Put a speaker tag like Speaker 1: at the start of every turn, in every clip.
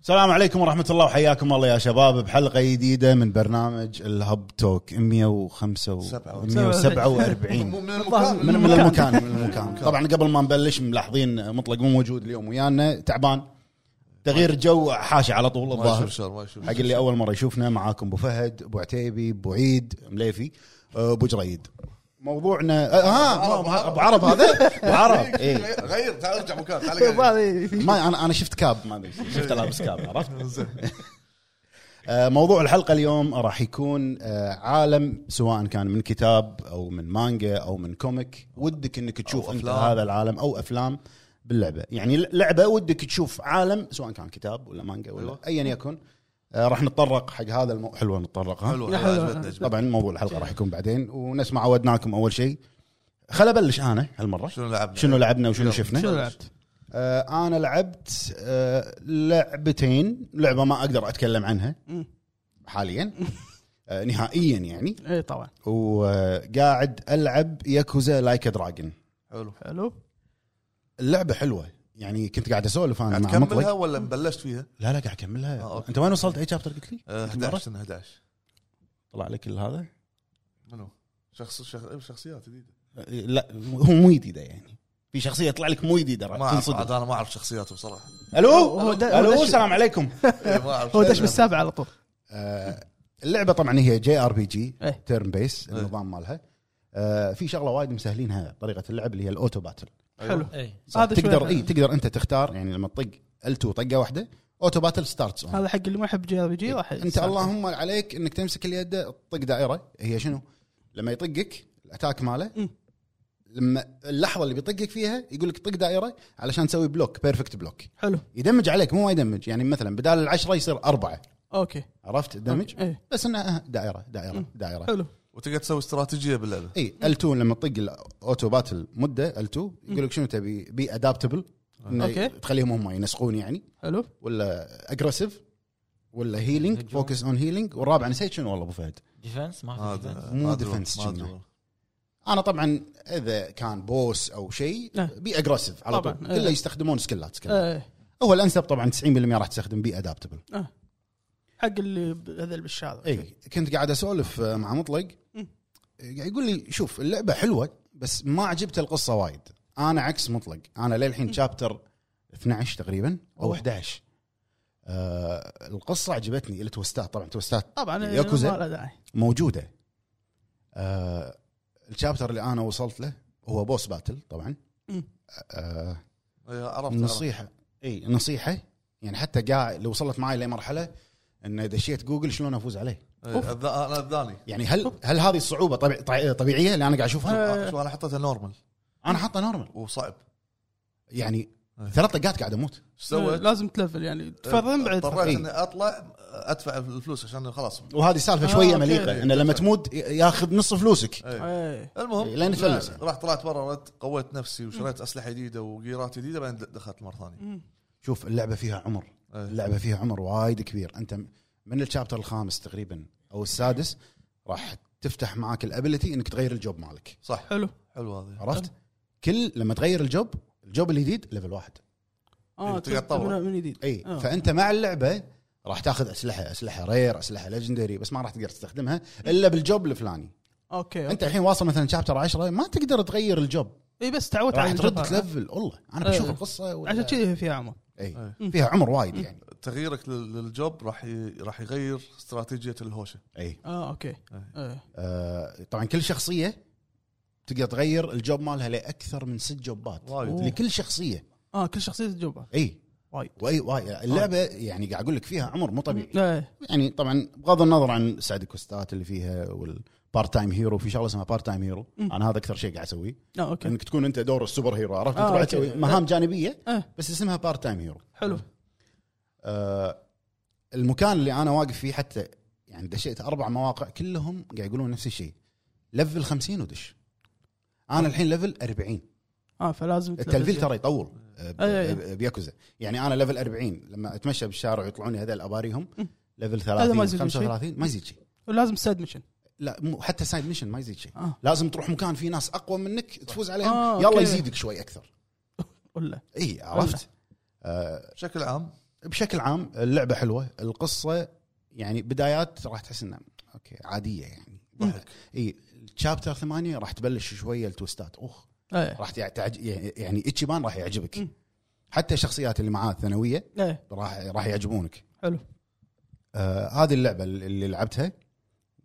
Speaker 1: السلام عليكم ورحمة الله وحياكم الله يا شباب بحلقة جديدة من برنامج الهب توك 105 و-
Speaker 2: سبعة
Speaker 1: 147
Speaker 2: من المكان
Speaker 1: من من المكان من المكان طبعا قبل ما نبلش ملاحظين مطلق مو موجود اليوم ويانا تعبان تغيير جو حاشي على طول
Speaker 2: ما
Speaker 1: الظاهر
Speaker 2: يصير شر ما يصير
Speaker 1: حق
Speaker 2: شر.
Speaker 1: اللي اول مره يشوفنا معاكم ابو فهد ابو عتيبي ابو عيد مليفي أه، ابو جريد موضوعنا آه، ها مو- ابو عرب هذا ابو عرب إيه. اي
Speaker 2: غير- إيه. غير تعال ارجع مكان تعال قاعد.
Speaker 3: بالضبط.
Speaker 1: ما انا انا شفت كاب ما ادري شفت لابس كاب عرفت آه، موضوع الحلقه اليوم راح يكون آه، عالم سواء كان من كتاب او من مانجا او من كوميك ودك انك تشوف
Speaker 2: أو
Speaker 1: انت
Speaker 2: أفلام.
Speaker 1: هذا العالم او افلام باللعبه يعني لعبه ودك تشوف عالم سواء كان كتاب ولا مانجا ولا
Speaker 2: أيوة.
Speaker 1: ايا يكن آه، راح نتطرق حق هذا المو... حلوه نتطرق ها
Speaker 2: حلو
Speaker 3: يا
Speaker 2: حلو
Speaker 3: حلو.
Speaker 2: عجبتني عجبتني.
Speaker 1: طبعا موضوع الحلقه راح يكون بعدين ونسمع عودناكم اول شيء خل ابلش انا هالمره
Speaker 2: شنو لعبنا
Speaker 1: شنو لعبنا وشنو شفنا
Speaker 3: شنو لعبت؟
Speaker 1: آه، انا لعبت آه، لعبتين لعبه ما اقدر اتكلم عنها
Speaker 3: مم.
Speaker 1: حاليا آه، نهائيا يعني
Speaker 3: اي طبعا
Speaker 1: وقاعد العب ياكوزا لايك دراجون
Speaker 2: حلو
Speaker 3: حلو
Speaker 1: اللعبه حلوه يعني كنت قاعد اسولف انا
Speaker 2: قاعد
Speaker 1: مع
Speaker 2: تكملها
Speaker 1: مطلق
Speaker 2: ولا بلشت فيها؟
Speaker 1: لا لا قاعد اكملها
Speaker 2: آه، أوكي.
Speaker 1: انت وين وصلت اي شابتر قلت لي؟
Speaker 2: آه، 11 سنه 11
Speaker 1: طلع لك كل هذا؟
Speaker 2: منو؟ شخص شخ... إيه، شخصيات جديده
Speaker 1: آه، لا هو مو جديده يعني في شخصيه طلع لك مو جديده
Speaker 2: ما
Speaker 1: راح
Speaker 2: اعرف
Speaker 1: تنصدم
Speaker 2: عاد انا ما اعرف شخصياته بصراحه
Speaker 1: الو
Speaker 3: هو دا- هو
Speaker 1: الو
Speaker 3: دش-
Speaker 1: السلام عليكم
Speaker 2: إيه، ما اعرف
Speaker 3: هو دش بالسابع على طول
Speaker 1: آه، اللعبه طبعا هي جي ار بي جي
Speaker 3: إيه.
Speaker 1: تيرن بيس
Speaker 2: إيه.
Speaker 1: النظام مالها آه، في شغله وايد مسهلينها طريقه اللعب اللي هي الاوتو باتل
Speaker 3: حلو
Speaker 4: اي
Speaker 1: صار
Speaker 3: هذا شوي
Speaker 1: تقدر
Speaker 3: حلو.
Speaker 1: اي تقدر انت تختار يعني لما تطق ال2 طقه واحده اوتو باتل ستارتس
Speaker 3: هذا حق اللي ما يحب جي ار بي جي راح
Speaker 1: انت اللهم عليك انك تمسك اليد تطق دائره هي شنو؟ لما يطقك الاتاك ماله
Speaker 3: مم.
Speaker 1: لما اللحظه اللي بيطقك فيها يقول لك طق دائره علشان تسوي بلوك بيرفكت بلوك
Speaker 3: حلو
Speaker 1: يدمج عليك مو ما يدمج يعني مثلا بدال العشره يصير اربعه
Speaker 3: اوكي
Speaker 1: عرفت الدمج؟
Speaker 3: أوكي. إيه.
Speaker 1: بس آه، انها دائره دائره دائره
Speaker 3: حلو
Speaker 2: وتقعد تسوي استراتيجيه باللعبه
Speaker 1: اي ال2 إيه، لما تطق الاوتو باتل مده ال2 يقول لك شنو تبي بي ادابتبل
Speaker 3: أوكي.
Speaker 1: تخليهم هم ينسقون يعني
Speaker 3: حلو
Speaker 1: ولا اجريسيف ولا هيلينج
Speaker 4: هجوم.
Speaker 1: فوكس اون هيلينج والرابع نسيت شنو والله ابو فهد
Speaker 4: ديفنس ما في ديفنس
Speaker 2: هذا
Speaker 1: مو
Speaker 2: ما أدري والله،
Speaker 1: defense
Speaker 2: ما
Speaker 1: جنة.
Speaker 2: أدري.
Speaker 1: انا طبعا اذا كان بوس او شيء
Speaker 3: نعم.
Speaker 1: بي اجريسيف على طول
Speaker 3: طبعاً. إيه.
Speaker 1: كله يستخدمون سكلات سكلات
Speaker 3: ايه
Speaker 1: هو الانسب طبعا 90% راح تستخدم بي ادابتبل
Speaker 3: حق اللي ب- هذا اللي بالشارع
Speaker 1: اي إيه، كنت قاعد اسولف مع مطلق إيه،
Speaker 3: مم.
Speaker 1: قاعد يقول لي شوف اللعبه حلوه بس ما عجبت القصه وايد انا عكس مطلق انا للحين شابتر 12 تقريبا او
Speaker 3: أوه.
Speaker 1: 11 آه القصه عجبتني التوستات طبعا توستات
Speaker 3: طبعا إيه،
Speaker 1: ياكوزا.
Speaker 3: ما له داعي
Speaker 1: موجوده آه الشابتر اللي انا وصلت له هو بوس باتل طبعا
Speaker 3: مم.
Speaker 1: آه
Speaker 2: إيه، عرفت عرفت.
Speaker 1: نصيحه اي نصيحه يعني حتى قاعد لو وصلت معي لمرحله ان دشيت جوجل شلون افوز عليه
Speaker 2: إيه، أذ- انا اذاني
Speaker 1: يعني هل هل هذه الصعوبه طبيع- طبيع- طبيعيه اللي انا قاعد اشوفها؟
Speaker 3: آه.
Speaker 2: شو انا حطيتها نورمال
Speaker 1: انا حاطه نورمال
Speaker 2: وصعب
Speaker 1: إيه، يعني
Speaker 3: أه.
Speaker 2: إيه.
Speaker 1: ثلاث دقات قاعد اموت
Speaker 2: ايش سويت؟
Speaker 3: لازم تلفل يعني تفرم بعد
Speaker 2: اضطريت
Speaker 1: إيه.
Speaker 2: اني اطلع ادفع الفلوس عشان خلاص
Speaker 1: وهذه سالفه
Speaker 3: آه،
Speaker 1: شويه
Speaker 3: أوكي.
Speaker 1: مليقه انه لما تموت ي- ياخذ نص فلوسك
Speaker 2: إيه.
Speaker 3: ايه
Speaker 2: المهم
Speaker 1: إيه، لين تفلس.
Speaker 2: لا، رحت طلعت برا رحت قويت نفسي وشريت اسلحه جديده وجيرات جديده بعدين د- دخلت مره ثانيه
Speaker 3: مم.
Speaker 1: شوف اللعبه فيها عمر
Speaker 2: إيه.
Speaker 1: اللعبه فيها عمر وايد كبير انت م- من الشابتر الخامس تقريبا او السادس راح تفتح معاك الابيلتي انك تغير الجوب مالك
Speaker 2: إيه، صح
Speaker 3: حلو
Speaker 2: حلو هذا
Speaker 1: عرفت؟ كل لما تغير الجوب الجوب الجديد ليفل واحد
Speaker 3: اه
Speaker 2: إيه، تقعد تطور.
Speaker 3: من من جديد
Speaker 1: اي
Speaker 3: آه.
Speaker 1: فانت مع اللعبه راح تاخذ اسلحه اسلحه رير اسلحه ليجندري بس ما راح تقدر تستخدمها الا بالجوب الفلاني
Speaker 3: اوكي
Speaker 1: انت الحين واصل مثلا شابتر 10 ما تقدر تغير الجوب
Speaker 3: اي إيه، بس تعودت
Speaker 1: راح
Speaker 3: على
Speaker 1: ترد
Speaker 3: الجبهة.
Speaker 1: تلفل والله انا
Speaker 3: إيه.
Speaker 1: بشوف القصه ولا-
Speaker 3: عشان كذي فيها عمر
Speaker 1: اي
Speaker 3: إيه.
Speaker 1: فيها عمر وايد يعني
Speaker 2: تغييرك لل- للجوب راح ي- راح يغير استراتيجيه الهوشه
Speaker 1: اي
Speaker 3: اه اوكي
Speaker 2: إيه.
Speaker 3: ايه
Speaker 1: آه طبعا كل شخصيه تقدر تغير الجوب مالها لاكثر من ست جوبات
Speaker 2: وايد.
Speaker 1: لكل إيه. شخصيه
Speaker 3: اه كل شخصيه تجوبها
Speaker 1: اي
Speaker 3: وايد
Speaker 1: واي واي اللعبه يعني قاعد اقول لك فيها عمر مو طبيعي
Speaker 3: ايه
Speaker 1: يعني طبعا بغض النظر عن سايد كوستات اللي فيها والبارت تايم هيرو في شغله اسمها بارت تايم هيرو
Speaker 3: مم.
Speaker 1: انا هذا اكثر شيء قاعد اسويه
Speaker 3: اه اوكي
Speaker 1: انك تكون انت دور السوبر هيرو عرفت
Speaker 3: آه،
Speaker 1: انت قاعد
Speaker 3: أوكي.
Speaker 1: تسوي مهام جانبيه
Speaker 3: إيه.
Speaker 1: بس اسمها بارت تايم هيرو
Speaker 3: حلو
Speaker 1: آه، المكان اللي انا واقف فيه حتى يعني دشيت اربع مواقع كلهم قاعد يقولون نفس الشيء ليفل 50 ودش
Speaker 3: آه.
Speaker 1: انا الحين ليفل 40
Speaker 3: اه فلازم تلفل
Speaker 1: التلفيل
Speaker 3: زيادة.
Speaker 1: ترى يطول آه، ب-
Speaker 3: أي-
Speaker 1: آه، بياكوزا يعني انا ليفل 40 لما اتمشى بالشارع ويطلعون لي هذول اباريهم
Speaker 3: مم.
Speaker 1: ليفل
Speaker 3: هذا ما
Speaker 1: 30
Speaker 3: يزيد من شيء.
Speaker 1: 35 ما يزيد شيء
Speaker 3: ولازم سايد ميشن
Speaker 1: لا مو حتى سايد ميشن ما يزيد شيء
Speaker 3: آه.
Speaker 1: لازم تروح مكان فيه ناس اقوى منك تفوز عليهم
Speaker 3: آه،
Speaker 1: يلا
Speaker 3: أوكي.
Speaker 1: يزيدك شوي اكثر
Speaker 3: ولا
Speaker 1: اي عرفت إيه، آه
Speaker 2: بشكل عام
Speaker 1: بشكل عام اللعبه حلوه القصه يعني بدايات راح تحس انها اوكي عاديه يعني
Speaker 2: ضحك
Speaker 1: اي تشابتر ثمانية راح تبلش شويه التوستات اوخ
Speaker 3: ايه
Speaker 1: راح تع- تعج... يعني اتشيبان راح يعجبك
Speaker 3: مم.
Speaker 1: حتى الشخصيات اللي معاه الثانويه
Speaker 3: ايه
Speaker 1: راح راح يعجبونك
Speaker 3: حلو
Speaker 1: آه هذه اللعبه اللي لعبتها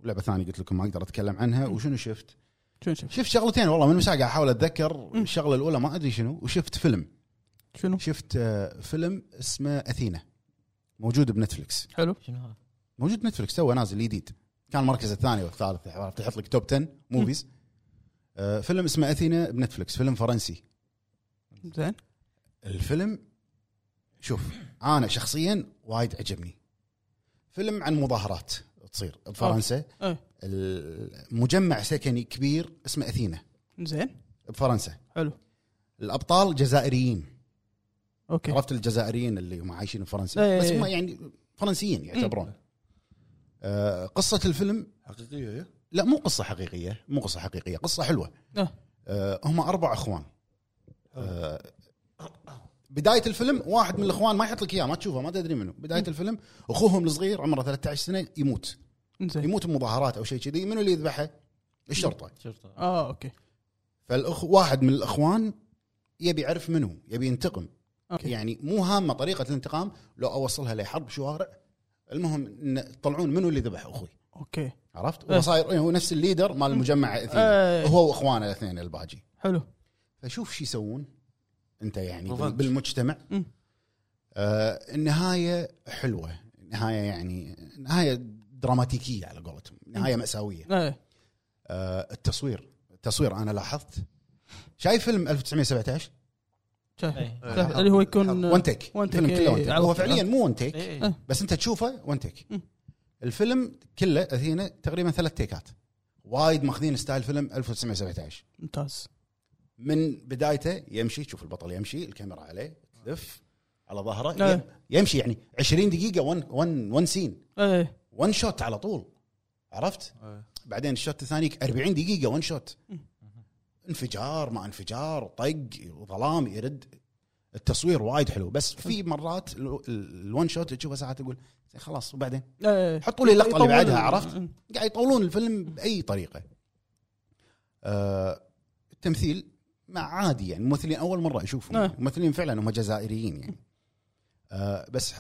Speaker 1: لعبه ثانيه قلت لكم ما اقدر اتكلم عنها وشنو شفت؟
Speaker 3: شنو شفت؟
Speaker 1: شفت شغلتين والله من مساء قاعد احاول اتذكر
Speaker 3: مم.
Speaker 1: الشغله الاولى ما ادري شنو وشفت فيلم
Speaker 3: شنو؟
Speaker 1: شفت آه فيلم اسمه اثينا موجود بنتفلكس
Speaker 3: حلو
Speaker 4: شنو هذا؟
Speaker 1: موجود بنتفلكس تو نازل جديد كان المركز الثاني والثالث عرفت يحط لك توب 10 موفيز آه فيلم اسمه اثينا بنتفلكس فيلم فرنسي
Speaker 3: زين
Speaker 1: الفيلم شوف انا شخصيا وايد عجبني فيلم عن مظاهرات تصير بفرنسا
Speaker 3: إيه.
Speaker 1: ال- مجمع سكني كبير اسمه اثينا
Speaker 3: زين
Speaker 1: بفرنسا
Speaker 3: حلو
Speaker 1: الابطال جزائريين
Speaker 3: اوكي
Speaker 1: عرفت الجزائريين اللي هم عايشين بفرنسا
Speaker 3: إيه.
Speaker 1: بس هم يعني فرنسيين يعتبرون آه، قصه الفيلم
Speaker 2: حقيقيه هي
Speaker 1: لا مو قصه حقيقيه مو قصه حقيقيه قصه حلوه
Speaker 3: آه.
Speaker 1: آه، هم اربع اخوان آه، بدايه الفيلم واحد من الاخوان ما يحط لك اياه ما تشوفه ما تدري منه بدايه الفيلم اخوهم الصغير عمره 13 سنه يموت
Speaker 3: زين
Speaker 1: يموت بمظاهرات او شيء كذي منو اللي يذبحه الشرطه
Speaker 4: شرطه
Speaker 3: اه اوكي
Speaker 1: فالاخ واحد من الاخوان يبي يعرف منو يبي ينتقم
Speaker 3: اوكي
Speaker 1: يعني مو هامه طريقه الانتقام لو اوصلها لحرب شوارع المهم ان تطلعون منو اللي ذبح اخوي
Speaker 3: اوكي
Speaker 1: عرفت
Speaker 3: إيه.
Speaker 1: هو صاير هو نفس الليدر مال المجمع
Speaker 3: إيه.
Speaker 1: الاثنين هو واخوانه الاثنين الباجي
Speaker 3: حلو
Speaker 1: فشوف شو يسوون انت يعني بال-
Speaker 2: Revenge.
Speaker 1: بالمجتمع
Speaker 3: مم.
Speaker 1: آه النهايه حلوه نهايه يعني نهايه دراماتيكيه على قولتهم نهايه ماساويه
Speaker 3: ايه
Speaker 1: آه التصوير التصوير انا لاحظت شايف فيلم 1917
Speaker 3: شايف
Speaker 4: إيه.
Speaker 3: شايف؟ اللي هو يكون
Speaker 1: ون تيك
Speaker 3: one take،
Speaker 1: فيلم
Speaker 3: إيه،
Speaker 1: كله ون تيك
Speaker 3: عرفت،
Speaker 1: هو فعليا مو ون تيك
Speaker 4: اي
Speaker 3: إيه.
Speaker 4: اي
Speaker 1: بس انت تشوفه ون تيك
Speaker 3: مم.
Speaker 1: الفيلم كله هنا تقريبا ثلاث تيكات وايد ماخذين ستايل فيلم 1917
Speaker 3: ممتاز
Speaker 1: من بدايته يمشي تشوف البطل يمشي الكاميرا عليه تلف على ظهره
Speaker 3: لا.
Speaker 1: يم- يمشي يعني 20 دقيقه ون ون ون سين
Speaker 3: ايه
Speaker 1: ون شوت على طول عرفت
Speaker 2: إيه.
Speaker 1: بعدين الشوت الثاني 40 دقيقه ون شوت
Speaker 3: مم.
Speaker 1: انفجار ما انفجار طق ظلام يرد التصوير وايد حلو بس في مرات ال- ال- الون شوت اللي تشوفه ساعات تقول زين خلاص وبعدين
Speaker 3: ايه
Speaker 1: حطوا لي اللقطه اللي
Speaker 3: يطول- إيه.
Speaker 1: بعدها عرفت قاعد يطولون الفيلم باي طريقه آه التمثيل ما عادي يعني ممثلين اول مره اشوفهم
Speaker 3: نعم.
Speaker 1: ممثلين فعلا هم جزائريين يعني آه بس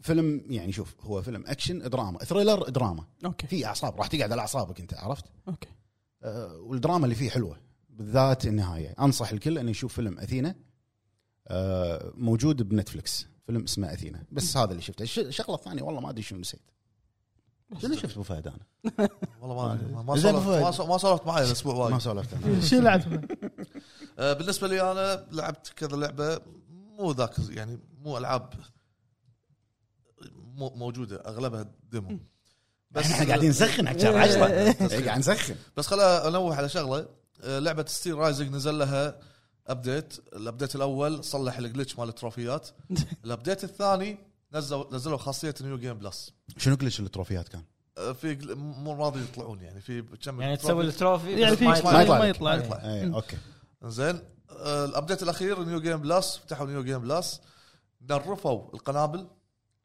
Speaker 1: فيلم يعني شوف هو فيلم اكشن دراما ثريلر دراما
Speaker 3: اوكي
Speaker 1: في اعصاب راح تقعد على اعصابك انت عرفت
Speaker 3: اوكي
Speaker 1: آه والدراما اللي فيه حلوه بالذات النهايه انصح الكل انه يشوف فيلم اثينا آه موجود بنتفلكس فيلم اسمه اثينا بس هذا اللي شفته الش- الشغله الثانيه والله ما ادري شنو نسيت شنو شفت ابو فهد انا
Speaker 2: والله ما ما
Speaker 1: زين
Speaker 2: صارت
Speaker 1: فهد.
Speaker 2: ما صار- ما صارت معي الاسبوع
Speaker 1: ما
Speaker 2: وايد
Speaker 1: سولفت انا
Speaker 3: شو لعبت؟
Speaker 2: آه، بالنسبه لي انا لعبت كذا لعبه مو ذاك يعني مو العاب مو موجوده اغلبها ديمو بس
Speaker 1: احنا قاعدين نسخن عشان عشرة إيه. قاعد نسخن
Speaker 2: بس خل انوه على شغله آه، لعبه ستيل رايزنج نزل لها ابديت الابديت الاول صلح الجلتش مال التروفيات الابديت الثاني نزلوا نزلوا خاصيه نيو جيم بلس
Speaker 1: شنو كلش التروفيات كان؟
Speaker 2: آه، في جل- مو راضي يطلعون يعني في كم
Speaker 4: يعني
Speaker 2: تروفي.
Speaker 4: تسوي التروفي
Speaker 3: يعني
Speaker 4: بس
Speaker 3: في
Speaker 4: ما
Speaker 1: ما
Speaker 4: يطلع.
Speaker 1: يطلع
Speaker 3: ما
Speaker 1: لك.
Speaker 3: يطلع
Speaker 4: إيه.
Speaker 3: لك.
Speaker 1: ايه اوكي
Speaker 2: زين آه، الابديت الاخير نيو جيم بلس فتحوا نيو جيم بلس نرفوا القنابل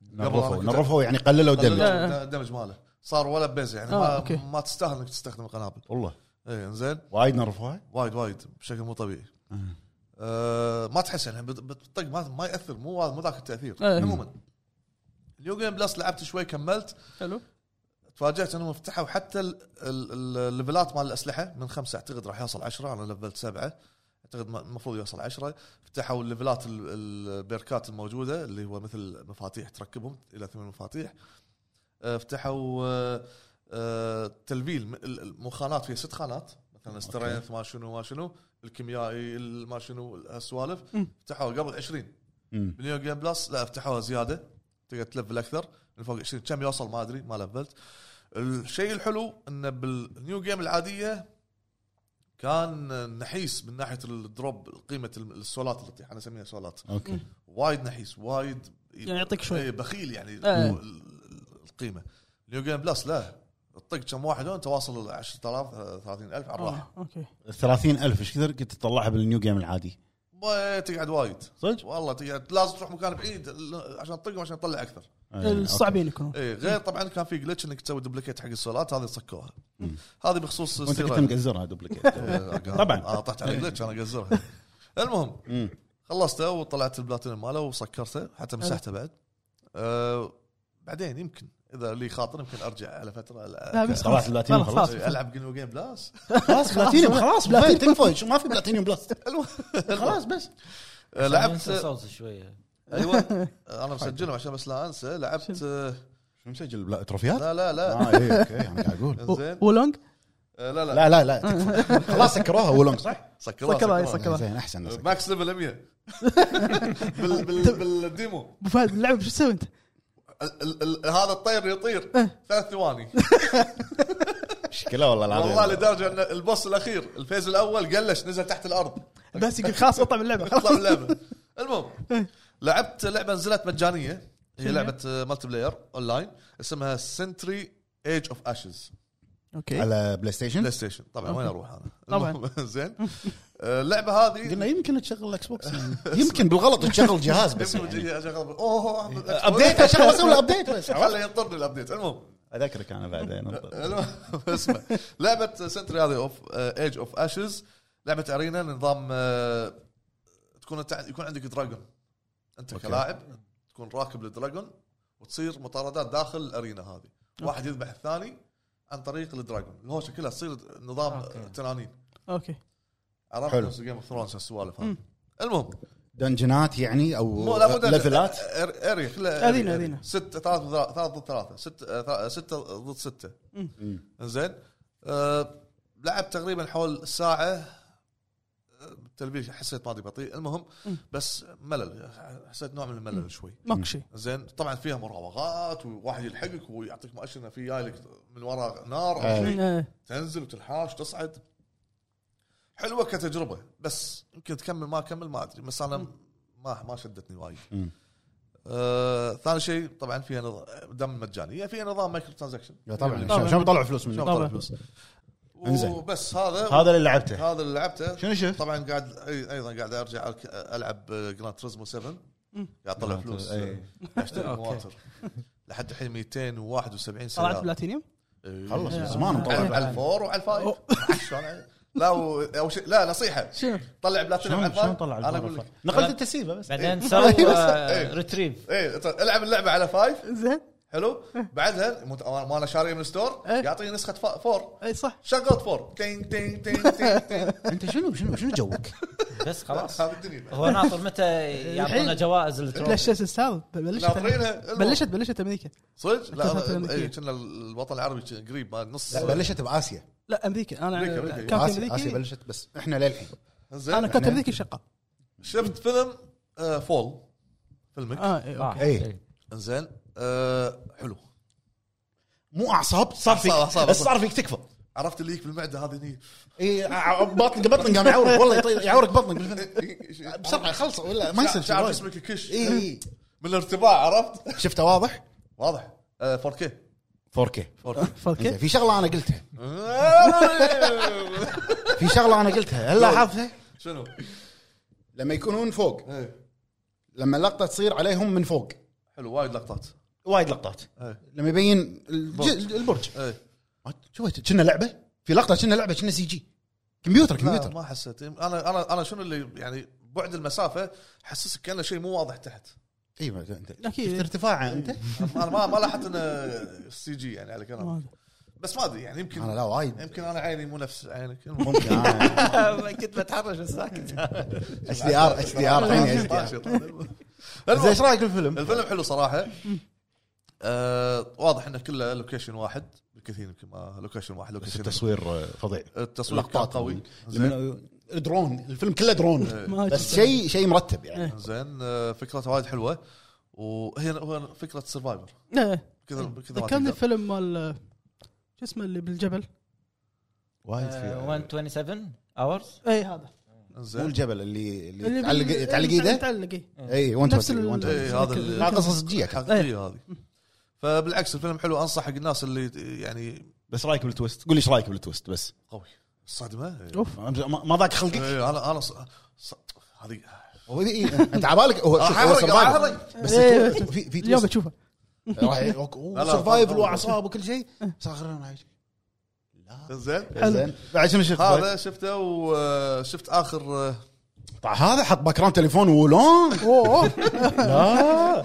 Speaker 1: نرفوا نرفوا يعني قللوا الدمج
Speaker 2: قللوا الدمج ماله صار ولا بيزه يعني
Speaker 3: آه،
Speaker 2: ما
Speaker 3: أوكي.
Speaker 2: ما تستاهل انك تستخدم القنابل
Speaker 1: والله
Speaker 2: اي زين
Speaker 1: وايد نرفوها
Speaker 2: وايد وايد بشكل مو طبيعي
Speaker 1: إيه.
Speaker 2: آه ما تحس يعني بت- بتطق ما, ما ياثر مو مو ذاك التاثير
Speaker 3: إيه.
Speaker 2: عموما نيو جيم بلس لعبت شوي كملت
Speaker 3: حلو
Speaker 2: تفاجات انهم فتحوا حتى ال- ال- ال- الليفلات مال الاسلحه من خمسه اعتقد راح يوصل عشرة انا ليفلت سبعه اعتقد ما- المفروض يوصل عشرة فتحوا الليفلات ال- البيركات الموجوده اللي هو مثل مفاتيح تركبهم الى ثمان مفاتيح آه، فتحوا آه، آه، تلفيل م- ال- المخانات فيها ست خانات مثلا سترينث ما شنو ما شنو الكيميائي ال- ما شنو هالسوالف
Speaker 3: مم.
Speaker 2: فتحوا قبل 20
Speaker 1: مم.
Speaker 2: بنيو جيم بلس لا فتحوها زياده تقدر تلفل اكثر من فوق 20 كم يوصل ما ادري ما لفلت الشيء الحلو انه بالنيو جيم العاديه كان نحيس من ناحيه الدروب قيمه السولات اللي تطيح انا اسميها سولات
Speaker 1: اوكي
Speaker 2: وايد نحيس وايد
Speaker 3: يعني يعطيك شوي.
Speaker 2: إيه، بخيل يعني
Speaker 3: إيه.
Speaker 2: ال- ال- القيمه نيو جيم بلس لا تطق كم واحد وانت واصل 10000 30000 على الراحه
Speaker 3: آه، اوكي
Speaker 1: إيه، 30000 ايش كثر كنت تطلعها بالنيو جيم العادي؟
Speaker 2: ما تقعد وايد
Speaker 1: صدق؟
Speaker 2: والله تقعد لازم تروح مكان بعيد ل- عشان تطقهم عشان تطلع اكثر
Speaker 1: إيه، أوكي.
Speaker 3: الصعبين يكونون
Speaker 2: اي إيه، غير طبعا كان في جلتش انك تسوي دبليكيت حق السولات هذه سكوها
Speaker 1: مم.
Speaker 2: هذه بخصوص
Speaker 1: وانت كنت
Speaker 2: السيرة.
Speaker 1: مقزرها دوبليكيت
Speaker 2: إيه،
Speaker 1: طبعاً.
Speaker 2: اه طحت على جلتش انا اقزرها المهم
Speaker 1: مم.
Speaker 2: خلصته وطلعت البلاتينيوم ماله وسكرته حتى مسحته بعد آه بعدين يمكن اذا لي خاطر يمكن ارجع على إيه، فتره
Speaker 3: لا،
Speaker 2: العب
Speaker 3: بس
Speaker 1: طلعت
Speaker 3: خلاص.
Speaker 1: البلاتينيوم
Speaker 3: خلاص،
Speaker 1: خلاص.
Speaker 3: خلاص.
Speaker 2: العب جنو جيم بلاس
Speaker 1: خلاص بلاتينيوم خلاص بلاتينيوم تنفع شو ما في بلاتينيوم بلاس خلاص بس
Speaker 2: آه، لعبت
Speaker 4: ننسى صوت شويه
Speaker 2: ايوه انا مسجلهم عشان بس لا انسى لعبت آه،
Speaker 1: شو مسجل بلا- تروفيات؟
Speaker 2: لا لا لا
Speaker 1: اه اي اوكي انا قاعد اقول
Speaker 2: زين
Speaker 3: ولونج
Speaker 2: آه، لا
Speaker 1: لا
Speaker 2: لا
Speaker 1: لا لا تكفى. خلاص سكروها ولونج صح؟
Speaker 2: سكرها
Speaker 3: سكرها،
Speaker 2: سكرها آه،
Speaker 3: سكرها.
Speaker 1: إيه، زين احسن سكر.
Speaker 2: ماكس ليفل 100 بال بال بالديمو
Speaker 3: ابو فهد اللعبه شو تسوي انت؟
Speaker 2: ال- ال- ال- هذا الطير يطير ثلاث ثواني
Speaker 1: شكله والله العظيم
Speaker 2: والله لدرجه ان البوس الاخير الفيز الاول قلش نزل تحت الارض
Speaker 3: بس يقول خلاص اطلع من اللعبه
Speaker 2: اطلع
Speaker 3: خلاص
Speaker 2: من اللعبه المهم لعبت لعبه نزلت مجانيه هي لعبه مالتي بلاير اونلاين اسمها سنتري ايج اوف اشز
Speaker 3: اوكي
Speaker 1: على بلاي
Speaker 2: بلاي
Speaker 1: ستيشن
Speaker 2: ستيشن طبعا وين اروح انا
Speaker 3: طبعاً.
Speaker 2: المهم، زين آه، اللعبه هذه
Speaker 1: قلنا يمكن تشغل الاكس بوكس يمكن بالغلط تشغل جهاز بس
Speaker 2: يمكن
Speaker 1: يعني.
Speaker 2: يجي اشغل اوه أحمد،
Speaker 1: ابديت عشان اسوي له ابديت بس
Speaker 2: خله ينطرني الابديت المهم
Speaker 1: اذكرك انا بعدين
Speaker 2: المهم، اسمع لعبه سنتري هذه اوف ايج اوف اشز لعبه ارينا نظام آه، تكون أنت- يكون عندك دراجون انت
Speaker 1: أوكي.
Speaker 2: كلاعب تكون راكب الدراجون وتصير مطاردات داخل الارينا هذه واحد يذبح الثاني عن طريق الدراجون الهوشه كلها تصير نظام
Speaker 4: أوكي.
Speaker 2: تنانين
Speaker 3: اوكي
Speaker 2: عرفت
Speaker 1: حلو.
Speaker 2: نفس جيم اوف ثرونز السوالف هذه
Speaker 3: مم.
Speaker 2: المهم
Speaker 1: دنجنات يعني
Speaker 2: مو
Speaker 1: او
Speaker 2: لا مو دنجن.
Speaker 1: ليفلات
Speaker 2: أر- اريا كلها أريا.
Speaker 3: أرينا، أرينا.
Speaker 2: ست ثلاث ضد- ثلاث ضد ثلاثه ست آه، ثلا- سته ضد سته
Speaker 1: مم.
Speaker 2: زين أه لعب تقريبا حول ساعه آه، التلفزيون حسيت ماضي بطيء المهم
Speaker 3: مم.
Speaker 2: بس ملل حسيت نوع من الملل شوي
Speaker 3: ماكو شيء
Speaker 2: زين طبعا فيها مراوغات وواحد يلحقك ويعطيك مؤشر انه في جايلك من وراء نار
Speaker 1: آه.
Speaker 2: او شيء
Speaker 3: إيه.
Speaker 2: تنزل وتنحاش تصعد حلوه كتجربه بس يمكن تكمل ما اكمل ما ادري بس انا ما ما شدتني وايد
Speaker 1: مم.
Speaker 2: آه ثاني شيء طبعا فيها نظام دم مجانيه فيها نظام يعني مايكرو ترانزكشن
Speaker 1: يا طبعا
Speaker 3: طبعاً.
Speaker 1: شلون- شلون بيطلعوا فلوس منك
Speaker 2: شلون
Speaker 3: طبعاً.
Speaker 1: طبعا
Speaker 2: طلع فلوس
Speaker 1: إنزين.
Speaker 2: وبس هذا
Speaker 1: هذا اللي لعبته
Speaker 2: هذا اللي لعبته
Speaker 1: شنو شفت؟
Speaker 2: طبعا قاعد أي- ايضا قاعد ارجع أك- العب جراند تريزمو 7
Speaker 3: مم.
Speaker 2: قاعد اطلع فلوس
Speaker 1: أي.
Speaker 2: اشتري
Speaker 4: أوكي.
Speaker 2: مواتر لحد الحين 271
Speaker 3: طلعت
Speaker 2: سياره
Speaker 3: بلاتينيوم
Speaker 2: إيه.
Speaker 1: خلص من
Speaker 3: آه.
Speaker 1: زمان
Speaker 2: طلع
Speaker 1: مطلع
Speaker 2: على الفور وعلى الفايف شلون على- لا و... أو شيء لا نصيحه
Speaker 3: شنو؟
Speaker 2: طلع بلاتينيوم على
Speaker 1: شلون شلون
Speaker 2: الفايف
Speaker 1: طلع
Speaker 2: انا اقول لك
Speaker 1: نقلت التسيبه بس
Speaker 4: بعدين سووا آه،
Speaker 2: إيه.
Speaker 4: ريتريف
Speaker 2: ايه ط- العب اللعبه على فايف
Speaker 3: زين
Speaker 2: حلو بعدها مت- ما انا شاريه من ستور
Speaker 3: إيه.
Speaker 2: يعطيني نسخه فا- فور
Speaker 3: اي صح
Speaker 2: شغلت فور تين تين تين تين تين
Speaker 1: انت شنو شنو شنو جوك؟
Speaker 4: بس خلاص
Speaker 2: هذه الدنيا
Speaker 4: هو ناطر متى يعطونا
Speaker 3: الحين.
Speaker 4: جوائز التروفي
Speaker 3: بلشت السالفه بلشت
Speaker 2: ناطرينها
Speaker 3: بلشت بلشت امريكا
Speaker 2: صدق
Speaker 3: اكتشفت
Speaker 2: لا
Speaker 3: الأمريكية.
Speaker 2: اي كنا الوطن العربي ش- قريب ما نص
Speaker 1: لا بلشت باسيا
Speaker 3: لا امريكا انا
Speaker 2: أمريكا، أمريكا.
Speaker 3: كان في
Speaker 1: اسيا اسيا
Speaker 3: امريكي
Speaker 1: بلشت بس احنا للحين
Speaker 2: زين
Speaker 3: انا كنت امريكي شقه
Speaker 2: شفت فيلم آه، فول فيلمك
Speaker 3: اه
Speaker 4: آه. Ah,
Speaker 3: إيه، اوكي
Speaker 1: إيه.
Speaker 2: زين آه، حلو
Speaker 1: مو اعصاب صار فيك
Speaker 2: أعصاب، أعصاب.
Speaker 1: صار فيك تكفى
Speaker 2: عرفت اللي يجيك بالمعده هذه هني
Speaker 1: اي ع- بطنك بطنك قام يعورك والله يطي- يعورك بطنك بسرعه خلص ولا ما يصير
Speaker 2: شعر
Speaker 1: شيء إيه،
Speaker 2: جسمك يكش
Speaker 1: اي
Speaker 2: من الارتفاع عرفت
Speaker 1: شفته واضح
Speaker 2: واضح آه، 4K
Speaker 1: 4K
Speaker 2: 4K
Speaker 3: فالكي
Speaker 1: في شغله انا قلتها في شغله انا قلتها هل لاحظتها؟
Speaker 2: شنو؟
Speaker 1: لما يكونون فوق
Speaker 2: إيه.
Speaker 1: لما اللقطه تصير عليهم من فوق
Speaker 2: حلو وايد لقطات
Speaker 1: وايد لقطات
Speaker 2: إيه.
Speaker 1: لما يبين الج- البرج
Speaker 2: إيه.
Speaker 1: شويت كنا لعبه في لقطه كنا لعبه كنا سي جي كمبيوتر
Speaker 2: لا
Speaker 1: كمبيوتر
Speaker 2: ما حسيت إيه، انا انا انا شنو اللي يعني بعد المسافه حسسك كانه شيء مو واضح تحت
Speaker 1: اي إيه، ما- انت
Speaker 3: أكيد.
Speaker 1: شفت ارتفاعه انت
Speaker 2: انا ما ما لاحظت انه سي جي يعني على كلامك بس ما ادري يعني يمكن
Speaker 1: انا لا وايد
Speaker 2: يمكن انا عيني مو نفس عينك المهم
Speaker 1: ممكن انا
Speaker 4: كنت بتحرش بس ساكت
Speaker 1: اتش دي ار اتش دي ار عيني اتش دي ار زين ايش
Speaker 2: المهم،
Speaker 1: رايك بالفيلم؟
Speaker 2: الفيلم حلو صراحه آه واضح انه كله لوكيشن واحد بالكثير يمكن ما لوكيشن واحد لوكيشن
Speaker 1: التصوير آه، فظيع
Speaker 2: التصوير كان قوي زين
Speaker 1: درون الفيلم كله درون
Speaker 2: آه،
Speaker 3: ما
Speaker 1: بس شيء شيء مرتب
Speaker 3: إيه.
Speaker 1: يعني
Speaker 2: زين آه، فكرته وايد حلوه وهي هو فكره سرفايفر
Speaker 3: إيه.
Speaker 2: كذا كذا ما
Speaker 3: ذكرني
Speaker 2: تقدر.
Speaker 3: الفيلم مال شو اسمه اللي بالجبل
Speaker 4: Eh,
Speaker 1: وايد
Speaker 3: آه،
Speaker 1: يعني. في
Speaker 4: 127 اورز
Speaker 3: اي هذا
Speaker 1: مو
Speaker 2: زين
Speaker 1: الجبل اللي اللي
Speaker 3: اللي
Speaker 1: تعلق
Speaker 3: بال-
Speaker 1: تعلق
Speaker 3: اللي
Speaker 1: ايده
Speaker 3: تعلق اي
Speaker 1: اي 120
Speaker 3: ال-
Speaker 1: 120.
Speaker 2: إيه، هذا ال-
Speaker 1: مع قصص صجيه كان.
Speaker 2: حقيقيه هذه فبالعكس الفيلم حلو انصح حق الناس اللي يعني
Speaker 1: بس رايك بالتويست قول لي ايش رايك بالتويست بس
Speaker 2: قوي الصدمه إيه.
Speaker 3: أوف.
Speaker 1: ما ما ضاق خلقك
Speaker 2: إيه، انا انا ص- ص- هذه
Speaker 1: هو إيه، إي- إي، انت عبالك هو شوف،
Speaker 2: راح
Speaker 1: هو
Speaker 2: احرق راح
Speaker 1: survival.
Speaker 2: احرق
Speaker 1: بس
Speaker 3: إيه.
Speaker 1: في- في في
Speaker 3: اليوم
Speaker 1: توست.
Speaker 3: بتشوفه
Speaker 2: لا،
Speaker 1: سرفايفل
Speaker 2: طبعاً.
Speaker 1: واعصاب وكل شيء بس اخر عايش
Speaker 2: زين
Speaker 3: حلو.
Speaker 1: زين بعد شنو شفت؟
Speaker 2: هذا شفته وشفت آه، اخر
Speaker 1: طيب، هذا حط باك جراوند تليفون ولون
Speaker 3: اوه أوه.
Speaker 1: لا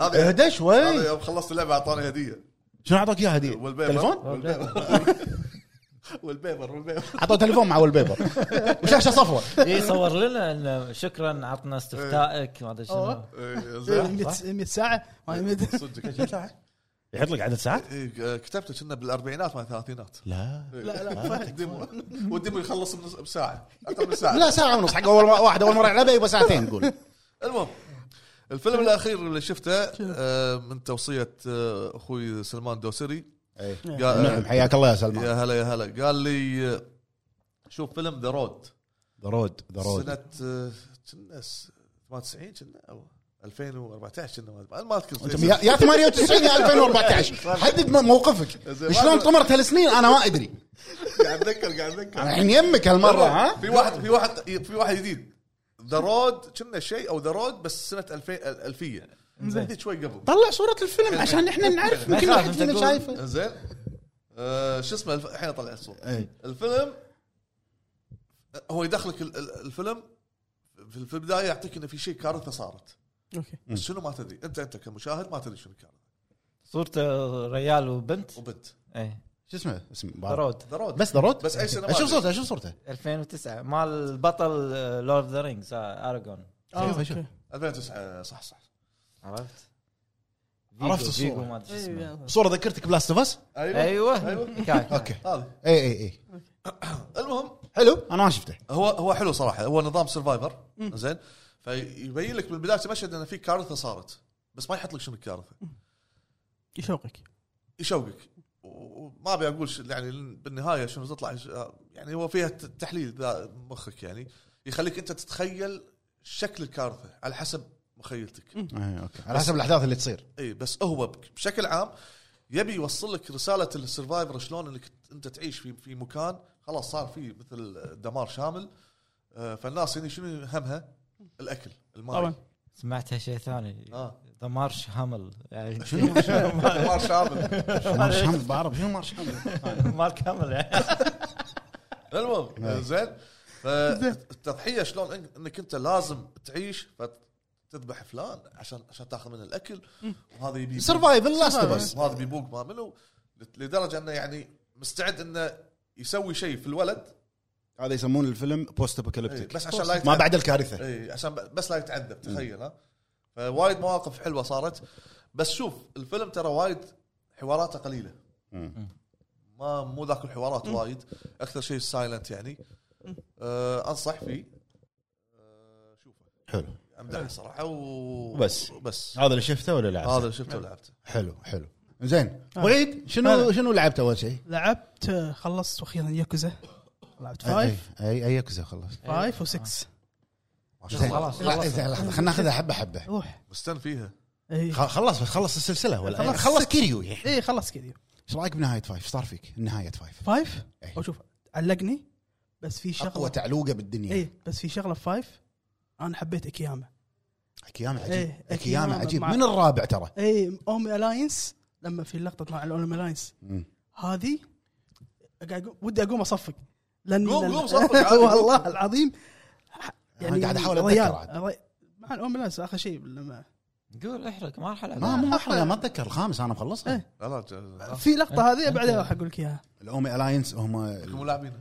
Speaker 2: هذا-
Speaker 1: اهدى
Speaker 2: هذا
Speaker 1: شوي
Speaker 2: يوم خلصت اللعبه اعطاني هديه
Speaker 1: شنو اعطاك اياه هديه؟
Speaker 2: والبيبر
Speaker 1: تليفون؟
Speaker 2: والبيبر والبيبر
Speaker 1: اعطوه تليفون مع والبيبر وشاشه صفراء
Speaker 4: اي صور لنا انه شكرا عطنا استفتائك ما ادري شنو
Speaker 3: أوه.
Speaker 2: إيه، زين
Speaker 3: 100 100 ساعه ما- 100
Speaker 2: صدق
Speaker 1: يحط لك عدد ساعات؟
Speaker 2: إيه، كتبته كنا بالاربعينات مع الثلاثينات
Speaker 1: لا
Speaker 2: لا لا الديمو والديمو يخلص بنص- بساعه اكثر من ساعه
Speaker 1: لا ساعه ونص حق اول واحد اول مره يلعبها يبغى ساعتين نقول
Speaker 2: المهم الفيلم
Speaker 1: طيب.
Speaker 2: الاخير اللي شفته آه، من توصيه آه، اخوي سلمان دوسري قال-
Speaker 1: نعم حياك الله يا
Speaker 2: يا
Speaker 1: سلمان
Speaker 2: هلا يا هلا قال لي آه، شوف فيلم ذا رود
Speaker 1: ذا رود ذا رود
Speaker 2: سنه آه، كنا س- 98 كنا او 2014 كنا ما- ما اذكر
Speaker 1: انت يا يا 98 يا 2014 حدد م- موقفك
Speaker 2: زين.
Speaker 1: شلون طمرت هالسنين انا ما ادري
Speaker 2: قاعد اتذكر قاعد اتذكر
Speaker 1: انا الحين يمك هالمره ها
Speaker 2: في واحد في واحد في واحد جديد ذا رود كنا شيء او ذا رود بس سنه 2000 الفيه زين شوي قبل
Speaker 1: طلع صوره الفيلم عشان احنا نعرف يمكن
Speaker 4: ما
Speaker 1: واحد
Speaker 4: يخاف،
Speaker 1: فينا
Speaker 4: أنت
Speaker 1: شايفه
Speaker 2: زين آه، شو اسمه الف- الحين طلع الصوره
Speaker 1: إي.
Speaker 2: الفيلم هو يدخلك ال- ال- الفيلم في في البدايه يعطيك انه في شيء كارثه صارت
Speaker 3: اوكي
Speaker 2: بس شنو ما تدري انت انت كمشاهد ما تدري شنو كارثه
Speaker 4: صورته ريال وبنت
Speaker 2: وبنت
Speaker 4: اي
Speaker 1: شو اسمه اسمه
Speaker 4: رود
Speaker 2: ذا رود
Speaker 1: بس ذا رود
Speaker 2: بس اي سنه ما
Speaker 1: اشوف
Speaker 2: أدري.
Speaker 1: صورته اشوف صورته
Speaker 4: 2009 مال البطل لورد ذا رينجز اراجون
Speaker 3: شوفه شوفه
Speaker 2: 2009 آه، صح صح
Speaker 4: عرفت؟
Speaker 1: عرفت الصورة.
Speaker 4: فيجو ما ادري شو اسمه
Speaker 1: صوره ذكرتك بلاست اوف اس
Speaker 4: ايوه
Speaker 2: أيوة.
Speaker 4: كاك.
Speaker 1: اوكي
Speaker 2: هذه
Speaker 1: اي اي اي
Speaker 2: المهم
Speaker 1: إيه، حلو انا ما شفته
Speaker 2: هو هو حلو صراحه هو نظام سرفايفر زين فيبين لك من بدايه المشهد ان في كارثه صارت بس ما يحط لك شنو الكارثه
Speaker 3: يشوقك
Speaker 2: يشوقك وما ابي اقول ش- يعني بالنهايه شنو تطلع ش- يعني هو فيها ت- تحليل ذا مخك يعني يخليك انت تتخيل شكل الكارثه على حسب مخيلتك
Speaker 1: إيه، اوكي على حسب الاحداث اللي تصير
Speaker 2: اي بس هو بك- بشكل عام يبي يوصل لك رساله السرفايفر شلون انك ت- انت تعيش في في مكان خلاص صار في مثل دمار شامل آه، فالناس هنا شنو همها؟ الاكل الماي
Speaker 3: طبعا
Speaker 4: سمعتها شيء ثاني
Speaker 2: اه
Speaker 4: ذا مارش هامل يعني
Speaker 1: شنو
Speaker 2: دمار شامل
Speaker 1: مارش حمل بعرف شنو مارش حمل
Speaker 4: مارك هامل يعني
Speaker 2: المهم زين فالتضحيه شلون إن- انك انت لازم تعيش فتذبح فلان عشان عشان تاخذ منه الاكل وهذا يبي
Speaker 1: سرفايفل لاست اوف اس
Speaker 2: وهذا بيبوق ما منه لدرجه انه يعني مستعد انه يسوي شيء في الولد
Speaker 1: هذا يسمون الفيلم بوست
Speaker 2: إيه،
Speaker 1: ابوكاليبتيك
Speaker 2: بس عشان لا
Speaker 1: ما
Speaker 2: يتعب إيه.
Speaker 1: بعد الكارثه
Speaker 2: اي عشان ب- بس لا يتعذب تخيل ها فوايد مواقف حلوه صارت بس شوف الفيلم ترى وايد حواراته قليله
Speaker 1: مم.
Speaker 2: ما مو ذاك الحوارات وايد اكثر شيء السايلنت يعني أه انصح فيه أه شوفه
Speaker 1: حلو
Speaker 2: امدحه صراحه و...
Speaker 1: إيه. وبس. آه،
Speaker 2: بس
Speaker 1: هذا اللي شفته ولا آه. لعبته؟
Speaker 2: هذا اللي شفته ولعبته
Speaker 1: حلو حلو زين وعيد شنو شنو لعبت اول شيء؟
Speaker 3: لعبت آه، خلصت واخيرا ياكوزا لعبت
Speaker 1: اي
Speaker 3: 5
Speaker 1: اي اي ياكوزا خلص
Speaker 3: 5
Speaker 1: آه.
Speaker 3: و6
Speaker 1: زين.
Speaker 4: خلاص،
Speaker 1: لا،
Speaker 4: خلص.
Speaker 1: زين، لحظه خلينا ناخذها حبه حبه
Speaker 3: روح إيه.
Speaker 2: مستن فيها
Speaker 3: اي
Speaker 1: خ- خلص بس خلص السلسله ولا
Speaker 3: خلص.
Speaker 1: خلص كيريو يعني.
Speaker 3: اي خلص إيه، كذي
Speaker 1: ايش رايك بنهايه فايف؟ ايش صار فيك؟ نهايه فايف
Speaker 3: فايف
Speaker 1: إيه.
Speaker 3: وشوف علقني بس في
Speaker 1: اقوى
Speaker 3: شغله
Speaker 1: تعلوقه بالدنيا
Speaker 3: اي بس في شغله فايف انا حبيت اكياما
Speaker 1: اكياما عجيب
Speaker 3: إيه،
Speaker 1: اكياما
Speaker 3: أكياما
Speaker 1: عجيب
Speaker 3: مع-
Speaker 1: من الرابع ترى
Speaker 3: اي اومي الاينس إيه، لما في اللقطه مع الاومي الاينس
Speaker 1: مم.
Speaker 3: هذه قاعد أقوم- ودي اقوم اصفق لان
Speaker 2: قوم-
Speaker 3: لأن-
Speaker 2: قوم صفق عادي.
Speaker 3: والله العظيم ح-
Speaker 1: أنا قاعد أحاول
Speaker 3: ريال-
Speaker 1: أتذكر عاد.
Speaker 3: ري- مع الاومي الاينس اخر شيء لما
Speaker 4: قول احرق ما راح
Speaker 1: ما
Speaker 4: العب
Speaker 1: مو محلى ما اتذكر الخامس انا مخلصها
Speaker 3: إيه.
Speaker 2: لا لا
Speaker 1: آه.
Speaker 2: ج-
Speaker 3: في لقطه هذه بعدين راح اقول لك اياها
Speaker 1: الاومي الاينس هم
Speaker 2: كم
Speaker 1: ال-
Speaker 2: ملاعبين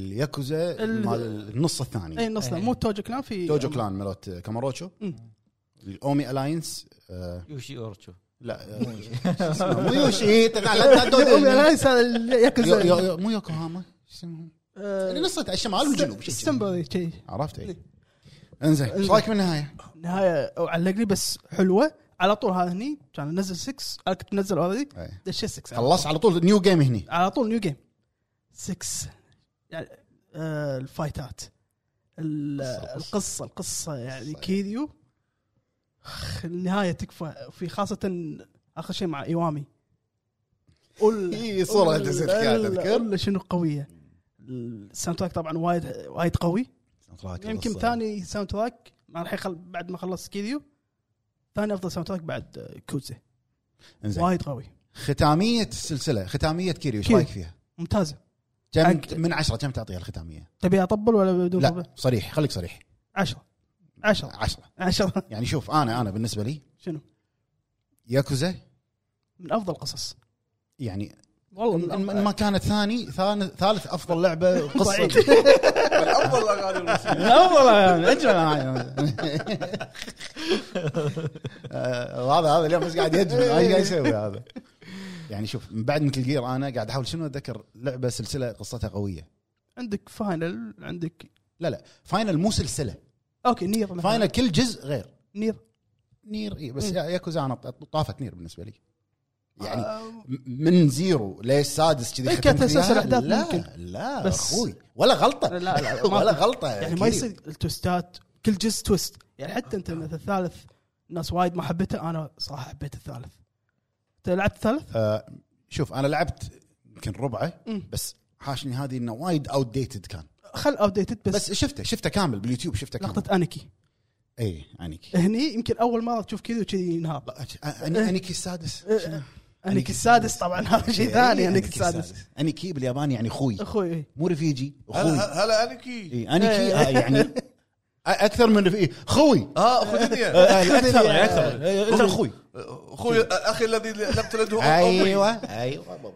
Speaker 1: الياكوزا
Speaker 3: ال-
Speaker 1: مال النص
Speaker 3: اي
Speaker 1: الثاني
Speaker 3: النص لا،
Speaker 4: إيه.
Speaker 3: مو توجو كلان في
Speaker 1: توجو كلان مالت كاماروتشو
Speaker 3: يعني. مم.
Speaker 1: الاومي الاينس آه،
Speaker 4: يوشي اورتشو
Speaker 1: لا آه، اسمه مو يوشي تعال، لا
Speaker 3: اومي
Speaker 1: تعال-
Speaker 3: الاينس هذا
Speaker 1: يو- يو-
Speaker 3: الياكوزا
Speaker 1: يو- مو يوكوهاما شو يعني اسمهم؟
Speaker 3: آه،
Speaker 1: اللي نصت على الشمال والجنوب شي- شي.
Speaker 3: استنبول شيء
Speaker 1: عرفت إيه.
Speaker 3: إيه.
Speaker 1: اي انزين ايش رايك بالنهايه؟
Speaker 3: نهايه او علقني بس حلوه على طول هذا هني كان انزل 6 انا كنت منزل اوريدي
Speaker 1: إيه.
Speaker 3: دشيت 6
Speaker 1: خلص على طول نيو جيم هني
Speaker 3: على طول نيو جيم 6 يعني آه الفايتات ال-
Speaker 1: قصة- قصة.
Speaker 3: القصه القصه يعني كيريو خ- النهايه تكفى في خاصه اخر شيء مع ايوامي قول
Speaker 1: إي، إيه، صورة أنت نسيت حكاية، تذكر؟
Speaker 3: شنو قويه الساوند تراك طبعا وايد وايد قوي يمكن ثاني ساوند تراك مع الحين خل... بعد ما خلصت كيديو ثاني افضل ساوند تراك بعد آه، كوتسي
Speaker 1: انزين
Speaker 3: وايد قوي
Speaker 1: ختاميه السلسله ختاميه كيريو ايش
Speaker 3: كيريو.
Speaker 1: رايك فيها؟
Speaker 3: ممتازه
Speaker 1: كم
Speaker 3: حق-
Speaker 1: من عشرة كم تعطيها الختاميه؟
Speaker 3: تبي اطبل ولا بدون
Speaker 1: لا
Speaker 3: طبل؟
Speaker 1: صريح خليك صريح
Speaker 3: عشرة عشرة
Speaker 1: عشرة
Speaker 3: عشرة
Speaker 1: يعني شوف انا انا بالنسبه لي
Speaker 3: شنو؟
Speaker 1: ياكوزا
Speaker 3: من افضل قصص
Speaker 1: يعني
Speaker 3: والله من
Speaker 1: إن-
Speaker 3: أفضل.
Speaker 1: إن ما كانت ثاني ثالث ثالث افضل لعبه قصه
Speaker 3: ضعيف.
Speaker 2: من افضل الاغاني الروسية.
Speaker 1: لا والله يعني اجل أنا- آه، هذا هذا اليوم بس قاعد يجمل ايش قاعد يسوي هذا يعني شوف من بعد مثل جير انا قاعد احاول شنو اتذكر لعبه سلسله قصتها قويه
Speaker 3: عندك فاينل عندك
Speaker 1: لا لا فاينل مو سلسله
Speaker 3: اوكي نير مثلاً.
Speaker 1: فاينل كل جزء غير
Speaker 3: نير
Speaker 1: نير إي، بس
Speaker 3: مم.
Speaker 1: يا- ياكوزا انا طافت نير بالنسبه لي يعني
Speaker 3: آه،
Speaker 1: م- من زيرو للسادس كذي
Speaker 3: إيه،
Speaker 1: ختمت
Speaker 3: كانت أساس
Speaker 1: فيها؟
Speaker 3: الأحداث
Speaker 1: لا
Speaker 3: ممكن.
Speaker 1: لا
Speaker 3: بس-
Speaker 1: اخوي ولا غلطه
Speaker 3: لا، لا، لا، ما-
Speaker 1: ولا غلطه
Speaker 3: يعني ما
Speaker 1: كيريو.
Speaker 3: يصير التوستات كل جزء تويست يعني حتى انت مثل الثالث الناس وايد ما حبته انا صراحه حبيت الثالث انت لعبت الثالث؟
Speaker 1: آه، شوف انا لعبت يمكن ربعه
Speaker 3: مم.
Speaker 1: بس حاشني هذه انه وايد اوت ديتد كان
Speaker 3: خل ابديتد بس, بس
Speaker 1: بس شفته شفته كامل باليوتيوب شفته كامل
Speaker 3: لقطه انكي
Speaker 1: اي انيكي
Speaker 3: هني يمكن اول مره تشوف كذي وكذي ينهار
Speaker 1: لا، أج- أ- أني- انيكي السادس إيه،
Speaker 3: آه، انكي السادس طبعا إيه. هذا شيء ثاني انكي السادس
Speaker 1: انيكي بالياباني يعني اخوي
Speaker 3: اخوي إيه.
Speaker 1: مو رفيجي اخوي
Speaker 2: هلا هلا انكي
Speaker 1: اي انيكي آه، يعني أ- اكثر من رفيجي خوي
Speaker 2: اه اخو دنيا
Speaker 1: آه، يعني اكثر يعني اكثر آه،
Speaker 3: إيه،
Speaker 1: انت اخوي
Speaker 2: اخوي اخي الذي لم تلده امي
Speaker 1: ايوه
Speaker 4: أيوة.
Speaker 1: ايوه بالضبط.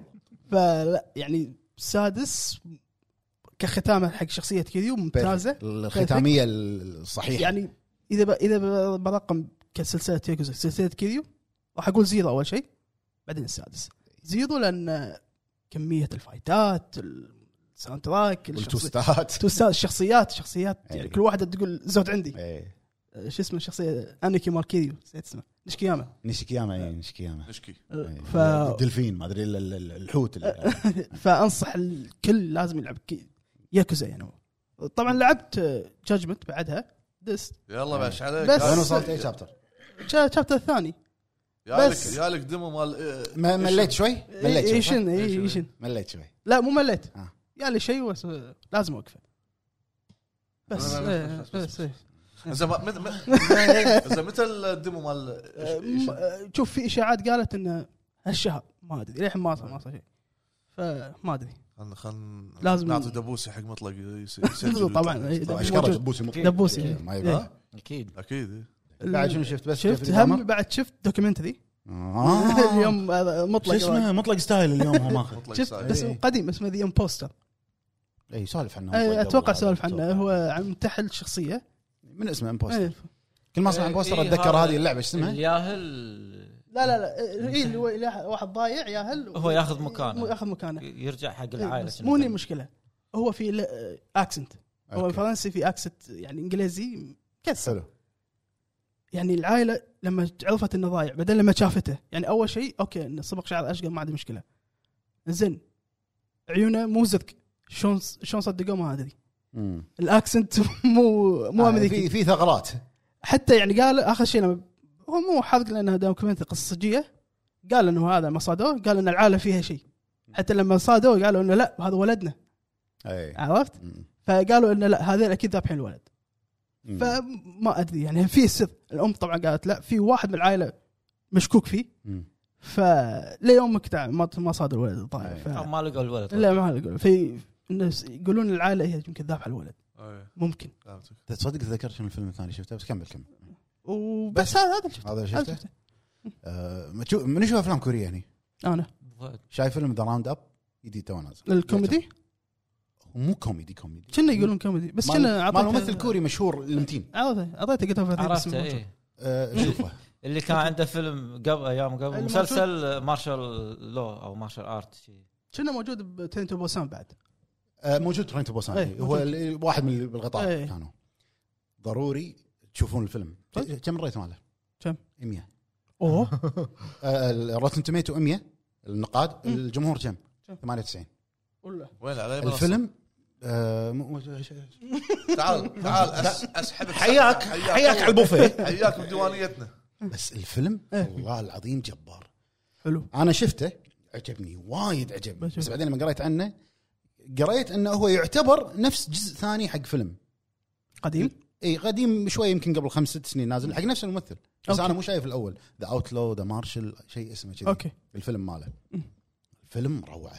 Speaker 3: فلا يعني سادس كختامه حق شخصيه كيديو ممتازه
Speaker 1: الختاميه الصحيحه يعني
Speaker 3: يعني اذا ب... اذا ب- برقم كسلسله ياكوزا سلسله كيديو راح اقول زيرو اول شيء بعدين السادس زيرو لان كميه الفايتات الساوند تراك الشخصي-
Speaker 1: والتوستات
Speaker 3: التوستات الشخصيات شخصيات يعني
Speaker 1: أي.
Speaker 3: كل واحده تقول زود عندي
Speaker 1: إيه.
Speaker 3: أه، شو اسمه الشخصيه انكي مال كيديو نسيت اسمه نشكياما
Speaker 1: نيشيكياما إيه، نيشيكياما
Speaker 2: نشكي
Speaker 1: إيه.
Speaker 3: ف...
Speaker 1: الدلفين ما ادري ال- ال- ال- الحوت اللي-
Speaker 3: فانصح الكل لازم يلعب كي... ياكوزا يعني هو. طبعا لعبت جاجمنت بعدها دست
Speaker 2: يلا باش عليك
Speaker 3: بس-
Speaker 1: وين وصلت إيه اي شابتر؟
Speaker 3: الشابتر الثاني
Speaker 2: يا لك
Speaker 3: بس.
Speaker 2: يا لك ديمو مال إيه،
Speaker 1: ما- مليت شوي؟ مليت شوي صح؟
Speaker 3: ايشن
Speaker 2: إيشن.
Speaker 3: ايشن
Speaker 1: مليت شوي
Speaker 3: لا مو مليت
Speaker 1: آه.
Speaker 3: يا لي شيء بس لازم اوقفه بس
Speaker 2: لا، لا، لا،
Speaker 3: إيه،
Speaker 2: بس- بس-
Speaker 3: بس
Speaker 2: بس.
Speaker 3: إيه.
Speaker 2: زين ما- مت- مت- زين متى الديمو مال
Speaker 3: آه،
Speaker 2: إيش- إيش-
Speaker 3: م- آه، شوف في اشاعات قالت انه هالشهر ما ادري للحين ما صار ما صار شيء فما ادري
Speaker 2: خلنا خلنا
Speaker 3: لازم-
Speaker 2: نعطي دبوسه حق مطلق إيه، يس- يسجل
Speaker 3: طبعاً،
Speaker 2: ويطلع.
Speaker 3: إيه،
Speaker 1: طبعا
Speaker 3: دبوس
Speaker 1: ايش كانت
Speaker 3: موجود.
Speaker 1: دبوسي مو-
Speaker 3: دبوسي.
Speaker 1: إيه، ما
Speaker 3: إيه.
Speaker 1: يبغى
Speaker 4: اكيد
Speaker 2: اكيد إيه.
Speaker 1: بعد شنو شفت بس
Speaker 3: شفت
Speaker 1: جيفري
Speaker 3: هم
Speaker 1: دامر؟
Speaker 3: بعد شفت دوكيومنتري
Speaker 1: آه.
Speaker 3: اليوم آه،
Speaker 1: شو
Speaker 3: مطلق
Speaker 1: اسمه مطلق ستايل اليوم هو ماخذ
Speaker 2: مطلق
Speaker 3: شفت
Speaker 2: يساعد.
Speaker 3: بس
Speaker 1: إيه.
Speaker 3: قديم اسمه ذا امبوستر
Speaker 1: اي سولف إيه، عنه طيب، مطلق
Speaker 3: اتوقع
Speaker 1: قبل
Speaker 3: سولف
Speaker 1: هذا.
Speaker 3: إيه، عنه هو عن تحل شخصيه
Speaker 1: من اسمه
Speaker 3: إيه.
Speaker 1: امبوستر كل ما اسمع
Speaker 4: إيه،
Speaker 1: امبوستر
Speaker 4: إيه،
Speaker 1: اتذكر
Speaker 4: هذا
Speaker 1: هذه اللعبه ايش اسمها؟
Speaker 4: الياهل
Speaker 3: لا لا لا اي اللي هو يلا- واحد ضايع ياهل
Speaker 4: هو ياخذ مكانه.
Speaker 3: مو- ياخذ مكانه
Speaker 4: يرجع
Speaker 3: إيه،
Speaker 4: حق العائله
Speaker 3: بس مو هني المشكله هو في آه، اكسنت هو
Speaker 1: أوكي.
Speaker 3: الفرنسي في اكسنت يعني انجليزي كسر
Speaker 1: حلو
Speaker 3: يعني العائله لما عرفت انه ضايع بعدين لما شافته يعني اول شيء اوكي انه صبغ شعر اشقر ما عندي مشكله زين عيونه مو زرق شلون شلون صدقوه ما ادري
Speaker 1: مم.
Speaker 3: الاكسنت مو مو
Speaker 1: آه،
Speaker 3: امريكي
Speaker 1: في في ثغرات
Speaker 3: حتى يعني قال اخر شيء لما هو مو حرق لانها دوكيومنتري قصصيه قال انه هذا ما صادوه قال ان العائله فيها شيء حتى لما صادوه قالوا انه لا هذا ولدنا
Speaker 1: اي
Speaker 3: عرفت
Speaker 1: إيه. مم.
Speaker 3: فقالوا انه لا هذول اكيد ذابحين الولد
Speaker 1: مم.
Speaker 3: فما ادري يعني في سر الام طبعا قالت لا في واحد من العائله مشكوك فيه
Speaker 1: مم.
Speaker 3: فليوم مقطع ما ما صاد الولد الظاهر
Speaker 1: أي.
Speaker 4: آه،
Speaker 3: ف...
Speaker 4: ما لقوا الولد
Speaker 3: لا ما يقول في الناس يقولون العائله هي يمكن ذابحه الولد
Speaker 2: إيه،
Speaker 3: ممكن
Speaker 2: فهمتك.
Speaker 1: تصدق تذكرت شنو الفيلم الثاني شفته بس كمل كمل
Speaker 3: وبس هذا هذا اللي شفته
Speaker 1: هذا اللي
Speaker 3: هذا
Speaker 1: شفته
Speaker 3: شفته
Speaker 1: آه، ما تشوف- من يشوف افلام كوريه هني
Speaker 3: انا
Speaker 1: شايف فيلم ذا راوند اب جديد تو نازل
Speaker 3: الكوميدي
Speaker 1: مو كوميدي كوميدي
Speaker 3: كنا يقولون كوميدي بس
Speaker 1: مال-
Speaker 3: كنا
Speaker 1: مال ممثل كوري مشهور المتين
Speaker 3: عرفته اعطيته قلت له
Speaker 4: عرفته ايه
Speaker 1: آه، شوفه
Speaker 4: اللي كان عنده فيلم قبل ايام قبل
Speaker 3: الموجود.
Speaker 4: مسلسل مارشال لو او مارشال ارت شيء
Speaker 3: كنا موجود بتنتو بوسان بعد
Speaker 1: آه، موجود ترينت بوسان
Speaker 3: إيه،
Speaker 1: هو
Speaker 3: موجود.
Speaker 1: ال- واحد من اللي بالقطار
Speaker 3: إيه.
Speaker 1: كانوا ضروري تشوفون الفيلم
Speaker 3: طيب.
Speaker 1: كم الريت ماله؟ آه،
Speaker 3: كم؟
Speaker 1: 100
Speaker 3: اوه
Speaker 1: الروتن توميتو 100 النقاد
Speaker 3: مم.
Speaker 1: الجمهور كم؟
Speaker 3: كم؟
Speaker 1: 98
Speaker 3: ولا
Speaker 2: وين علي منصة؟
Speaker 1: الفيلم آه، مو- مو-
Speaker 2: تعال تعال أس- اسحبك
Speaker 1: حياك حياك على البوفيه
Speaker 2: حياك بديوانيتنا
Speaker 1: بس الفيلم
Speaker 3: إيه.
Speaker 1: والله العظيم جبار
Speaker 3: حلو
Speaker 1: انا شفته عجبني وايد عجبني
Speaker 3: بشوف.
Speaker 1: بس بعدين لما قريت عنه قريت انه هو يعتبر نفس جزء ثاني حق فيلم
Speaker 3: قديم
Speaker 1: اي قديم شوي يمكن قبل خمس ست سنين نازل حق نفس الممثل بس
Speaker 3: أوكي.
Speaker 1: انا مو شايف الاول ذا اوتلو ذا مارشل شيء اسمه كذي
Speaker 3: اوكي
Speaker 1: الفيلم ماله الفيلم روعه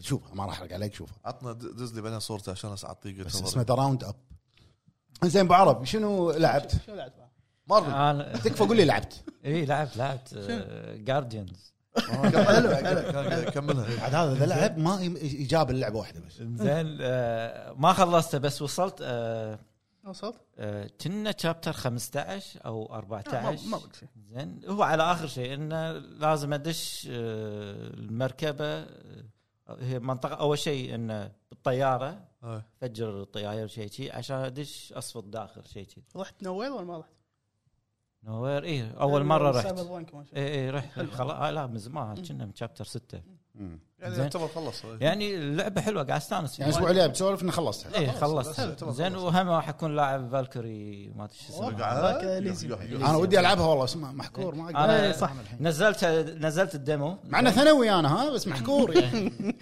Speaker 1: شوفه ما راح احرق عليك شوفه
Speaker 2: عطنا د- دز لي بعدين صورته عشان اعطيك
Speaker 1: بس اسمه ذا راوند اب زين ابو عرب شنو لعبت؟
Speaker 3: شو لعبت آه. معه؟
Speaker 2: مارفل
Speaker 4: انا
Speaker 1: تكفى قول لي لعبت
Speaker 4: اي إيه، لعبت لعبت آه، جارديانز
Speaker 3: آه،
Speaker 2: كملها كملها
Speaker 1: بعد هذا اذا لعب ما يم- يجاب اللعبه واحده بس
Speaker 4: زين آه، ما خلصته بس وصلت آه،
Speaker 3: وصلت؟
Speaker 4: آه، كنا شابتر 15 او 14
Speaker 3: آه، ما- ما قلت شيء.
Speaker 4: زين هو على اخر شيء انه لازم ادش آه، المركبه آه، هي منطقه اول شيء انه بالطياره
Speaker 2: آه.
Speaker 4: فجر الطياره شيء شي عشان ادش اصفد داخل شيء شي
Speaker 3: رحت نويل ولا ما رحت؟
Speaker 4: نوير اي اول مره رحت
Speaker 3: سايبر بانك ما شاء
Speaker 4: اي اي رحت خلاص آه، لا من زمان كنا من شابتر 6
Speaker 1: مم.
Speaker 2: يعني
Speaker 4: زين.
Speaker 2: يعتبر خلص آه.
Speaker 4: يعني اللعبه حلوه قاعد استانس
Speaker 1: يعني اسبوع اللي بتسولف انه خلصتها
Speaker 4: اي
Speaker 2: خلصت.
Speaker 4: إيه، خلصت
Speaker 2: حلو.
Speaker 4: زين وهم راح اكون لاعب فالكوري ما ادري شو اسمه
Speaker 2: قاعد-
Speaker 3: ذاك ليزي.
Speaker 2: يوه- يوه- يوه.
Speaker 1: انا ودي العبها والله بس محكور ما اقدر
Speaker 4: أنا-
Speaker 1: صح الحين
Speaker 4: نزلت نزلت الديمو
Speaker 1: مع انه ثانوي انا ها بس محكور يعني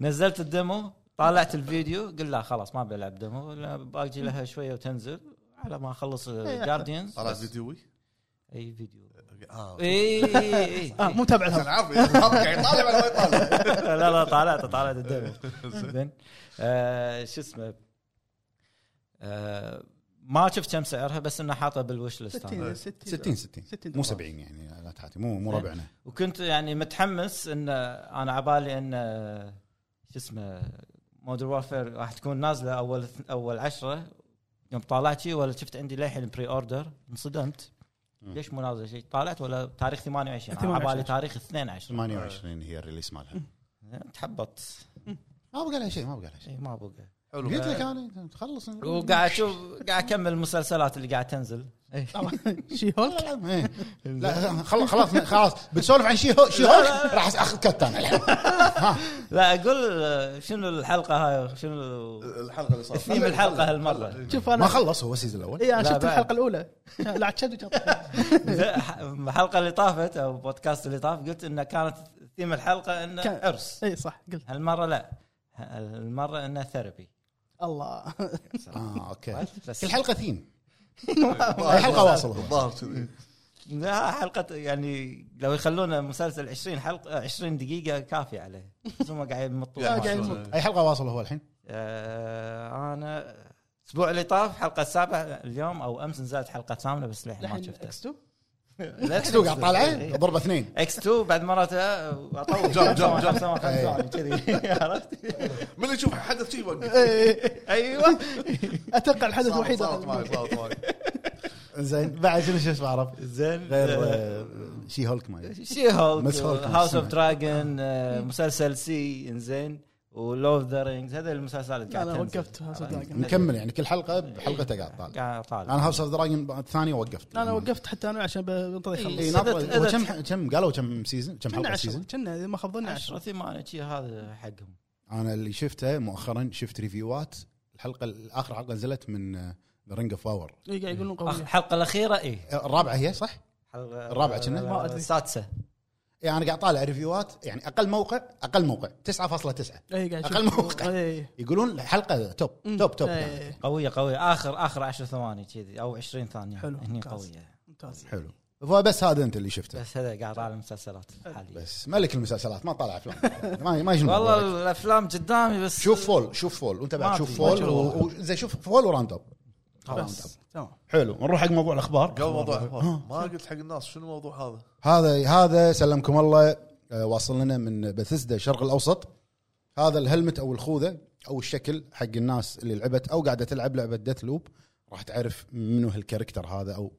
Speaker 4: نزلت الديمو طالعت الفيديو قل لا خلاص ما بلعب ديمو لا باجي لها شويه وتنزل على ما اخلص جارديانز
Speaker 2: طلع فيديوي
Speaker 4: اي فيديو إيه،
Speaker 2: اه
Speaker 4: اي إي، إي.
Speaker 3: اه مو تابع
Speaker 2: انا
Speaker 3: لها
Speaker 2: عارف
Speaker 1: يعني،
Speaker 2: قاعد يطالع ولا ما يطالع
Speaker 4: لا لا طالعت طالعت الديمو زين آه، شو اسمه آه، ما شفت كم سعرها بس انه حاطه بالوش ليست أنا.
Speaker 3: 60 60
Speaker 1: 60 60
Speaker 3: 60
Speaker 1: مو 70 يعني لا تحاتي مو مو ربعنا
Speaker 4: وكنت يعني متحمس ان انا عبالي ان شو اسمه مودرن وارفير راح تكون نازله اول اول عشرة يوم طالعت شي ولا شفت عندي للحين بري اوردر انصدمت
Speaker 1: مم.
Speaker 4: ليش مو نازله شيء طالعت ولا تاريخ 28 أنا
Speaker 3: 28.
Speaker 4: عبالي تاريخ 12
Speaker 1: 28 هي الريليس مالها
Speaker 4: تحبط
Speaker 1: ما بقى لها شيء ما بقى لها شيء
Speaker 4: شيء ما بقى
Speaker 2: حلو
Speaker 1: قلت لك انا تخلص
Speaker 4: وقاعد اشوف قاعد اكمل المسلسلات اللي قاعد تنزل
Speaker 3: شي هولك
Speaker 1: إيه. لا خلاص خلاص خلاص بتسولف عن شي هو شي هولك راح اخذ كت انا الحين.
Speaker 4: لا اقول آه، شنو الحلقه هاي شنو
Speaker 2: الحلقه اللي صارت إيه.
Speaker 4: ثيم الحلقه هالمره
Speaker 3: شوف
Speaker 1: ما
Speaker 3: انا
Speaker 1: خلص هو السيزون الاول
Speaker 3: اي انا
Speaker 4: لا،
Speaker 3: شفت
Speaker 4: بعد.
Speaker 3: الحلقه الاولى لا تشد
Speaker 4: الحلقه اللي طافت او البودكاست اللي طاف قلت انه كانت ثيم الحلقه انه
Speaker 3: كان-
Speaker 4: عرس
Speaker 3: اي إيه، صح قلت
Speaker 4: هالمره لا هالمره انه ثيرابي
Speaker 3: الله
Speaker 1: اه اوكي
Speaker 4: بس
Speaker 1: كل حلقه ثيم
Speaker 2: الحلقه
Speaker 1: الحلقه واصل هو.
Speaker 2: الظاهر كذي
Speaker 4: لا، حلقه يعني لو يخلونا مسلسل 20 حلقه 20 دقيقه كافي عليه بس هم قاعد يمطون
Speaker 2: يعني
Speaker 3: قاعد
Speaker 2: شلون-
Speaker 3: يمط.
Speaker 1: اي حلقه واصل هو الحين
Speaker 4: آه، انا الاسبوع اللي طاف حلقه السابعه اليوم او امس نزلت حلقه ثامنه بس للحين ما
Speaker 3: الحين
Speaker 4: شفتها
Speaker 3: اكس 2
Speaker 1: اكس 2 قاعد
Speaker 3: إيه؟
Speaker 1: طالعه ضربه اثنين
Speaker 4: اكس 2 بعد مرات آه، اطول
Speaker 2: جاب- جاب-
Speaker 4: خمسة-
Speaker 2: جاب.
Speaker 4: خمسة- خمسة- كذي عرفت
Speaker 2: من اللي يشوف حدث شيء
Speaker 3: إيه،
Speaker 2: يوقف
Speaker 3: أيوة.
Speaker 4: ايوه
Speaker 3: اتوقع الحدث
Speaker 2: صارت-
Speaker 3: الوحيد
Speaker 2: صارت معي صارت معي
Speaker 1: زين بعد شنو شو اسمه اعرف
Speaker 4: زين
Speaker 1: غير
Speaker 4: آه،
Speaker 1: آه، شي هولك ما
Speaker 4: شي هولك
Speaker 1: مس هولك،
Speaker 4: هاوس اوف
Speaker 1: اسمها.
Speaker 4: دراجون آه، مسلسل سي انزين ولوف ذا رينجز هذا المسلسلات قاعد
Speaker 3: أنا
Speaker 4: تنزل.
Speaker 3: وقفت House of
Speaker 4: عرفت؟
Speaker 3: Dragon.
Speaker 1: نكمل يعني كل حلقه بحلقتها قاعد طالع
Speaker 4: قاعد طالع
Speaker 1: انا هاوس اوف دراجون الثاني وقفت
Speaker 3: انا وقفت حتى انا عشان بنطر
Speaker 1: اي
Speaker 3: يخلص
Speaker 4: إيه.
Speaker 1: ناطر-
Speaker 4: إذا- إذا-
Speaker 1: هو كم كم قالوا كم سيزون كم
Speaker 3: كنا
Speaker 1: حلقه
Speaker 3: 10
Speaker 1: سيزون
Speaker 3: كنا إذا ما خاب ظني
Speaker 4: 10
Speaker 3: 10
Speaker 4: 8 شي هذا حقهم
Speaker 1: انا اللي شفته مؤخرا شفت ريفيوات الحلقه اخر حلقه نزلت من آه، ذا رينج اوف باور
Speaker 3: اي إيه، قاعد
Speaker 1: آه،
Speaker 3: يقولون
Speaker 4: آخر
Speaker 3: قوي
Speaker 4: الحلقه الاخيره اي
Speaker 1: الرابعه هي صح؟ الرابعة كنا؟
Speaker 4: آه،
Speaker 3: ما أدري.
Speaker 4: السادسه
Speaker 1: اي انا قاعد طالع ريفيوات يعني اقل موقع اقل موقع 9.9
Speaker 3: اي إيه، قاعد إيه،
Speaker 1: أقل
Speaker 3: أشوف.
Speaker 1: موقع.
Speaker 3: إي.
Speaker 1: يقولون الحلقه
Speaker 3: إيه.
Speaker 1: توب توب توب
Speaker 3: إي.
Speaker 4: قويه قويه اخر اخر 10 ثواني كذي او 20 ثانيه
Speaker 3: حلو.
Speaker 4: هني
Speaker 3: ممتاز.
Speaker 4: قويه
Speaker 3: ممتاز
Speaker 1: نعم. حلو فبس هذا انت اللي شفته
Speaker 4: بس هذا قاعد طالع مسلسلات حاليا
Speaker 1: بس ملك المسلسلات ما طالع افلام ما ما يجنون
Speaker 4: والله الافلام قدامي بس
Speaker 1: شوف فول شوف فول وانت
Speaker 4: ما
Speaker 1: بعد شوف
Speaker 4: في-
Speaker 1: فول
Speaker 4: ما في
Speaker 1: و- و- زين شوف فول وراوند اب نعم،
Speaker 3: بس تمام
Speaker 1: حلو نروح حق موضوع الاخبار
Speaker 2: قبل موضوع ما قلت حق الناس شنو الموضوع هذا؟
Speaker 1: هذا هذا سلمكم الله آه، واصل لنا من بثسدا الشرق الاوسط هذا الهلمت او الخوذه او الشكل حق الناس اللي لعبت او قاعده تلعب لعبه ديث لوب راح تعرف منو هالكاركتر هذا او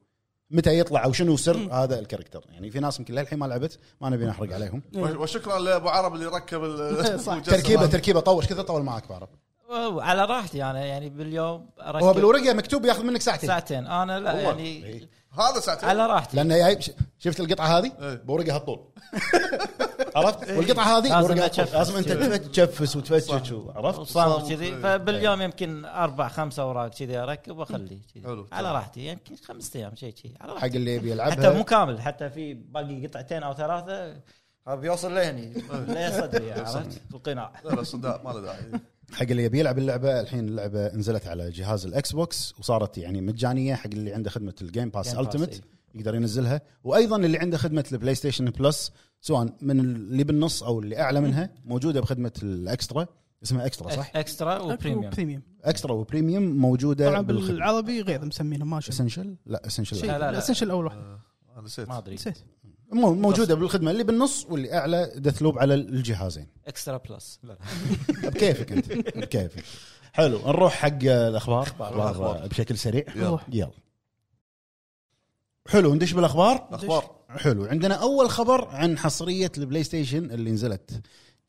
Speaker 1: متى يطلع او شنو سر هذا الكاركتر يعني في ناس يمكن للحين ما لعبت ما نبي نحرق عليهم
Speaker 3: إي.
Speaker 2: وشكرا لابو عرب اللي ركب ال-
Speaker 3: صح.
Speaker 2: المجسم.
Speaker 1: تركيبه تركيبه طول ايش كثر طول معك بعرف
Speaker 4: أوه، على راحتي انا يعني باليوم اركب
Speaker 1: هو بالورقه مكتوب ياخذ منك ساعتين
Speaker 4: ساعتين انا لا
Speaker 2: والله.
Speaker 4: يعني
Speaker 2: هذا ساعتين
Speaker 4: على راحتي
Speaker 1: لانه جايب شفت القطعه
Speaker 2: إيه.
Speaker 1: هذه بورقها الطول عرفت والقطعه هذه
Speaker 4: لازم
Speaker 1: بورقها
Speaker 4: أتشفت.
Speaker 1: الطول. لازم انت تشفس وتفتش عرفت
Speaker 4: صار
Speaker 2: صار
Speaker 4: كذي
Speaker 2: وكذي.
Speaker 4: فباليوم يمكن اربع خمس اوراق كذي اركب واخلي كذي
Speaker 2: حلو.
Speaker 4: على راحتي يمكن خمس ايام شيء كذي على
Speaker 1: حق
Speaker 4: راحتي
Speaker 1: اللي يبي
Speaker 4: حتى مو
Speaker 1: يلعبها
Speaker 4: كامل حتى في باقي قطعتين او ثلاثه بيوصل لهني لا صدري يعني عرفت القناع
Speaker 2: لا لا صدق ما له داعي
Speaker 1: حق اللي يبي يلعب اللعبه الحين اللعبه نزلت على جهاز الاكس بوكس وصارت يعني مجانيه حق اللي عنده خدمه الجيم باس
Speaker 4: Game Pass، إيه.
Speaker 1: التيمت
Speaker 4: إي.
Speaker 1: يقدر ينزلها وايضا اللي عنده خدمه البلاي ستيشن بلس سواء من اللي بالنص او اللي اعلى منها موجوده بخدمه الاكسترا اسمها اكسترا
Speaker 4: إيه.
Speaker 1: صح؟
Speaker 4: اكسترا وبريميوم
Speaker 3: بريميوم
Speaker 1: اكسترا وبريميوم موجوده
Speaker 3: طبعا بالعربي غير مسمينه ما شفت
Speaker 1: اسنشل لا
Speaker 3: شيء
Speaker 1: اسنشل
Speaker 4: لا، لا، لا.
Speaker 3: الاسنشل اول
Speaker 1: إيه.
Speaker 3: واحد
Speaker 2: آه، انا نسيت
Speaker 4: ما ادري
Speaker 3: نسيت
Speaker 1: موجوده بالخدمه اللي بالنص واللي اعلى دثلوب على الجهازين
Speaker 4: اكسترا بلس لا.
Speaker 1: بكيفك انت بكيفك حلو نروح حق الاخبار
Speaker 2: الأخبار.
Speaker 1: بشكل سريع
Speaker 2: يلا.
Speaker 1: يلا حلو ندش بالاخبار
Speaker 2: اخبار
Speaker 1: حلو عندنا اول خبر عن حصريه البلاي ستيشن اللي نزلت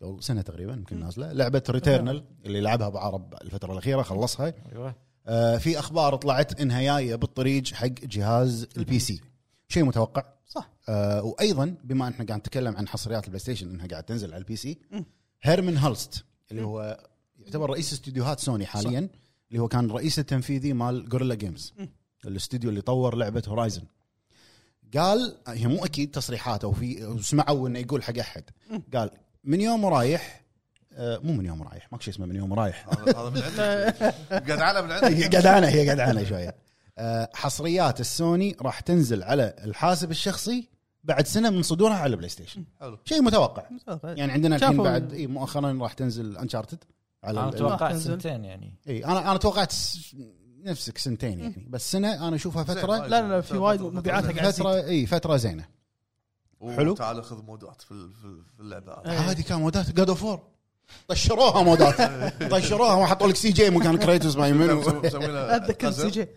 Speaker 1: قبل سنه تقريبا يمكن نازله لعبه ريتيرنال اللي لعبها ابو عرب الفتره الاخيره خلصها
Speaker 4: ايوه
Speaker 1: آه في اخبار طلعت انها جايه بالطريق حق جهاز البي سي شيء متوقع
Speaker 3: صح
Speaker 1: آه وايضا بما ان احنا قاعد نتكلم عن حصريات البلاي ستيشن انها قاعد تنزل على البي سي
Speaker 3: مم.
Speaker 1: هيرمن هالست اللي هو يعتبر رئيس استديوهات سوني حاليا اللي هو كان الرئيس التنفيذي مال جوريلا جيمز
Speaker 3: مم.
Speaker 1: الاستوديو اللي طور لعبه هورايزن قال هي مو اكيد تصريحات او في سمعوا انه يقول حق احد
Speaker 3: مم.
Speaker 1: قال من يوم ورايح آه مو من يوم ورايح ماكو شيء اسمه من يوم ورايح
Speaker 2: هذا هذا من عندك قاعد على من عندك
Speaker 1: جدعانه هي جدعانه شويه آه، حصريات السوني راح تنزل على الحاسب الشخصي بعد سنه من صدورها على البلاي ستيشن
Speaker 2: حلو
Speaker 1: شيء متوقع يعني عندنا الحين
Speaker 3: شافوا-
Speaker 1: بعد اي مؤخرا راح تنزل انشارتد على
Speaker 4: انا
Speaker 1: ال-
Speaker 4: توقعت
Speaker 3: تنزل.
Speaker 4: سنتين يعني
Speaker 1: اي انا انا توقعت س- نفسك سنتين يعني
Speaker 3: إيه.
Speaker 1: بس سنه انا اشوفها فتره
Speaker 2: زين. طيب.
Speaker 3: لا، لا، لا، في وايد مبيعاتها قاعد-
Speaker 1: فتره اي فتره زينه حلو.
Speaker 2: حلو تعال خذ مودات في ال- في في اللعبه
Speaker 3: إيه.
Speaker 1: هذه كان مودات جاد اوف وور طشروها مودات طشروها وحطوا لك سي جي مكان كريتوس ما يمنو
Speaker 2: مسوينا
Speaker 3: اتذكر سي جي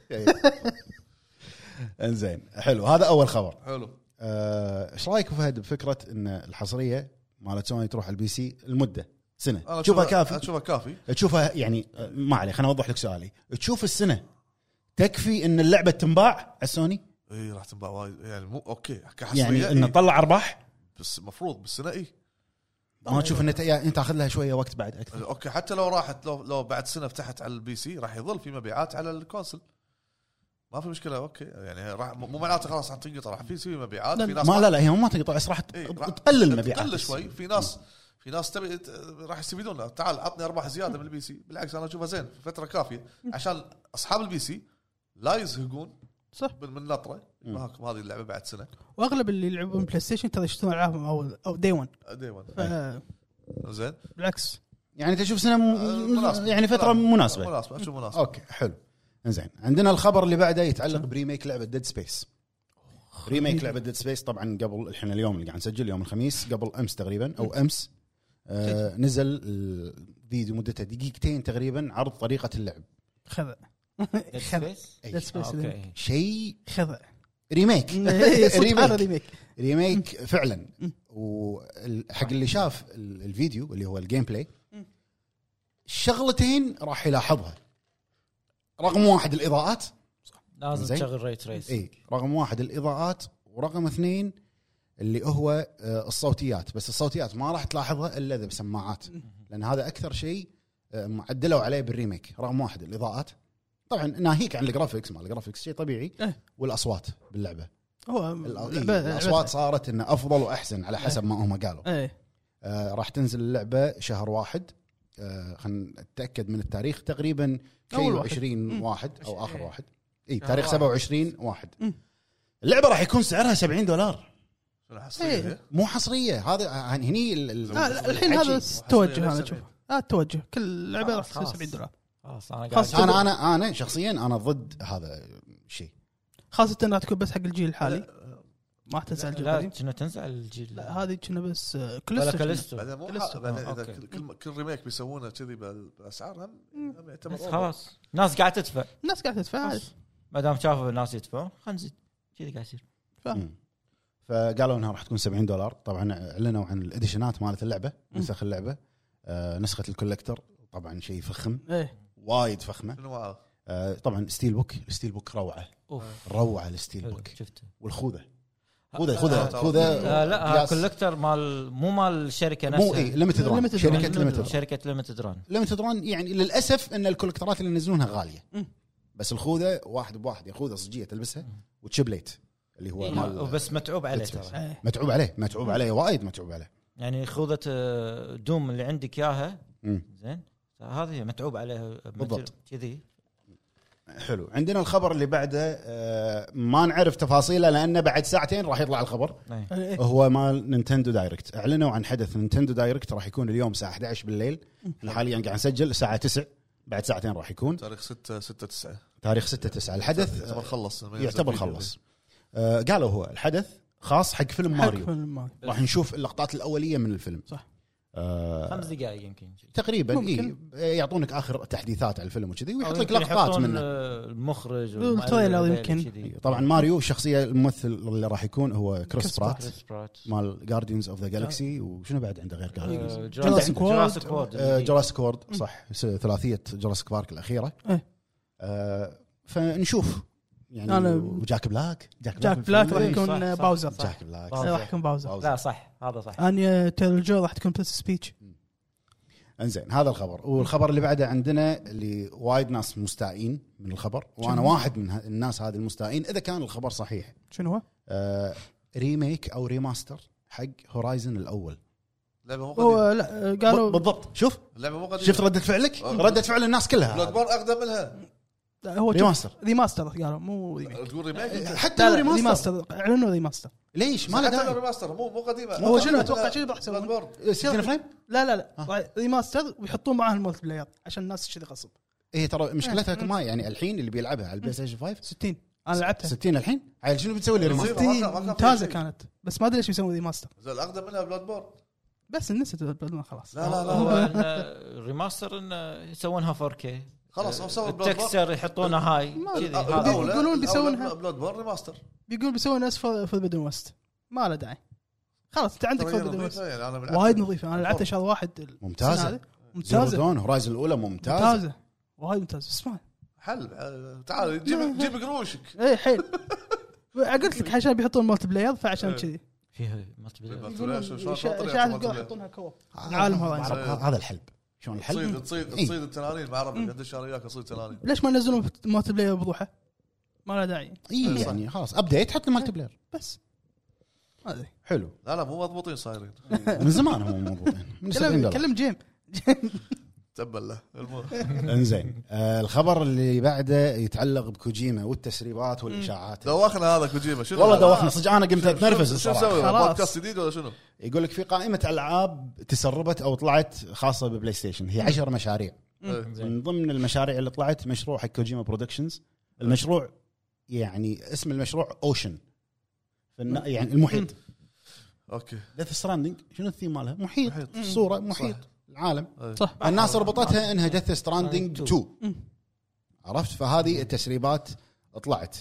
Speaker 1: انزين حلو هذا اول خبر
Speaker 2: حلو
Speaker 1: آه، ايش رايك فهد بفكره ان الحصريه مالت سوني تروح على البي سي المده سنه
Speaker 2: أنا
Speaker 1: تشوفها
Speaker 2: أشوفها-
Speaker 1: كافي
Speaker 2: اشوفها كافي
Speaker 1: تشوفها يعني آه، ما عليه خليني اوضح لك سؤالي تشوف السنه تكفي ان اللعبه تنباع على سوني
Speaker 2: اي راح تنباع وايد يعني مو اوكي كحصريه
Speaker 1: يعني ان
Speaker 2: إيه.
Speaker 1: تطلع ارباح
Speaker 2: بس إيه. المفروض بالسنه اي
Speaker 1: ما تشوف ان ت- يعني تاخذ لها شويه وقت بعد اكثر
Speaker 2: اوكي حتى لو راحت لو, لو بعد سنه فتحت على البي سي راح يظل في مبيعات على الكونسل ما في مشكله اوكي يعني راح مو معناته خلاص راح تنقطع راح في في مبيعات في ناس
Speaker 1: ما لا لا هي ما تقطع بس راح ت-
Speaker 2: إيه، راح-
Speaker 1: تقلل مبيعات
Speaker 2: تقل شوي في ناس في ناس تبي ت- راح يستفيدون لا، تعال عطني ارباح زياده من البي سي بالعكس انا اشوفها زين فتره كافيه عشان اصحاب البي سي لا يزهقون
Speaker 3: صح.
Speaker 2: من من نطره
Speaker 1: مم.
Speaker 2: هاكم هذه اللعبه بعد سنه
Speaker 3: واغلب اللي يلعبون بلاي ستيشن ترى يشترون العابهم اول او دي 1
Speaker 2: دائما زين آه،
Speaker 3: بالعكس
Speaker 1: يعني تشوف سنه م-
Speaker 2: مناسبة.
Speaker 1: يعني فتره مناسبه
Speaker 2: مناسبه اشوف مناسبه
Speaker 1: اوكي حلو انزين عندنا الخبر اللي بعده يتعلق بريميك لعبه ديد سبيس ريميك لعبه ديد سبيس طبعا قبل احنا اليوم اللي قاعد نسجل يوم الخميس قبل امس تقريبا او امس آه نزل الفيديو مدته دقيقتين تقريبا عرض طريقه اللعب
Speaker 3: خذ
Speaker 4: Dead
Speaker 3: خذ
Speaker 4: Space؟
Speaker 1: أي.
Speaker 3: Dead Space.
Speaker 4: آه، اوكي
Speaker 1: شيء
Speaker 3: خذ إيه،
Speaker 1: ريميك
Speaker 3: هذا
Speaker 1: ريميك
Speaker 3: ريميك
Speaker 1: ريميك فعلا وحق اللي شاف ال- الفيديو اللي هو الجيم بلاي شغلتين راح يلاحظها رقم واحد الاضاءات
Speaker 4: لازم
Speaker 1: زين. إيه.
Speaker 4: تشغل ريت ريس
Speaker 1: اي رقم واحد الاضاءات ورقم اثنين اللي هو آه، الصوتيات بس الصوتيات ما راح تلاحظها الا اذا بسماعات لان هذا اكثر شيء آه، معدلوا عليه بالريميك رقم واحد الاضاءات طبعا ناهيك عن الجرافكس ما الجرافكس شيء طبيعي
Speaker 3: إيه.
Speaker 1: والاصوات باللعبه
Speaker 3: هو
Speaker 1: الأ-
Speaker 3: لعبة-
Speaker 1: إيه، الاصوات صارت انه افضل واحسن على حسب ما هم قالوا
Speaker 3: ايه
Speaker 1: آه، راح تنزل اللعبه شهر واحد آه، خلينا نتاكد من التاريخ تقريبا
Speaker 3: أول
Speaker 1: شيء
Speaker 3: واحد.
Speaker 1: 20
Speaker 3: مم.
Speaker 1: واحد او اخر واحد اي
Speaker 2: شهر
Speaker 1: تاريخ
Speaker 2: واحد.
Speaker 1: 27 واحد
Speaker 3: مم.
Speaker 1: اللعبه راح يكون سعرها 70 دولار
Speaker 2: شنو
Speaker 3: إيه.
Speaker 2: حصريه
Speaker 1: مو حصريه هذا آه، هني ال- ال-
Speaker 3: لا لا، الحين
Speaker 1: الحكي.
Speaker 3: هذا
Speaker 2: وحصرية
Speaker 3: التوجه
Speaker 2: ليس
Speaker 3: هذا شوف هذا آه، التوجه كل لعبه راح
Speaker 4: خلاص،
Speaker 3: تصير
Speaker 4: آه، خلاص.
Speaker 3: 70 دولار
Speaker 4: خلاص انا
Speaker 3: خلاص.
Speaker 4: قاعد
Speaker 1: انا انا انا شخصيا انا ضد هذا الشيء
Speaker 3: خاصه انها تكون بس حق الجيل الحالي ما راح تنزل الجيل
Speaker 4: لا
Speaker 3: القديم
Speaker 4: كنا تنزع الجيل
Speaker 3: لا هذه كنا بس آه،
Speaker 4: ولا
Speaker 3: كلستو كنا.
Speaker 4: كاليستو
Speaker 2: بعدين مو
Speaker 3: لسه.
Speaker 2: حق- بعدين
Speaker 4: آه،
Speaker 2: اذا كل-
Speaker 4: أوكي.
Speaker 2: كل كل ريميك بيسوونه كذي بال- بالاسعار هم هم يعتبر
Speaker 4: بس
Speaker 2: أوفر.
Speaker 4: خلاص ناس قاعد تدفع
Speaker 3: الناس قاعده تدفع عادي.
Speaker 4: خلاص. ما دام شافوا الناس يدفعون خلينا نزيد كذي قاعد يصير
Speaker 1: مم. فقالوا انها راح تكون 70 دولار طبعا اعلنوا عن الاديشنات مالت اللعبه نسخ اللعبه آه، نسخه الكولكتر طبعا شيء فخم
Speaker 3: ايه
Speaker 1: وايد فخمه
Speaker 2: شنو معاه؟
Speaker 1: آه، طبعا ستيل بوك الستيل بوك روعه
Speaker 4: اوف
Speaker 1: روعه الستيل
Speaker 4: حلو،
Speaker 1: بوك
Speaker 4: شفته
Speaker 1: والخوذه خذه
Speaker 2: آه،
Speaker 1: خذه
Speaker 2: آه،
Speaker 1: خذه
Speaker 4: آه، لا
Speaker 1: جلاس.
Speaker 4: الكولكتر مال مو مال الشركه نفسها
Speaker 1: مو إيه، اي ليمتد ران
Speaker 3: Limited Run.
Speaker 1: شركه
Speaker 3: Limited
Speaker 1: ليمتد ران
Speaker 4: شركه ليمتد ران
Speaker 1: ليمتد ران يعني للاسف ان الكولكترات اللي ينزلونها غاليه
Speaker 3: مم.
Speaker 1: بس الخوذه واحد بواحد ياخذها صجيه تلبسها وتشيب ليت اللي
Speaker 4: إيه،
Speaker 1: هو مال
Speaker 4: بس متعوب عليه
Speaker 1: Dead Space.
Speaker 4: ترى
Speaker 3: ايه
Speaker 1: متعوب عليه متعوب عليه وايد متعوب عليه
Speaker 4: يعني خوذه آه، دوم اللي عندك اياها
Speaker 1: مم.
Speaker 4: زين هذه هي متعوب عليها
Speaker 1: بالضبط.
Speaker 4: كذي
Speaker 1: حلو عندنا الخبر اللي بعده آه، ما نعرف تفاصيله لانه بعد ساعتين راح يطلع الخبر
Speaker 4: إيه.
Speaker 3: إيه.
Speaker 1: هو مال نينتندو دايركت اعلنوا عن حدث نينتندو دايركت راح يكون اليوم الساعه 11 بالليل احنا حاليا قاعد نسجل الساعه 9 بعد ساعتين راح يكون
Speaker 2: تاريخ 6 6 9
Speaker 1: تاريخ 6 9 الحدث
Speaker 2: يعتبر
Speaker 1: آه،
Speaker 2: خلص
Speaker 1: يعتبر خلص آه، قالوا هو الحدث خاص حق فيلم
Speaker 3: حق
Speaker 1: ماريو
Speaker 3: فيلم ماريو.
Speaker 1: راح نشوف اللقطات الاوليه من الفيلم
Speaker 3: صح.
Speaker 1: آه
Speaker 4: خمس دقائق يمكن
Speaker 1: تقريبا إيه
Speaker 3: ممكن.
Speaker 1: يعطونك اخر تحديثات على الفيلم وكذي ويحط لك
Speaker 4: يمكن
Speaker 1: لقطات
Speaker 4: يحطون،
Speaker 1: منه
Speaker 4: آه، المخرج
Speaker 3: التريلر
Speaker 4: والمؤلف
Speaker 3: يمكن.
Speaker 4: كذي.
Speaker 1: طبعا ماريو الشخصيه الممثل اللي راح يكون هو كريس برات
Speaker 4: كريس برات
Speaker 1: مال جاردينز اوف ذا جالكسي وشنو بعد عنده غير جاردينز
Speaker 4: أيوة،
Speaker 3: إيه،
Speaker 4: جراسيك
Speaker 3: Jurassic World.
Speaker 4: جراسيك إيه، وورد
Speaker 1: إيه، جراسيك وورد صح س- ثلاثيه جراسيك بارك الاخيره
Speaker 3: إيه.
Speaker 1: آه، فنشوف يعني
Speaker 3: أنا-
Speaker 1: وجاك بلاك
Speaker 3: جاك
Speaker 1: بالفيلم.
Speaker 3: بلاك راح
Speaker 1: إيه،
Speaker 3: يكون
Speaker 4: صح، صح.
Speaker 3: باوزر
Speaker 4: صح.
Speaker 1: جاك بلاك
Speaker 4: باوزر.
Speaker 3: إيه، راح يكون باوزر
Speaker 1: باوزر.
Speaker 4: لا صح هذا صح
Speaker 3: انيا تيلر جو راح تكون برنسس بيتش
Speaker 1: انزين هذا الخبر والخبر اللي بعده عندنا اللي وايد ناس مستائين من الخبر وانا
Speaker 3: شنو؟
Speaker 1: واحد من ه- الناس هذه المستائين اذا كان الخبر صحيح
Speaker 3: شنو هو؟
Speaker 1: آه، ريميك او ريماستر حق هورايزن الاول
Speaker 2: اللعبه مو قديمه
Speaker 3: هو لا
Speaker 1: ب-
Speaker 3: قالوا آه.
Speaker 1: بالضبط شوف
Speaker 2: اللعبه مو قديمه
Speaker 1: شفت رده فعلك رده فعل الناس
Speaker 2: بلاد
Speaker 1: كلها
Speaker 2: بورن اقدم منها
Speaker 3: لا، هو
Speaker 1: ريماستر
Speaker 3: ريماستر قالوا مو ريميك
Speaker 2: تقول ريميك
Speaker 1: حتى
Speaker 3: لا
Speaker 1: لو
Speaker 3: لا
Speaker 1: ريماستر
Speaker 3: ريماستر اعلنوا ريماستر
Speaker 1: ليش إيه، ما له
Speaker 2: حتى لو
Speaker 1: داعي
Speaker 2: ريماستر مو مو قديمه
Speaker 1: هو
Speaker 2: أقدم
Speaker 1: شنو
Speaker 2: منها
Speaker 3: أتوقع شنو بيحسبون؟
Speaker 2: بلاد بورن.
Speaker 1: 60 فريم
Speaker 3: لا لا
Speaker 1: آه.
Speaker 3: لا ريماستر ويحطون معاه المولتي بلاير عشان الناس كذي غصب
Speaker 1: هي إيه،
Speaker 3: إيه.
Speaker 1: ترى مشكلتها كمان يعني الحين اللي بيلعبها على البلاي ستيشن 5
Speaker 3: 60 انا إيه. لعبتها
Speaker 1: 60 الحين عيل شنو بتسوي لي ريماستر؟
Speaker 2: ما كان- ما كان
Speaker 3: 60
Speaker 2: في
Speaker 3: ممتازه
Speaker 2: شيء.
Speaker 3: كانت بس ما ادري ليش بيسوون ريماستر
Speaker 2: زين الاقدم منها بلاد بورن
Speaker 3: بس نسيت بعد ما خلاص
Speaker 2: لا لا
Speaker 4: هو
Speaker 2: لا
Speaker 4: إن الريماستر انه يسوونها 4K
Speaker 2: خلاص هو سوى بلاد بورن
Speaker 4: التكسر يحطونه هاي
Speaker 3: ما-
Speaker 4: كذي
Speaker 2: الأولى-
Speaker 4: هذا هو.
Speaker 2: الأولى
Speaker 3: يقولون بيسوونها.
Speaker 2: بلاد بورن ريماستر
Speaker 3: بيقول بيسوون ناس فوربدن ويست ما له داعي خلاص انت عندك
Speaker 2: ترى هي
Speaker 3: فوربدن ويست
Speaker 2: نظيفة يعني أنا بالعكس-
Speaker 3: وايد نظيفه انا لعبتها
Speaker 2: بالضبط.
Speaker 3: شهر واحد السنة
Speaker 1: طيب، ممتازة.
Speaker 3: هذه.
Speaker 1: زيرو
Speaker 3: ممتازه
Speaker 1: دون هورايزن الاولى ممتازه
Speaker 3: ممتازه وايد ممتازه اسمع
Speaker 2: حل آه، تعال جيب جيب قروشك
Speaker 3: اي إيه، حيل قلت لك عشان بيحطون مولتي بلاير
Speaker 1: إيه.
Speaker 3: فعشان كذي
Speaker 4: فيها مالتي بلاير.
Speaker 2: شلون- شلون
Speaker 3: شا-
Speaker 2: طريقة
Speaker 3: شاهد
Speaker 2: مالتي
Speaker 3: يقول
Speaker 2: بلاير؟
Speaker 3: يحطونها كوب
Speaker 1: هذا-
Speaker 3: عالم هورايزن.
Speaker 1: هذا- هذا الحلب شلون
Speaker 2: تصيد
Speaker 1: الحلب؟
Speaker 2: تصيد
Speaker 1: إيه.
Speaker 2: تصيد التنانين بالعربي قد ايش انا وياك اصيد تنانين
Speaker 3: ليش ما ينزلون مولتي بلاير بروحه؟ ما له داعي
Speaker 1: اي يعني خلاص ابديت حط المالتي بلاير
Speaker 3: بس ما ادري
Speaker 1: حلو
Speaker 2: لا لا مو مضبوطين صايرين
Speaker 1: من زمان هم موضوعين من 70
Speaker 3: كلم
Speaker 1: دولار
Speaker 3: كلم جيم
Speaker 2: تبا له المهم
Speaker 1: انزين آه، الخبر اللي بعده يتعلق بكوجيما والتسريبات والاشاعات
Speaker 2: دوخنا هذا كوجيما شنو
Speaker 1: والله دوخنا صدق انا قمت اتنرفز
Speaker 2: شو
Speaker 1: الصراحه
Speaker 2: نسوي
Speaker 3: خلاص.
Speaker 2: بودكاست جديد ولا شنو؟
Speaker 1: يقول لك في قائمه العاب تسربت او طلعت خاصه ببلاي ستيشن هي عشر مشاريع
Speaker 2: إيه.
Speaker 4: زين.
Speaker 1: من ضمن المشاريع اللي طلعت مشروع حق كوجيما برودكشنز
Speaker 2: أه.
Speaker 1: المشروع يعني اسم المشروع اوشن يعني المحيط
Speaker 2: اوكي
Speaker 1: ديث ستراندنج شنو الثيم مالها؟ محيط
Speaker 2: محيط.
Speaker 1: صوره محيط
Speaker 2: صح.
Speaker 1: العالم
Speaker 2: إيه.
Speaker 3: صح
Speaker 1: الناس ربطتها انها ديث ستراندنج
Speaker 4: Stranding
Speaker 1: 2
Speaker 3: آه. مم.
Speaker 1: عرفت فهذه التسريبات طلعت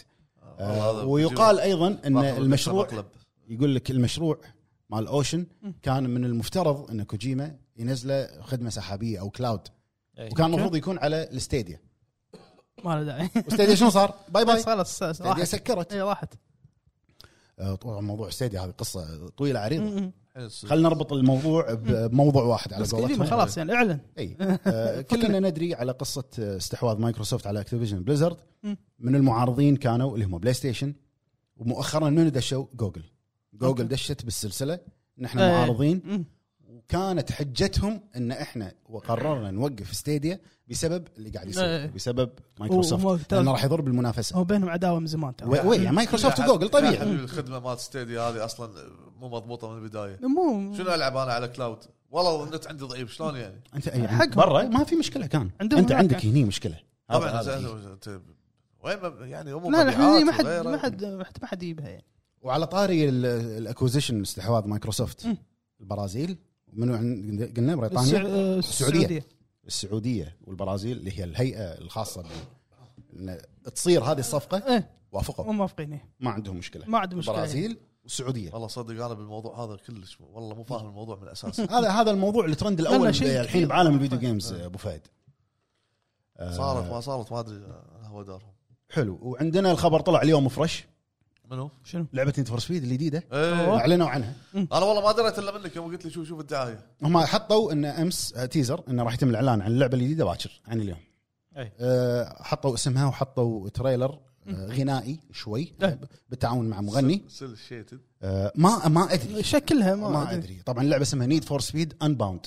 Speaker 2: والله هذا
Speaker 1: آه، ويقال ايضا ان
Speaker 2: باخذ
Speaker 1: المشروع
Speaker 2: مقلب.
Speaker 1: يقول لك المشروع مال اوشن كان من المفترض ان كوجيما ينزله خدمه سحابيه او كلاود
Speaker 4: إيه.
Speaker 1: وكان المفروض يكون على الاستيديا
Speaker 3: ما له داعي
Speaker 1: واستيديا شنو صار؟ باي باي
Speaker 3: بس خلاص
Speaker 1: استيديا
Speaker 3: راحت
Speaker 1: سكرت
Speaker 3: اي راحت
Speaker 1: آه، طبعا موضوع استيديا هذه قصه طويله عريضه
Speaker 3: مم.
Speaker 2: الحين
Speaker 1: خلينا نربط الموضوع ب- بموضوع واحد على
Speaker 3: بس كوجيما
Speaker 1: قولتهم
Speaker 3: خلاص يعني اعلن
Speaker 1: اي آه، كلنا ندري على قصه آه، استحواذ مايكروسوفت على اكتيفيجن بليزرد من المعارضين كانوا اللي هم بلاي ستيشن ومؤخرا من دشوا جوجل جوجل دشت بالسلسله نحن
Speaker 3: إيه.
Speaker 1: معارضين
Speaker 3: مم.
Speaker 1: وكانت حجتهم ان احنا وقررنا نوقف ستيديا بسبب اللي قاعد
Speaker 3: إيه.
Speaker 1: يصير بسبب
Speaker 3: وهو
Speaker 1: مايكروسوفت
Speaker 3: ترى-
Speaker 1: لانه راح يضرب المنافسه
Speaker 3: هو بينهم عداوه من زمان ترى
Speaker 1: و- وين يعني مايكروسوفت
Speaker 2: يا
Speaker 1: وجوجل
Speaker 2: حبيبي- يا
Speaker 1: طبيعي
Speaker 2: حبيبي الخدمه مال ستيديا هذه اصلا مو مضبوطه من البدايه
Speaker 3: مو
Speaker 2: شنو العب انا على كلاود؟ والله النت عندي ضعيف شلون يعني؟
Speaker 1: انت أي-
Speaker 3: حقهم.
Speaker 1: برا ما في مشكله كان
Speaker 3: عندهم
Speaker 1: انت
Speaker 3: هناك. يعني.
Speaker 1: عندك هني مشكله هذا-
Speaker 2: طبعا
Speaker 1: هذا هي.
Speaker 2: زين- ت- وين ما- يعني امور
Speaker 3: لا لا احنا
Speaker 1: إيه،
Speaker 3: هني ما حد
Speaker 2: وغيره.
Speaker 3: ما حد ما حد يجيبها يعني
Speaker 1: وعلى طاري ال- الاكوزيشن استحواذ مايكروسوفت
Speaker 3: مم.
Speaker 1: البرازيل ومنو عند- قلنا بريطانيا
Speaker 3: السع- آه،
Speaker 1: السعودية. السعوديه والبرازيل اللي هي الهيئه الخاصه بال- إن تصير هذه الصفقه
Speaker 3: ايه
Speaker 1: وافقوا
Speaker 3: مو موافقين إيه.
Speaker 1: ما عندهم مشكله
Speaker 3: ما عندهم مشكله
Speaker 1: البرازيل والسعوديه
Speaker 2: والله صدق انا بالموضوع هذا كلش والله مو فاهم الموضوع من اساسه
Speaker 1: هذا هذا الموضوع الترند
Speaker 3: لا،
Speaker 1: الاول
Speaker 3: شيء
Speaker 1: الحين
Speaker 3: كبير.
Speaker 1: بعالم الفيديو جيمز ابو فهد آه،
Speaker 2: صارت ما صارت ما ادري آه، هو دارهم
Speaker 1: حلو وعندنا الخبر طلع اليوم فريش
Speaker 2: منو؟
Speaker 3: شنو؟
Speaker 1: لعبه نيد فور سبيد الجديده
Speaker 2: ايه
Speaker 1: اعلنوا عنها
Speaker 2: انا والله ما دريت الا منك يوم قلت لي شوف شوف الدعايه
Speaker 1: هم حطوا ان امس آه، تيزر انه راح يتم الاعلان عن اللعبه الجديده باكر عن اليوم
Speaker 4: أي.
Speaker 1: آه، حطوا اسمها وحطوا تريلر آه، غنائي شوي
Speaker 3: إيه.
Speaker 1: بالتعاون مع مغني
Speaker 2: سل شيتد
Speaker 1: آه، ما ما ادري
Speaker 3: شكلها
Speaker 1: ما ادري طبعا اللعبه اسمها نيد فور سبيد انباوند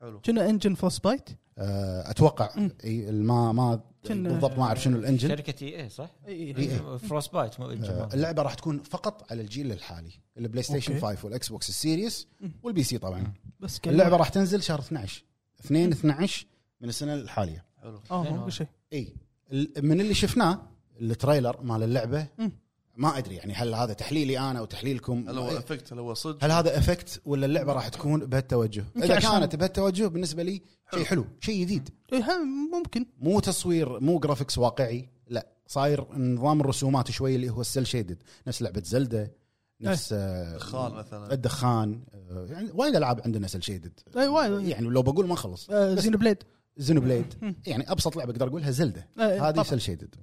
Speaker 2: حلو
Speaker 3: كنا انجن فوس بايت
Speaker 1: آه، اتوقع
Speaker 3: مم.
Speaker 1: اي ما ما
Speaker 3: كنا-
Speaker 1: بالضبط ما اعرف شنو الانجن
Speaker 4: شركه اي اي إيه، صح؟
Speaker 3: اي
Speaker 1: إي.
Speaker 4: فروست بايت مو
Speaker 1: آه، اللعبه راح تكون فقط على الجيل الحالي البلاي ستيشن
Speaker 3: أوكي.
Speaker 1: 5 والاكس بوكس السيريس
Speaker 3: مم.
Speaker 1: والبي سي طبعا
Speaker 3: بس كلمة.
Speaker 1: اللعبه راح تنزل شهر 12 2 12 من السنه الحاليه
Speaker 2: حلو
Speaker 3: اه
Speaker 4: زين
Speaker 3: مو
Speaker 4: والله.
Speaker 3: شيء
Speaker 1: اي ال- من اللي شفناه التريلر مال اللعبه
Speaker 3: مم.
Speaker 1: ما ادري يعني هل هذا تحليلي انا وتحليلكم
Speaker 2: هل هو افكت هل هو صدق
Speaker 1: هل هذا افكت ولا اللعبه راح تكون بهالتوجه؟
Speaker 3: يمكن
Speaker 1: اذا
Speaker 3: عشان-
Speaker 1: كانت بهالتوجه بالنسبه لي شيء حلو شيء جديد
Speaker 3: إي، إيه، ها، ممكن
Speaker 1: مو تصوير مو جرافيكس واقعي لا صاير نظام الرسومات شوي اللي هو السيل شيدد نفس لعبه زلدة نفس آه،
Speaker 2: دخان مثلا
Speaker 1: الدخان آه، يعني وايد العاب عندنا سيل شيدد
Speaker 3: اي إيه، وايد
Speaker 1: يعني لو بقول ما اخلص
Speaker 3: آه، زينو بليد
Speaker 1: زينو بليد
Speaker 3: مم.
Speaker 1: يعني ابسط لعبه اقدر اقولها زلدة
Speaker 3: آه،
Speaker 1: هذه
Speaker 3: طبعاً.
Speaker 1: سيل شيدد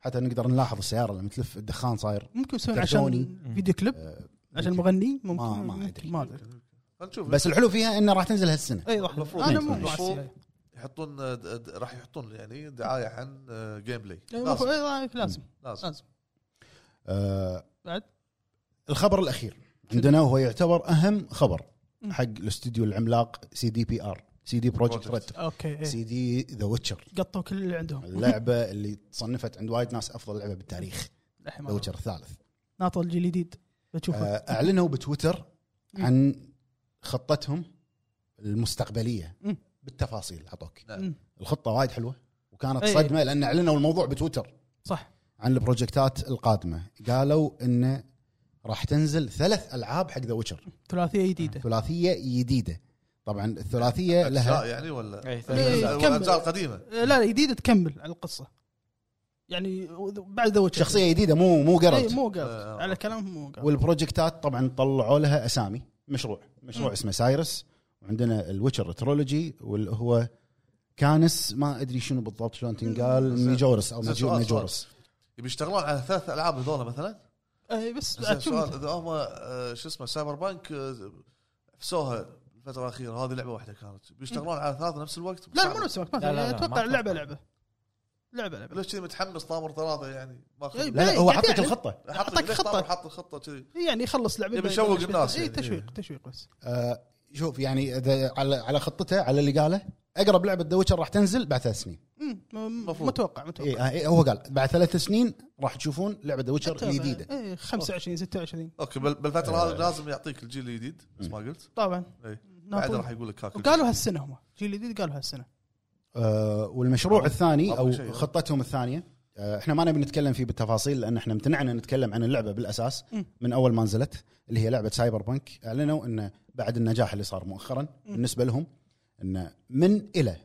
Speaker 1: حتى نقدر نلاحظ السياره لما تلف الدخان صاير
Speaker 3: ممكن يسوون
Speaker 1: تردوني.
Speaker 3: عشان فيديو كليب
Speaker 1: آه،
Speaker 3: عشان مغني ممكن
Speaker 1: ما- ما
Speaker 3: ممكن،
Speaker 1: أدري.
Speaker 3: ما ادري
Speaker 2: خلينا نشوف
Speaker 1: بس الحلو فيها انه راح تنزل هالسنه
Speaker 3: اي راح
Speaker 2: المفروض
Speaker 3: انا مو
Speaker 1: يكون.
Speaker 3: مع
Speaker 2: المفروض
Speaker 3: السياحة.
Speaker 2: يحطون آه، د- د- راح يحطون يعني دعايه عن آه، جيم بلاي
Speaker 3: إي،
Speaker 2: لازم
Speaker 3: المفروض- إي، لازم
Speaker 2: لازم
Speaker 3: لازم
Speaker 1: آه،
Speaker 3: بعد
Speaker 1: الخبر الاخير عندنا وهو يعتبر اهم خبر
Speaker 3: مم.
Speaker 1: حق الاستوديو العملاق سي دي بي ار سي دي بروجكت ريد
Speaker 2: Project.
Speaker 3: اوكي إي.
Speaker 1: سي دي ذا ويتشر
Speaker 3: إيه. قطوا كل اللي عندهم
Speaker 1: اللعبه اللي تصنفت عند وايد ناس افضل لعبه بالتاريخ
Speaker 3: لحين
Speaker 1: ذا
Speaker 3: ما-
Speaker 1: ويتشر الثالث
Speaker 3: ناطر الجيل الجديد بشوفه
Speaker 1: آه، اعلنوا بتويتر
Speaker 3: مم.
Speaker 1: عن خطتهم المستقبليه
Speaker 3: مم.
Speaker 1: بالتفاصيل عطوك
Speaker 3: مم.
Speaker 1: الخطه وايد حلوه وكانت
Speaker 3: أي.
Speaker 1: صدمه لان اعلنوا الموضوع بتويتر
Speaker 3: صح
Speaker 1: عن البروجكتات القادمه قالوا انه راح تنزل ثلاث العاب حق ذا ويتشر
Speaker 3: ثلاثيه جديده
Speaker 1: ثلاثيه جديده طبعا الثلاثيه
Speaker 2: لا
Speaker 1: لها
Speaker 2: يعني ولا
Speaker 1: إيه،
Speaker 3: إي،
Speaker 4: اي
Speaker 2: ولا
Speaker 4: ثلاث
Speaker 3: كمل.
Speaker 2: الاجزاء القديمه
Speaker 3: آه، لا لا جديده تكمل على القصه يعني بعد ذا ويتشر
Speaker 1: شخصيه جديده مو مو
Speaker 3: اي
Speaker 1: قرت
Speaker 3: إيه، مو قال
Speaker 2: آه.
Speaker 3: على كلامهم مو قال
Speaker 1: والبروجكتات طبعا طلعوا لها اسامي مشروع مشروع اسمه سايرس وعندنا الويتشر ترولوجي واللي هو كانس ما ادري شنو بالضبط شلون تنقال
Speaker 2: زين.
Speaker 1: ميجورس او
Speaker 2: زين،
Speaker 1: ميجو-
Speaker 2: سؤال،
Speaker 1: ميجورس
Speaker 2: يبي يشتغلون على ثلاث العاب هذول مثلا
Speaker 3: اي إيه، بس
Speaker 2: زين،
Speaker 3: بعد
Speaker 2: سؤال
Speaker 3: شوف
Speaker 2: اذا هم آه، شو اسمه سايبر بانك آه، حسوها الفتره الاخيره هذه لعبه واحده كانت بيشتغلون على ثلاث نفس الوقت
Speaker 3: لا مو نفس الوقت ما
Speaker 4: لا، لا،
Speaker 3: في-
Speaker 4: لا، ما
Speaker 3: اتوقع لعبه
Speaker 4: أتوقع.
Speaker 3: لعبه لعبه لعبه
Speaker 2: ليش كذي متحمس طامر ثلاثه يعني
Speaker 3: إي،
Speaker 1: لا لا هو حطك الخطه
Speaker 3: طيب، أعطاك
Speaker 2: ليش
Speaker 3: خطة.
Speaker 2: طامر حط الخطه كذي
Speaker 3: يعني يخلص لعبه
Speaker 2: يبي يشوق الناس
Speaker 3: اي
Speaker 2: يعني.
Speaker 3: إيه، تشويق تشويق بس
Speaker 1: آه، شوف يعني اذا على على خطته على اللي قاله اقرب لعبه ذا ويتشر راح تنزل بعد ثلاث سنين
Speaker 3: مم، م-
Speaker 2: مفروض.
Speaker 3: متوقع
Speaker 1: إيه
Speaker 3: متوقع
Speaker 1: آه، إيه، هو قال بعد ثلاث سنين راح تشوفون لعبه ذا ويتشر
Speaker 3: أتوقع.
Speaker 1: الجديده
Speaker 3: إيه، 25 26
Speaker 2: اوكي بال- بالفتره
Speaker 1: آه.
Speaker 2: هذه لازم يعطيك الجيل الجديد بس ما قلت
Speaker 3: طبعا
Speaker 2: إيه. بعد
Speaker 3: ناطر.
Speaker 2: راح يقول لك هاك
Speaker 3: وقالوا هالسنه هم الجيل الجديد قالوا هالسنه
Speaker 1: آه، والمشروع الثاني
Speaker 2: أعطني شيء.
Speaker 1: او خطتهم الثانيه آه، احنا ما نبي نتكلم فيه بالتفاصيل لان احنا امتنعنا نتكلم عن اللعبه بالاساس
Speaker 3: مم.
Speaker 1: من اول ما نزلت اللي هي لعبه سايبر بانك اعلنوا انه بعد النجاح اللي صار مؤخرا
Speaker 3: مم.
Speaker 1: بالنسبه لهم انه من الى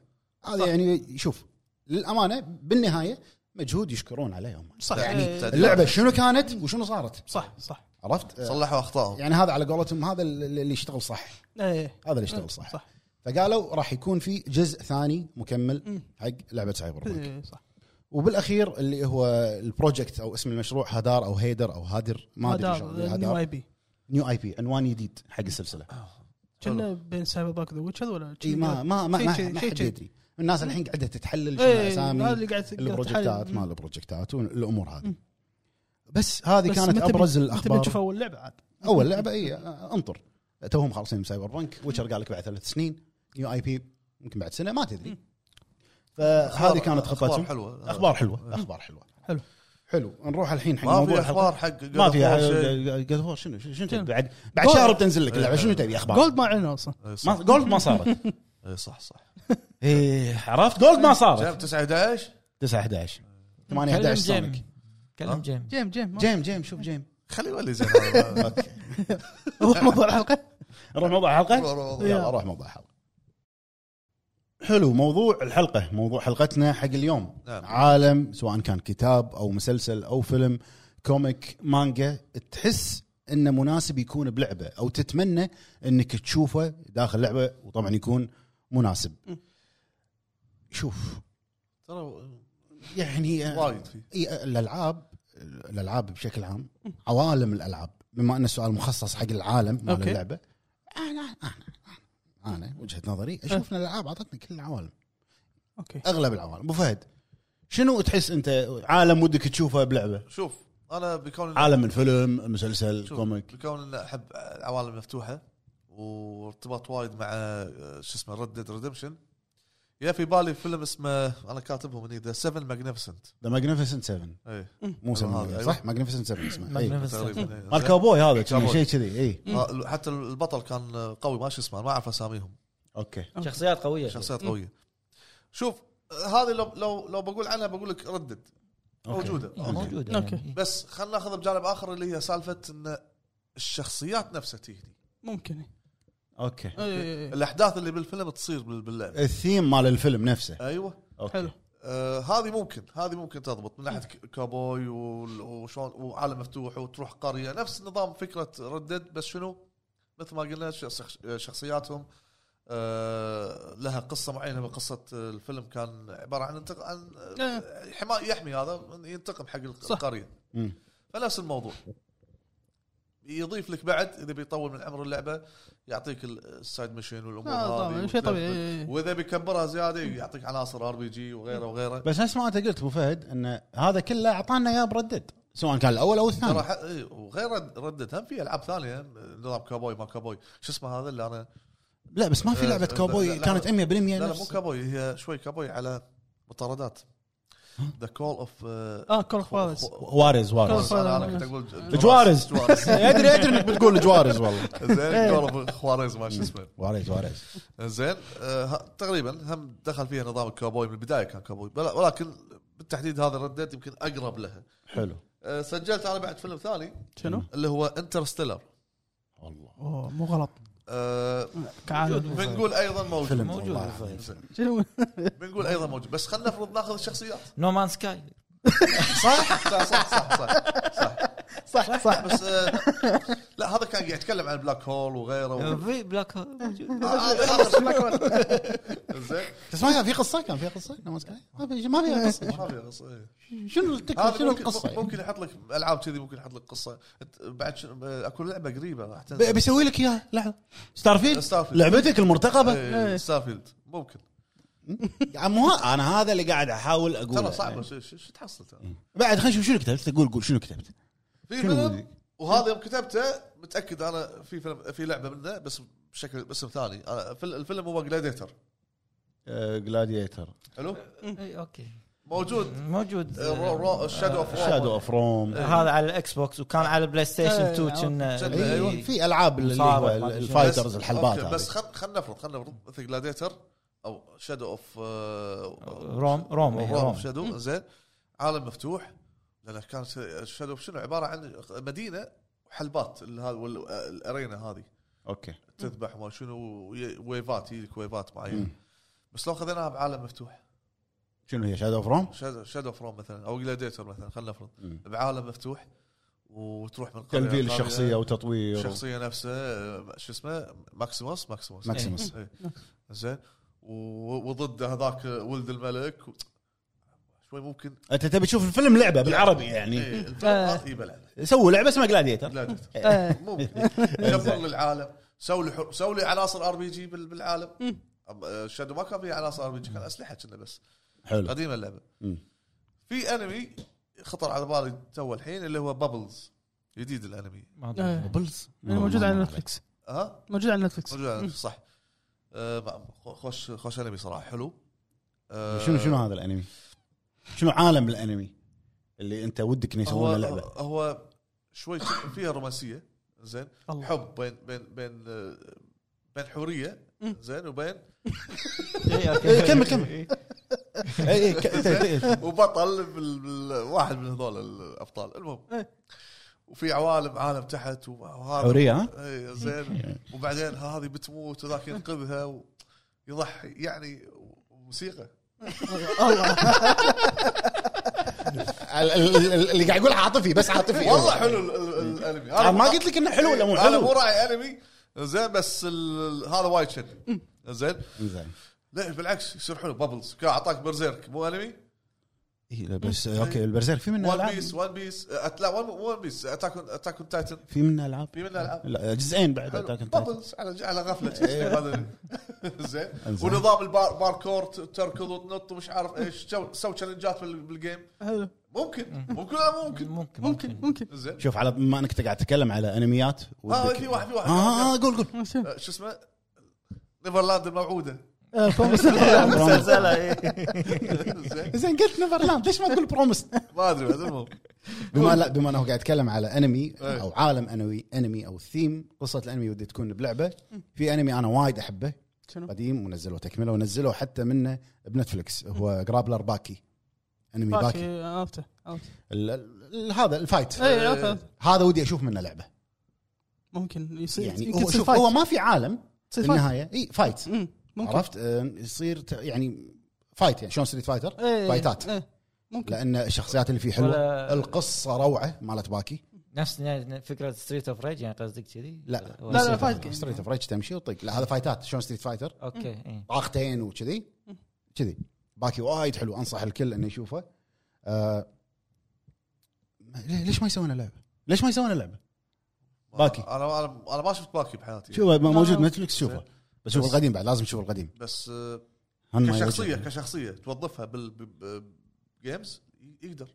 Speaker 1: هذا
Speaker 3: صح.
Speaker 1: يعني شوف للامانه بالنهايه مجهود يشكرون عليهم
Speaker 3: صح
Speaker 2: يعني
Speaker 3: إيه،
Speaker 2: تدري.
Speaker 1: اللعبه شنو كانت وشنو صارت
Speaker 3: صح صح
Speaker 1: عرفت آه،
Speaker 2: صلحوا اخطائهم
Speaker 1: يعني هذا على قولتهم هذا اللي يشتغل صح
Speaker 3: ايه
Speaker 1: هذا اللي يشتغل صح
Speaker 3: صح
Speaker 1: فقالوا راح يكون في جزء ثاني مكمل
Speaker 3: مم.
Speaker 1: حق لعبه سايبر بانك
Speaker 3: إيه، صح
Speaker 1: وبالاخير اللي هو البروجكت او اسم المشروع هدار او هيدر او هادر ما ادري شلون
Speaker 3: هذا نيو
Speaker 1: هدار
Speaker 3: اي بي
Speaker 1: نيو اي بي عنوان جديد حق السلسله
Speaker 3: آه، كنا بين سايبر باك ذا ويتشر ولا
Speaker 1: اي إيه، ما ما ما,
Speaker 3: شي-
Speaker 1: ما,
Speaker 3: شي-
Speaker 1: ما
Speaker 3: شي-
Speaker 1: حد
Speaker 3: شي.
Speaker 1: يدري الناس الحين قاعده تتحلل شنو
Speaker 3: إيه، هذا
Speaker 1: اسامي
Speaker 3: اللي قاعد قاعد
Speaker 1: البروجكتات
Speaker 3: تحلل.
Speaker 1: ما البروجكتات والامور هذه
Speaker 3: مم.
Speaker 1: بس هذه
Speaker 3: بس
Speaker 1: كانت
Speaker 3: متى بي-
Speaker 1: ابرز
Speaker 3: تبي تشوف
Speaker 1: الاخبار
Speaker 3: اول لعبه عاد
Speaker 1: اول لعبه اي آه، انطر توهم خالصين من سايبر بانك ويتشر قال لك بعد ثلاث سنين نيو اي بي يمكن بعد سنه ما تدري
Speaker 3: مم.
Speaker 1: فهذه
Speaker 2: أخبار-
Speaker 1: كانت
Speaker 2: أخبار
Speaker 1: خطتهم
Speaker 2: حلوه
Speaker 1: اخبار حلوه اخبار حلوه
Speaker 3: حلو.
Speaker 1: حلو نروح الحين حق
Speaker 2: ما في
Speaker 1: موضوع
Speaker 2: اخبار
Speaker 1: الحلقه
Speaker 2: حق
Speaker 1: ما
Speaker 2: God of
Speaker 1: في
Speaker 2: War شيء.
Speaker 1: قال هو شنو شنو تبي
Speaker 3: شنو؟
Speaker 1: بعد بعد
Speaker 3: جولد.
Speaker 1: شهر بتنزل لك اللعبه شنو تبي اخبار
Speaker 3: جولد ما اعلنوا اصلا
Speaker 2: إيه،
Speaker 1: ما
Speaker 2: صح
Speaker 1: جولد ما صارت
Speaker 2: إيه، صح صح
Speaker 4: إيه،
Speaker 1: ايه عرفت جولد ما
Speaker 2: جاب
Speaker 1: صارت
Speaker 2: 9 11
Speaker 1: 9 11 8
Speaker 4: كلم
Speaker 1: 11
Speaker 4: جيم.
Speaker 1: سونيك
Speaker 4: كلم جيم
Speaker 3: جيم جيم ما-
Speaker 1: جيم جيم شوف جيم
Speaker 2: خليه يولي زين هذا.
Speaker 1: اوكي
Speaker 3: هو موضوع الحلقه
Speaker 1: نروح موضوع الحلقه
Speaker 2: والله.
Speaker 1: يلا روح موضوع الحلقه حلو موضوع الحلقه موضوع حلقتنا حق اليوم
Speaker 2: نعم.
Speaker 1: عالم سواء كان كتاب او مسلسل او فيلم كوميك مانجا تحس انه مناسب يكون بلعبه او تتمنى انك تشوفه داخل لعبه وطبعا يكون مناسب شوف
Speaker 2: ترى
Speaker 1: يعني
Speaker 2: وايد فيه
Speaker 1: إي، الالعاب الالعاب بشكل عام عوالم الالعاب بما ان السؤال مخصص حق العالم مال
Speaker 3: أوكي.
Speaker 1: اللعبه انا انا انا وجهه نظري اشوف ان الالعاب اعطتنا كل العوالم
Speaker 3: اوكي
Speaker 1: اغلب العوالم ابو فهد شنو تحس انت عالم ودك تشوفه بلعبه؟
Speaker 2: شوف انا بكون
Speaker 1: عالم من فيلم مسلسل
Speaker 2: شوف،
Speaker 1: كوميك
Speaker 2: بكون ان احب العوالم المفتوحه و- وارتباط وايد مع آه، شو اسمه ريد ديد ريدمشن يا في بالي فيلم اسمه انا كاتبهم هني ذا 7 ماجنيفيسنت
Speaker 1: ذا ماجنيفيسنت 7
Speaker 2: اي
Speaker 1: مو
Speaker 2: هذا،
Speaker 1: سمي
Speaker 2: أيوة.
Speaker 1: صح ماجنيفيسنت 7 اسمه إي.
Speaker 4: ماجنيفيسنت.
Speaker 2: تقريبا إي.
Speaker 1: ماركو بوي هذا كان
Speaker 2: ماركو
Speaker 1: شيء
Speaker 2: بوي.
Speaker 1: كذي اي
Speaker 2: إيه، آه، حتى البطل كان قوي ما شو اسمه أنا ما اعرف اساميهم
Speaker 1: اوكي
Speaker 4: شخصيات قويه
Speaker 2: شخصيات قويه شوف آه، هذه لو لو لو بقول عنها بقول لك ردد
Speaker 1: أوكي.
Speaker 2: موجوده
Speaker 4: إيه، موجوده
Speaker 3: أوكي.
Speaker 4: يعني.
Speaker 2: بس خلينا ناخذ بجانب اخر اللي هي سالفه ان الشخصيات نفسها تهدي
Speaker 3: ممكن إيه،
Speaker 1: اوكي
Speaker 3: إي، إي، إي.
Speaker 2: الاحداث اللي بالفيلم تصير بال- باللعب
Speaker 1: الثيم مال الفيلم نفسه
Speaker 2: ايوه
Speaker 1: اوكي
Speaker 3: حلو
Speaker 2: آه هذه ممكن هذه ممكن تضبط من ناحيه ك- كابوي وال- وشلون وعالم مفتوح وتروح قريه نفس نظام فكره ردد بس شنو مثل ما قلنا شخص- شخصياتهم آه لها قصه معينه قصه الفيلم كان عباره عن انتق... عن آه، حما يحمي هذا ينتقم حق الق-
Speaker 3: صح.
Speaker 2: القريه
Speaker 1: مم.
Speaker 2: فنفس الموضوع يضيف لك بعد اذا بيطول من عمر اللعبه يعطيك ال- السايد ميشن والامور
Speaker 3: آه،
Speaker 2: هذه
Speaker 3: طبعاً، شيء طبيعي،
Speaker 2: وتلفل.
Speaker 3: إي، إي.
Speaker 2: واذا بيكبرها زياده يعطيك عناصر ار بي جي وغيره وغيره
Speaker 1: بس نفس ما انت قلت ابو فهد ان هذا كله اعطانا اياه بردد سواء كان الاول او
Speaker 3: نعم.
Speaker 1: الثاني
Speaker 2: ترى ح- إي، وغير رد- ردت هم في العاب ثانيه نظام كابوي ما كابوي شو اسمه هذا اللي انا
Speaker 1: لا بس ما في لعبه
Speaker 2: لا، لا،
Speaker 1: كاوبوي
Speaker 2: لا.
Speaker 1: كانت 100%
Speaker 2: لا لا مو
Speaker 1: نفس
Speaker 2: كابوي هي شوي كابوي على مطاردات ذا كول اوف
Speaker 3: اه كول اوف بارز
Speaker 1: وارز وارز
Speaker 3: Call of-
Speaker 2: انا كنت اقول ج-
Speaker 1: جوارز.
Speaker 2: جوارز
Speaker 1: ادري ادري انك بتقول جوارز والله
Speaker 2: زين
Speaker 3: إيه.
Speaker 2: كول اوف خوارز ما شو اسمه
Speaker 1: وارز وارز
Speaker 2: زين آه، ه- تقريبا هم دخل فيها نظام الكاوبوي من البدايه كان كاوبوي بل- ولكن بالتحديد هذا ردت يمكن اقرب لها
Speaker 1: حلو
Speaker 2: آه، سجلت انا بعد فيلم ثاني
Speaker 3: شنو؟
Speaker 2: اللي هو انترستيلر
Speaker 1: والله
Speaker 3: اوه مو غلط كعادة
Speaker 2: بنقول ايضا موجود
Speaker 1: فيلم
Speaker 4: موجود.
Speaker 1: والله.
Speaker 2: زين.
Speaker 3: شنو
Speaker 2: بنقول ايضا موجود بس خلينا نفرض ناخذ الشخصيات
Speaker 4: نو مان سكاي
Speaker 2: صح صح صح صح, صح.
Speaker 3: صح صح
Speaker 2: بس آه، لا هذا كان قاعد يتكلم عن بلاك هول وغيره و...
Speaker 4: في بلاك هول موجود.
Speaker 2: آه، آه، زين
Speaker 1: بس ما كان في قصه كان في قصه No Man's Sky؟ ما في ما في قصه
Speaker 2: ما في قصة، إيه.
Speaker 1: شنو التكلفه
Speaker 2: هذا
Speaker 1: شنو
Speaker 2: ممكن
Speaker 1: القصه يعني؟
Speaker 2: ممكن يحط لك العاب كذي ممكن يحط لك قصه أنت بعد شنو- آه، اكو لعبه قريبه راح
Speaker 1: ب-
Speaker 2: تنزل
Speaker 1: بيسوي لك اياها لحظه ستارفيلد
Speaker 2: ستارفيلد.
Speaker 1: لعبتك المرتقبه
Speaker 2: إيه، ستارفيلد ممكن
Speaker 1: يا عم هو- انا هذا اللي قاعد احاول اقوله
Speaker 2: ترى صعبه شو- شو شو تحصل ترى
Speaker 1: بعد خلينا نشوف شنو كتبت قول قول شنو كتبت
Speaker 2: في
Speaker 1: شنو
Speaker 2: فيلم
Speaker 1: ذي؟
Speaker 2: وهذا يوم كتبته متاكد انا في فيلم في لعبه منه بس بشكل باسم ثاني أنا- فيل- الفيلم هو جلاديتر
Speaker 1: جلاديتر
Speaker 2: حلو
Speaker 4: إي، اوكي
Speaker 2: موجود
Speaker 4: إيه، موجود
Speaker 2: آه، شادو اوف
Speaker 1: شادو اوف روم
Speaker 4: هذا على الاكس بوكس وكان على البلاي ستيشن
Speaker 3: إيه،
Speaker 4: 2 كنا
Speaker 2: عرفت.
Speaker 4: إي،
Speaker 1: ايوه في العاب اللي
Speaker 4: مصارعة،
Speaker 1: هو
Speaker 4: ما أدري شنو.
Speaker 1: الفايترز الحلبات
Speaker 2: بس
Speaker 1: هذه.
Speaker 2: خل خلينا نفرض خلينا نفرض مثل جلاديتر او شادو اوف
Speaker 4: روم روم إي،
Speaker 2: روم
Speaker 4: روم
Speaker 2: شادو آه، زين عالم مفتوح لان كان شادو اوف شنو عباره عن مدينه وحلبات ال- هذا- وال- الارينا هذه
Speaker 1: اوكي
Speaker 2: تذبح وما شنو وي- ويفات يجيك ويفات معينه بس لو خذيناها بعالم مفتوح
Speaker 1: شنو هي شادو اوف روم؟
Speaker 2: شادو شادو اوف روم مثلا او جلاديتر مثلا خلينا نفرض
Speaker 1: مم.
Speaker 2: بعالم مفتوح وتروح من قرية
Speaker 1: تلفيل
Speaker 2: لقرية.
Speaker 1: الشخصيه وتطوير و-
Speaker 2: الشخصيه نفسها آه، شو اسمه ماكسيموس ماكسيموس
Speaker 1: ماكسيموس
Speaker 2: إيه. زين و- وضد هذاك ولد الملك و- شوي ممكن
Speaker 1: انت تبي تشوف الفيلم لعبه بالعربي يعني
Speaker 2: إيه، الفيلم هذا يبلع
Speaker 1: سووا لعبه اسمها جلاديتر
Speaker 2: لا تدري.
Speaker 3: آه،
Speaker 2: ممكن دبر للعالم سوي لي حر- سوي لي عناصر ار بي جي بال- بالعالم أب- آه، شادو ما كان فيه عناصر ار بي جي كان اسلحه كنا بس
Speaker 1: حلو
Speaker 2: قديمه اللعبه
Speaker 1: مم.
Speaker 2: في انمي خطر على بالي تو الحين اللي هو بابلز جديد الانمي
Speaker 4: ما
Speaker 3: إيه.
Speaker 4: أدري.
Speaker 1: بلز
Speaker 3: آه.
Speaker 1: آه،
Speaker 3: موجود على نتفلكس
Speaker 2: ها
Speaker 3: موجود على نتفلكس
Speaker 2: رجل على نفسه، صح آه، مع- خوش خوش انمي صراحه حلو آه،
Speaker 1: شنو شنو هذا الانمي؟ شنو عالم الانمي؟ اللي انت ودك انه
Speaker 2: هو
Speaker 1: يسوون له لعبه
Speaker 2: هو شوي فيها رومانسيه زين
Speaker 3: الله.
Speaker 2: حب بين بين بين آه، بين حوريه زين وبين
Speaker 4: إي، أوكي.
Speaker 1: إيه، كمل كمل اي اي إيه، ك- إيه. ت-
Speaker 2: إيه.
Speaker 1: ت-
Speaker 2: وبطل بال- بال- واحد من هذول الابطال المهم وفي عوالم عالم تحت وه- وهذا
Speaker 1: حورية، ها؟
Speaker 2: اي زين
Speaker 1: إيه.
Speaker 2: وبعدين هذه بتموت وذاك ينقذها ويضحي يعني موسيقى
Speaker 1: ال- ال- ال- اللي قاعد يقول عاطفي بس عاطفي
Speaker 2: والله حلو ال- ال- الانمي
Speaker 1: أنا
Speaker 2: هذا
Speaker 1: إيه. آه، ما قلت لك انه حلو ولا مو
Speaker 2: انا مو
Speaker 1: حلو
Speaker 2: راعي انمي زين بس ال- هذا وايد شدني زين
Speaker 1: زين
Speaker 2: لا بالعكس يصير حلو بابلز كان اعطاك برزيرك مو انمي
Speaker 1: إيه، لا، بس اوكي البرزيرك في منه
Speaker 2: ون
Speaker 1: العاب
Speaker 2: بيس ون بيس أت- لا ون ون بيس اتاك اتاك تايتن
Speaker 1: في منه العاب
Speaker 2: في منها العاب
Speaker 1: لا جزئين بعد
Speaker 2: حلو.
Speaker 1: Attack on Titan.
Speaker 2: بابلز على على غفله
Speaker 1: إيه.
Speaker 2: هذا زين
Speaker 1: إنزين.
Speaker 2: ونظام البار باركور ت- تركض وتنط ومش عارف ايش سو- سو تشالنجات بال- بالجيم
Speaker 3: حلو
Speaker 2: ممكن ممكن لا ممكن
Speaker 4: ممكن
Speaker 3: آه، ممكن ممكن
Speaker 2: زين
Speaker 1: شوف على بما انك قاعد تتكلم على انميات
Speaker 2: اه
Speaker 1: ودك-
Speaker 2: في واحد في واحد
Speaker 1: اه قول قول
Speaker 2: آه، شو اسمه نيفرلاند الموعوده
Speaker 3: آه، فومس الأحلام.
Speaker 4: مسلسلة إيه.
Speaker 2: زين
Speaker 1: زين قلت نيفرلاند ليش ما تقول برومس
Speaker 2: ما ادري بعد المهم
Speaker 1: بما لا بما انه قاعد يتكلم على انمي
Speaker 2: إيه.
Speaker 1: او عالم انمي انمي او ثيم قصه الانمي ودي تكون بلعبه في انمي انا وايد احبه
Speaker 3: شنو؟
Speaker 1: قديم ونزلوا تكمله ونزلوا حتى منه بنتفلكس هو جرابلر باكي انمي باكي
Speaker 3: باكي عرفته عرفته
Speaker 1: ال- ال- ال- هذا الفايت
Speaker 2: إيه.
Speaker 3: اي
Speaker 1: آه،
Speaker 3: عرفته
Speaker 1: هذا ودي اشوف منه لعبه
Speaker 3: ممكن يصير
Speaker 1: يعني
Speaker 3: يمكن
Speaker 1: هو,
Speaker 3: تصير
Speaker 1: شوف
Speaker 3: فايت.
Speaker 1: هو ما في عالم في
Speaker 3: تصير فايت.
Speaker 1: النهايه اي فايت
Speaker 3: مم، ممكن
Speaker 1: عرفت آه، يصير ت- يعني فايت يعني شلون ستريت فايتر
Speaker 3: إيه،
Speaker 1: فايتات.
Speaker 3: إيه، ممكن
Speaker 1: لان الشخصيات اللي فيه حلوه
Speaker 4: ولا-
Speaker 1: القصه روعه مالت باكي
Speaker 4: نفس يعني فكرة ستريت اوف ريج يعني قصدك كذي؟
Speaker 1: لا
Speaker 4: ولا-
Speaker 3: لا، لا، فايت جيم.
Speaker 1: ستريت اوف ريج تمشي وطق لا هذا فايتات شلون ستريت فايتر
Speaker 4: اوكي إيه.
Speaker 1: طاقتين وكذي كذي باكي وايد حلو انصح الكل انه يشوفه آه ما- ليه- ليش ما يسوون لعبه؟ ليش ما يسوون لعبه؟ باكي.
Speaker 2: انا انا انا ما شفت باكي بحياتي
Speaker 3: إيه.
Speaker 1: شوفه ما- موجود
Speaker 3: لا.
Speaker 1: نتفلكس شوفه بس شوف
Speaker 2: بس-
Speaker 1: القديم بعد لازم تشوف القديم
Speaker 2: بس آه،
Speaker 1: هن ما
Speaker 2: كشخصيه
Speaker 1: يوجد.
Speaker 2: كشخصيه توظفها بالجيمز يقدر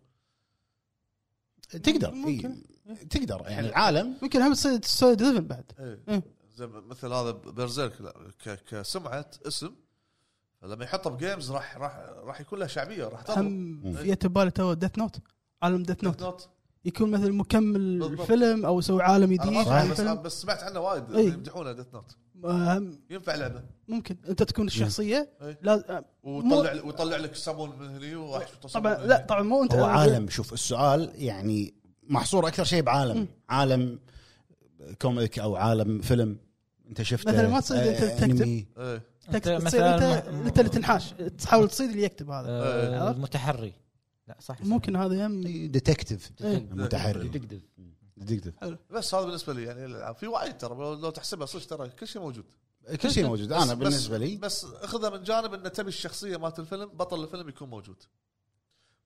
Speaker 1: تقدر
Speaker 3: ممكن.
Speaker 1: إي، تقدر يعني العالم
Speaker 3: ممكن هم تصير تصير دريفن بعد
Speaker 2: إيه.
Speaker 3: إيه.
Speaker 2: زي مثل هذا بيرزيرك لا، ك- كسمعه اسم لما يحطه بجيمز راح راح راح يكون له شعبيه راح تضرب
Speaker 3: هم جت ببالي تو ديث نوت عالم ديث نوت
Speaker 2: نوت
Speaker 3: يكون مثل مكمل
Speaker 2: بالضبط.
Speaker 3: الفيلم او يسوي عالم
Speaker 2: انا
Speaker 3: جديد
Speaker 2: ما
Speaker 1: صحيح.
Speaker 2: أدري،
Speaker 3: عالم
Speaker 2: بس
Speaker 3: فيلم.
Speaker 2: بس سمعت عنه وايد
Speaker 3: إيه.
Speaker 2: يمدحونه ديث نوت
Speaker 3: آه، هم-
Speaker 2: ينفع لعبه
Speaker 3: ممكن انت تكون الشخصيه
Speaker 2: إيه.
Speaker 3: لا آه،
Speaker 2: ويطلع ويطلع لك سمون من هني وواحد يحط سمون
Speaker 3: طبعا
Speaker 2: من
Speaker 3: لا
Speaker 2: هني.
Speaker 3: طبعا مو انت
Speaker 1: هو عالم شوف السؤال يعني محصور اكثر شيء بعالم عالم كوميك او عالم فيلم انت شفته
Speaker 3: مثلاً ما تصير أنت
Speaker 1: آه،
Speaker 3: تكتب.
Speaker 1: أنمي.
Speaker 2: إيه.
Speaker 3: تكتب
Speaker 4: أنت
Speaker 3: تصير انت
Speaker 4: مثلاً-
Speaker 3: انت اللي تنحاش تحاول تصيد اللي يكتب هذا
Speaker 4: آه،
Speaker 3: عرفت؟
Speaker 4: المتحري لا صح صح.
Speaker 3: ممكن هذا هم
Speaker 1: ديتكتيف
Speaker 3: إيه.
Speaker 1: متحرر
Speaker 4: تكذب
Speaker 1: ديتكتيف
Speaker 2: بس هذا بالنسبه لي يعني الالعاب في وايد ترى لو- لو تحسبها صدق ترى كل شيء موجود
Speaker 1: كل شيء موجود
Speaker 2: بس-
Speaker 1: انا بالنسبه
Speaker 2: بس
Speaker 1: لي
Speaker 2: بس اخذها من جانب ان تبي الشخصيه مالت الفيلم بطل الفيلم يكون موجود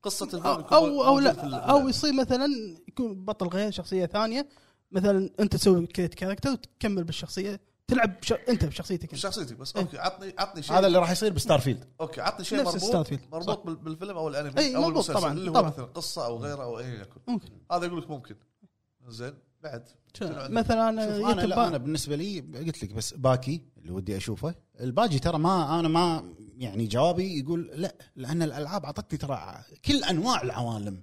Speaker 2: قصه
Speaker 1: أه،
Speaker 2: الفيلم يكون
Speaker 3: او او
Speaker 2: موجود في ال-
Speaker 3: لا او يصير مثلا يكون بطل غير شخصيه ثانيه مثلا انت تسوي كريت كاركتر وتكمل بالشخصيه تلعب بش... انت بشخصيتك انت
Speaker 2: شخصيتي بس اوكي عطني عطني شيء
Speaker 1: هذا اللي راح يصير بستار فيلد
Speaker 2: اوكي عطني شيء
Speaker 3: نفس
Speaker 2: مربوط
Speaker 3: ستارفيلد.
Speaker 2: مربوط بال- بالفيلم او الانمي
Speaker 3: إي،
Speaker 2: او
Speaker 3: مربوط
Speaker 2: المسلسل
Speaker 3: طبعاً،
Speaker 2: اللي هو
Speaker 3: طبعاً.
Speaker 2: مثلا قصه او غيره او اي يكون
Speaker 3: ممكن
Speaker 2: هذا يقول لك ممكن زين بعد شنو عندك؟
Speaker 3: مثلا انا
Speaker 1: شوف انا
Speaker 3: جيت
Speaker 1: لا
Speaker 3: ببالي-
Speaker 1: انا بالنسبه لي قلت لك بس باكي اللي ودي اشوفه الباجي ترى ما انا ما يعني جوابي يقول لا لان الالعاب اعطتني ترى كل انواع العوالم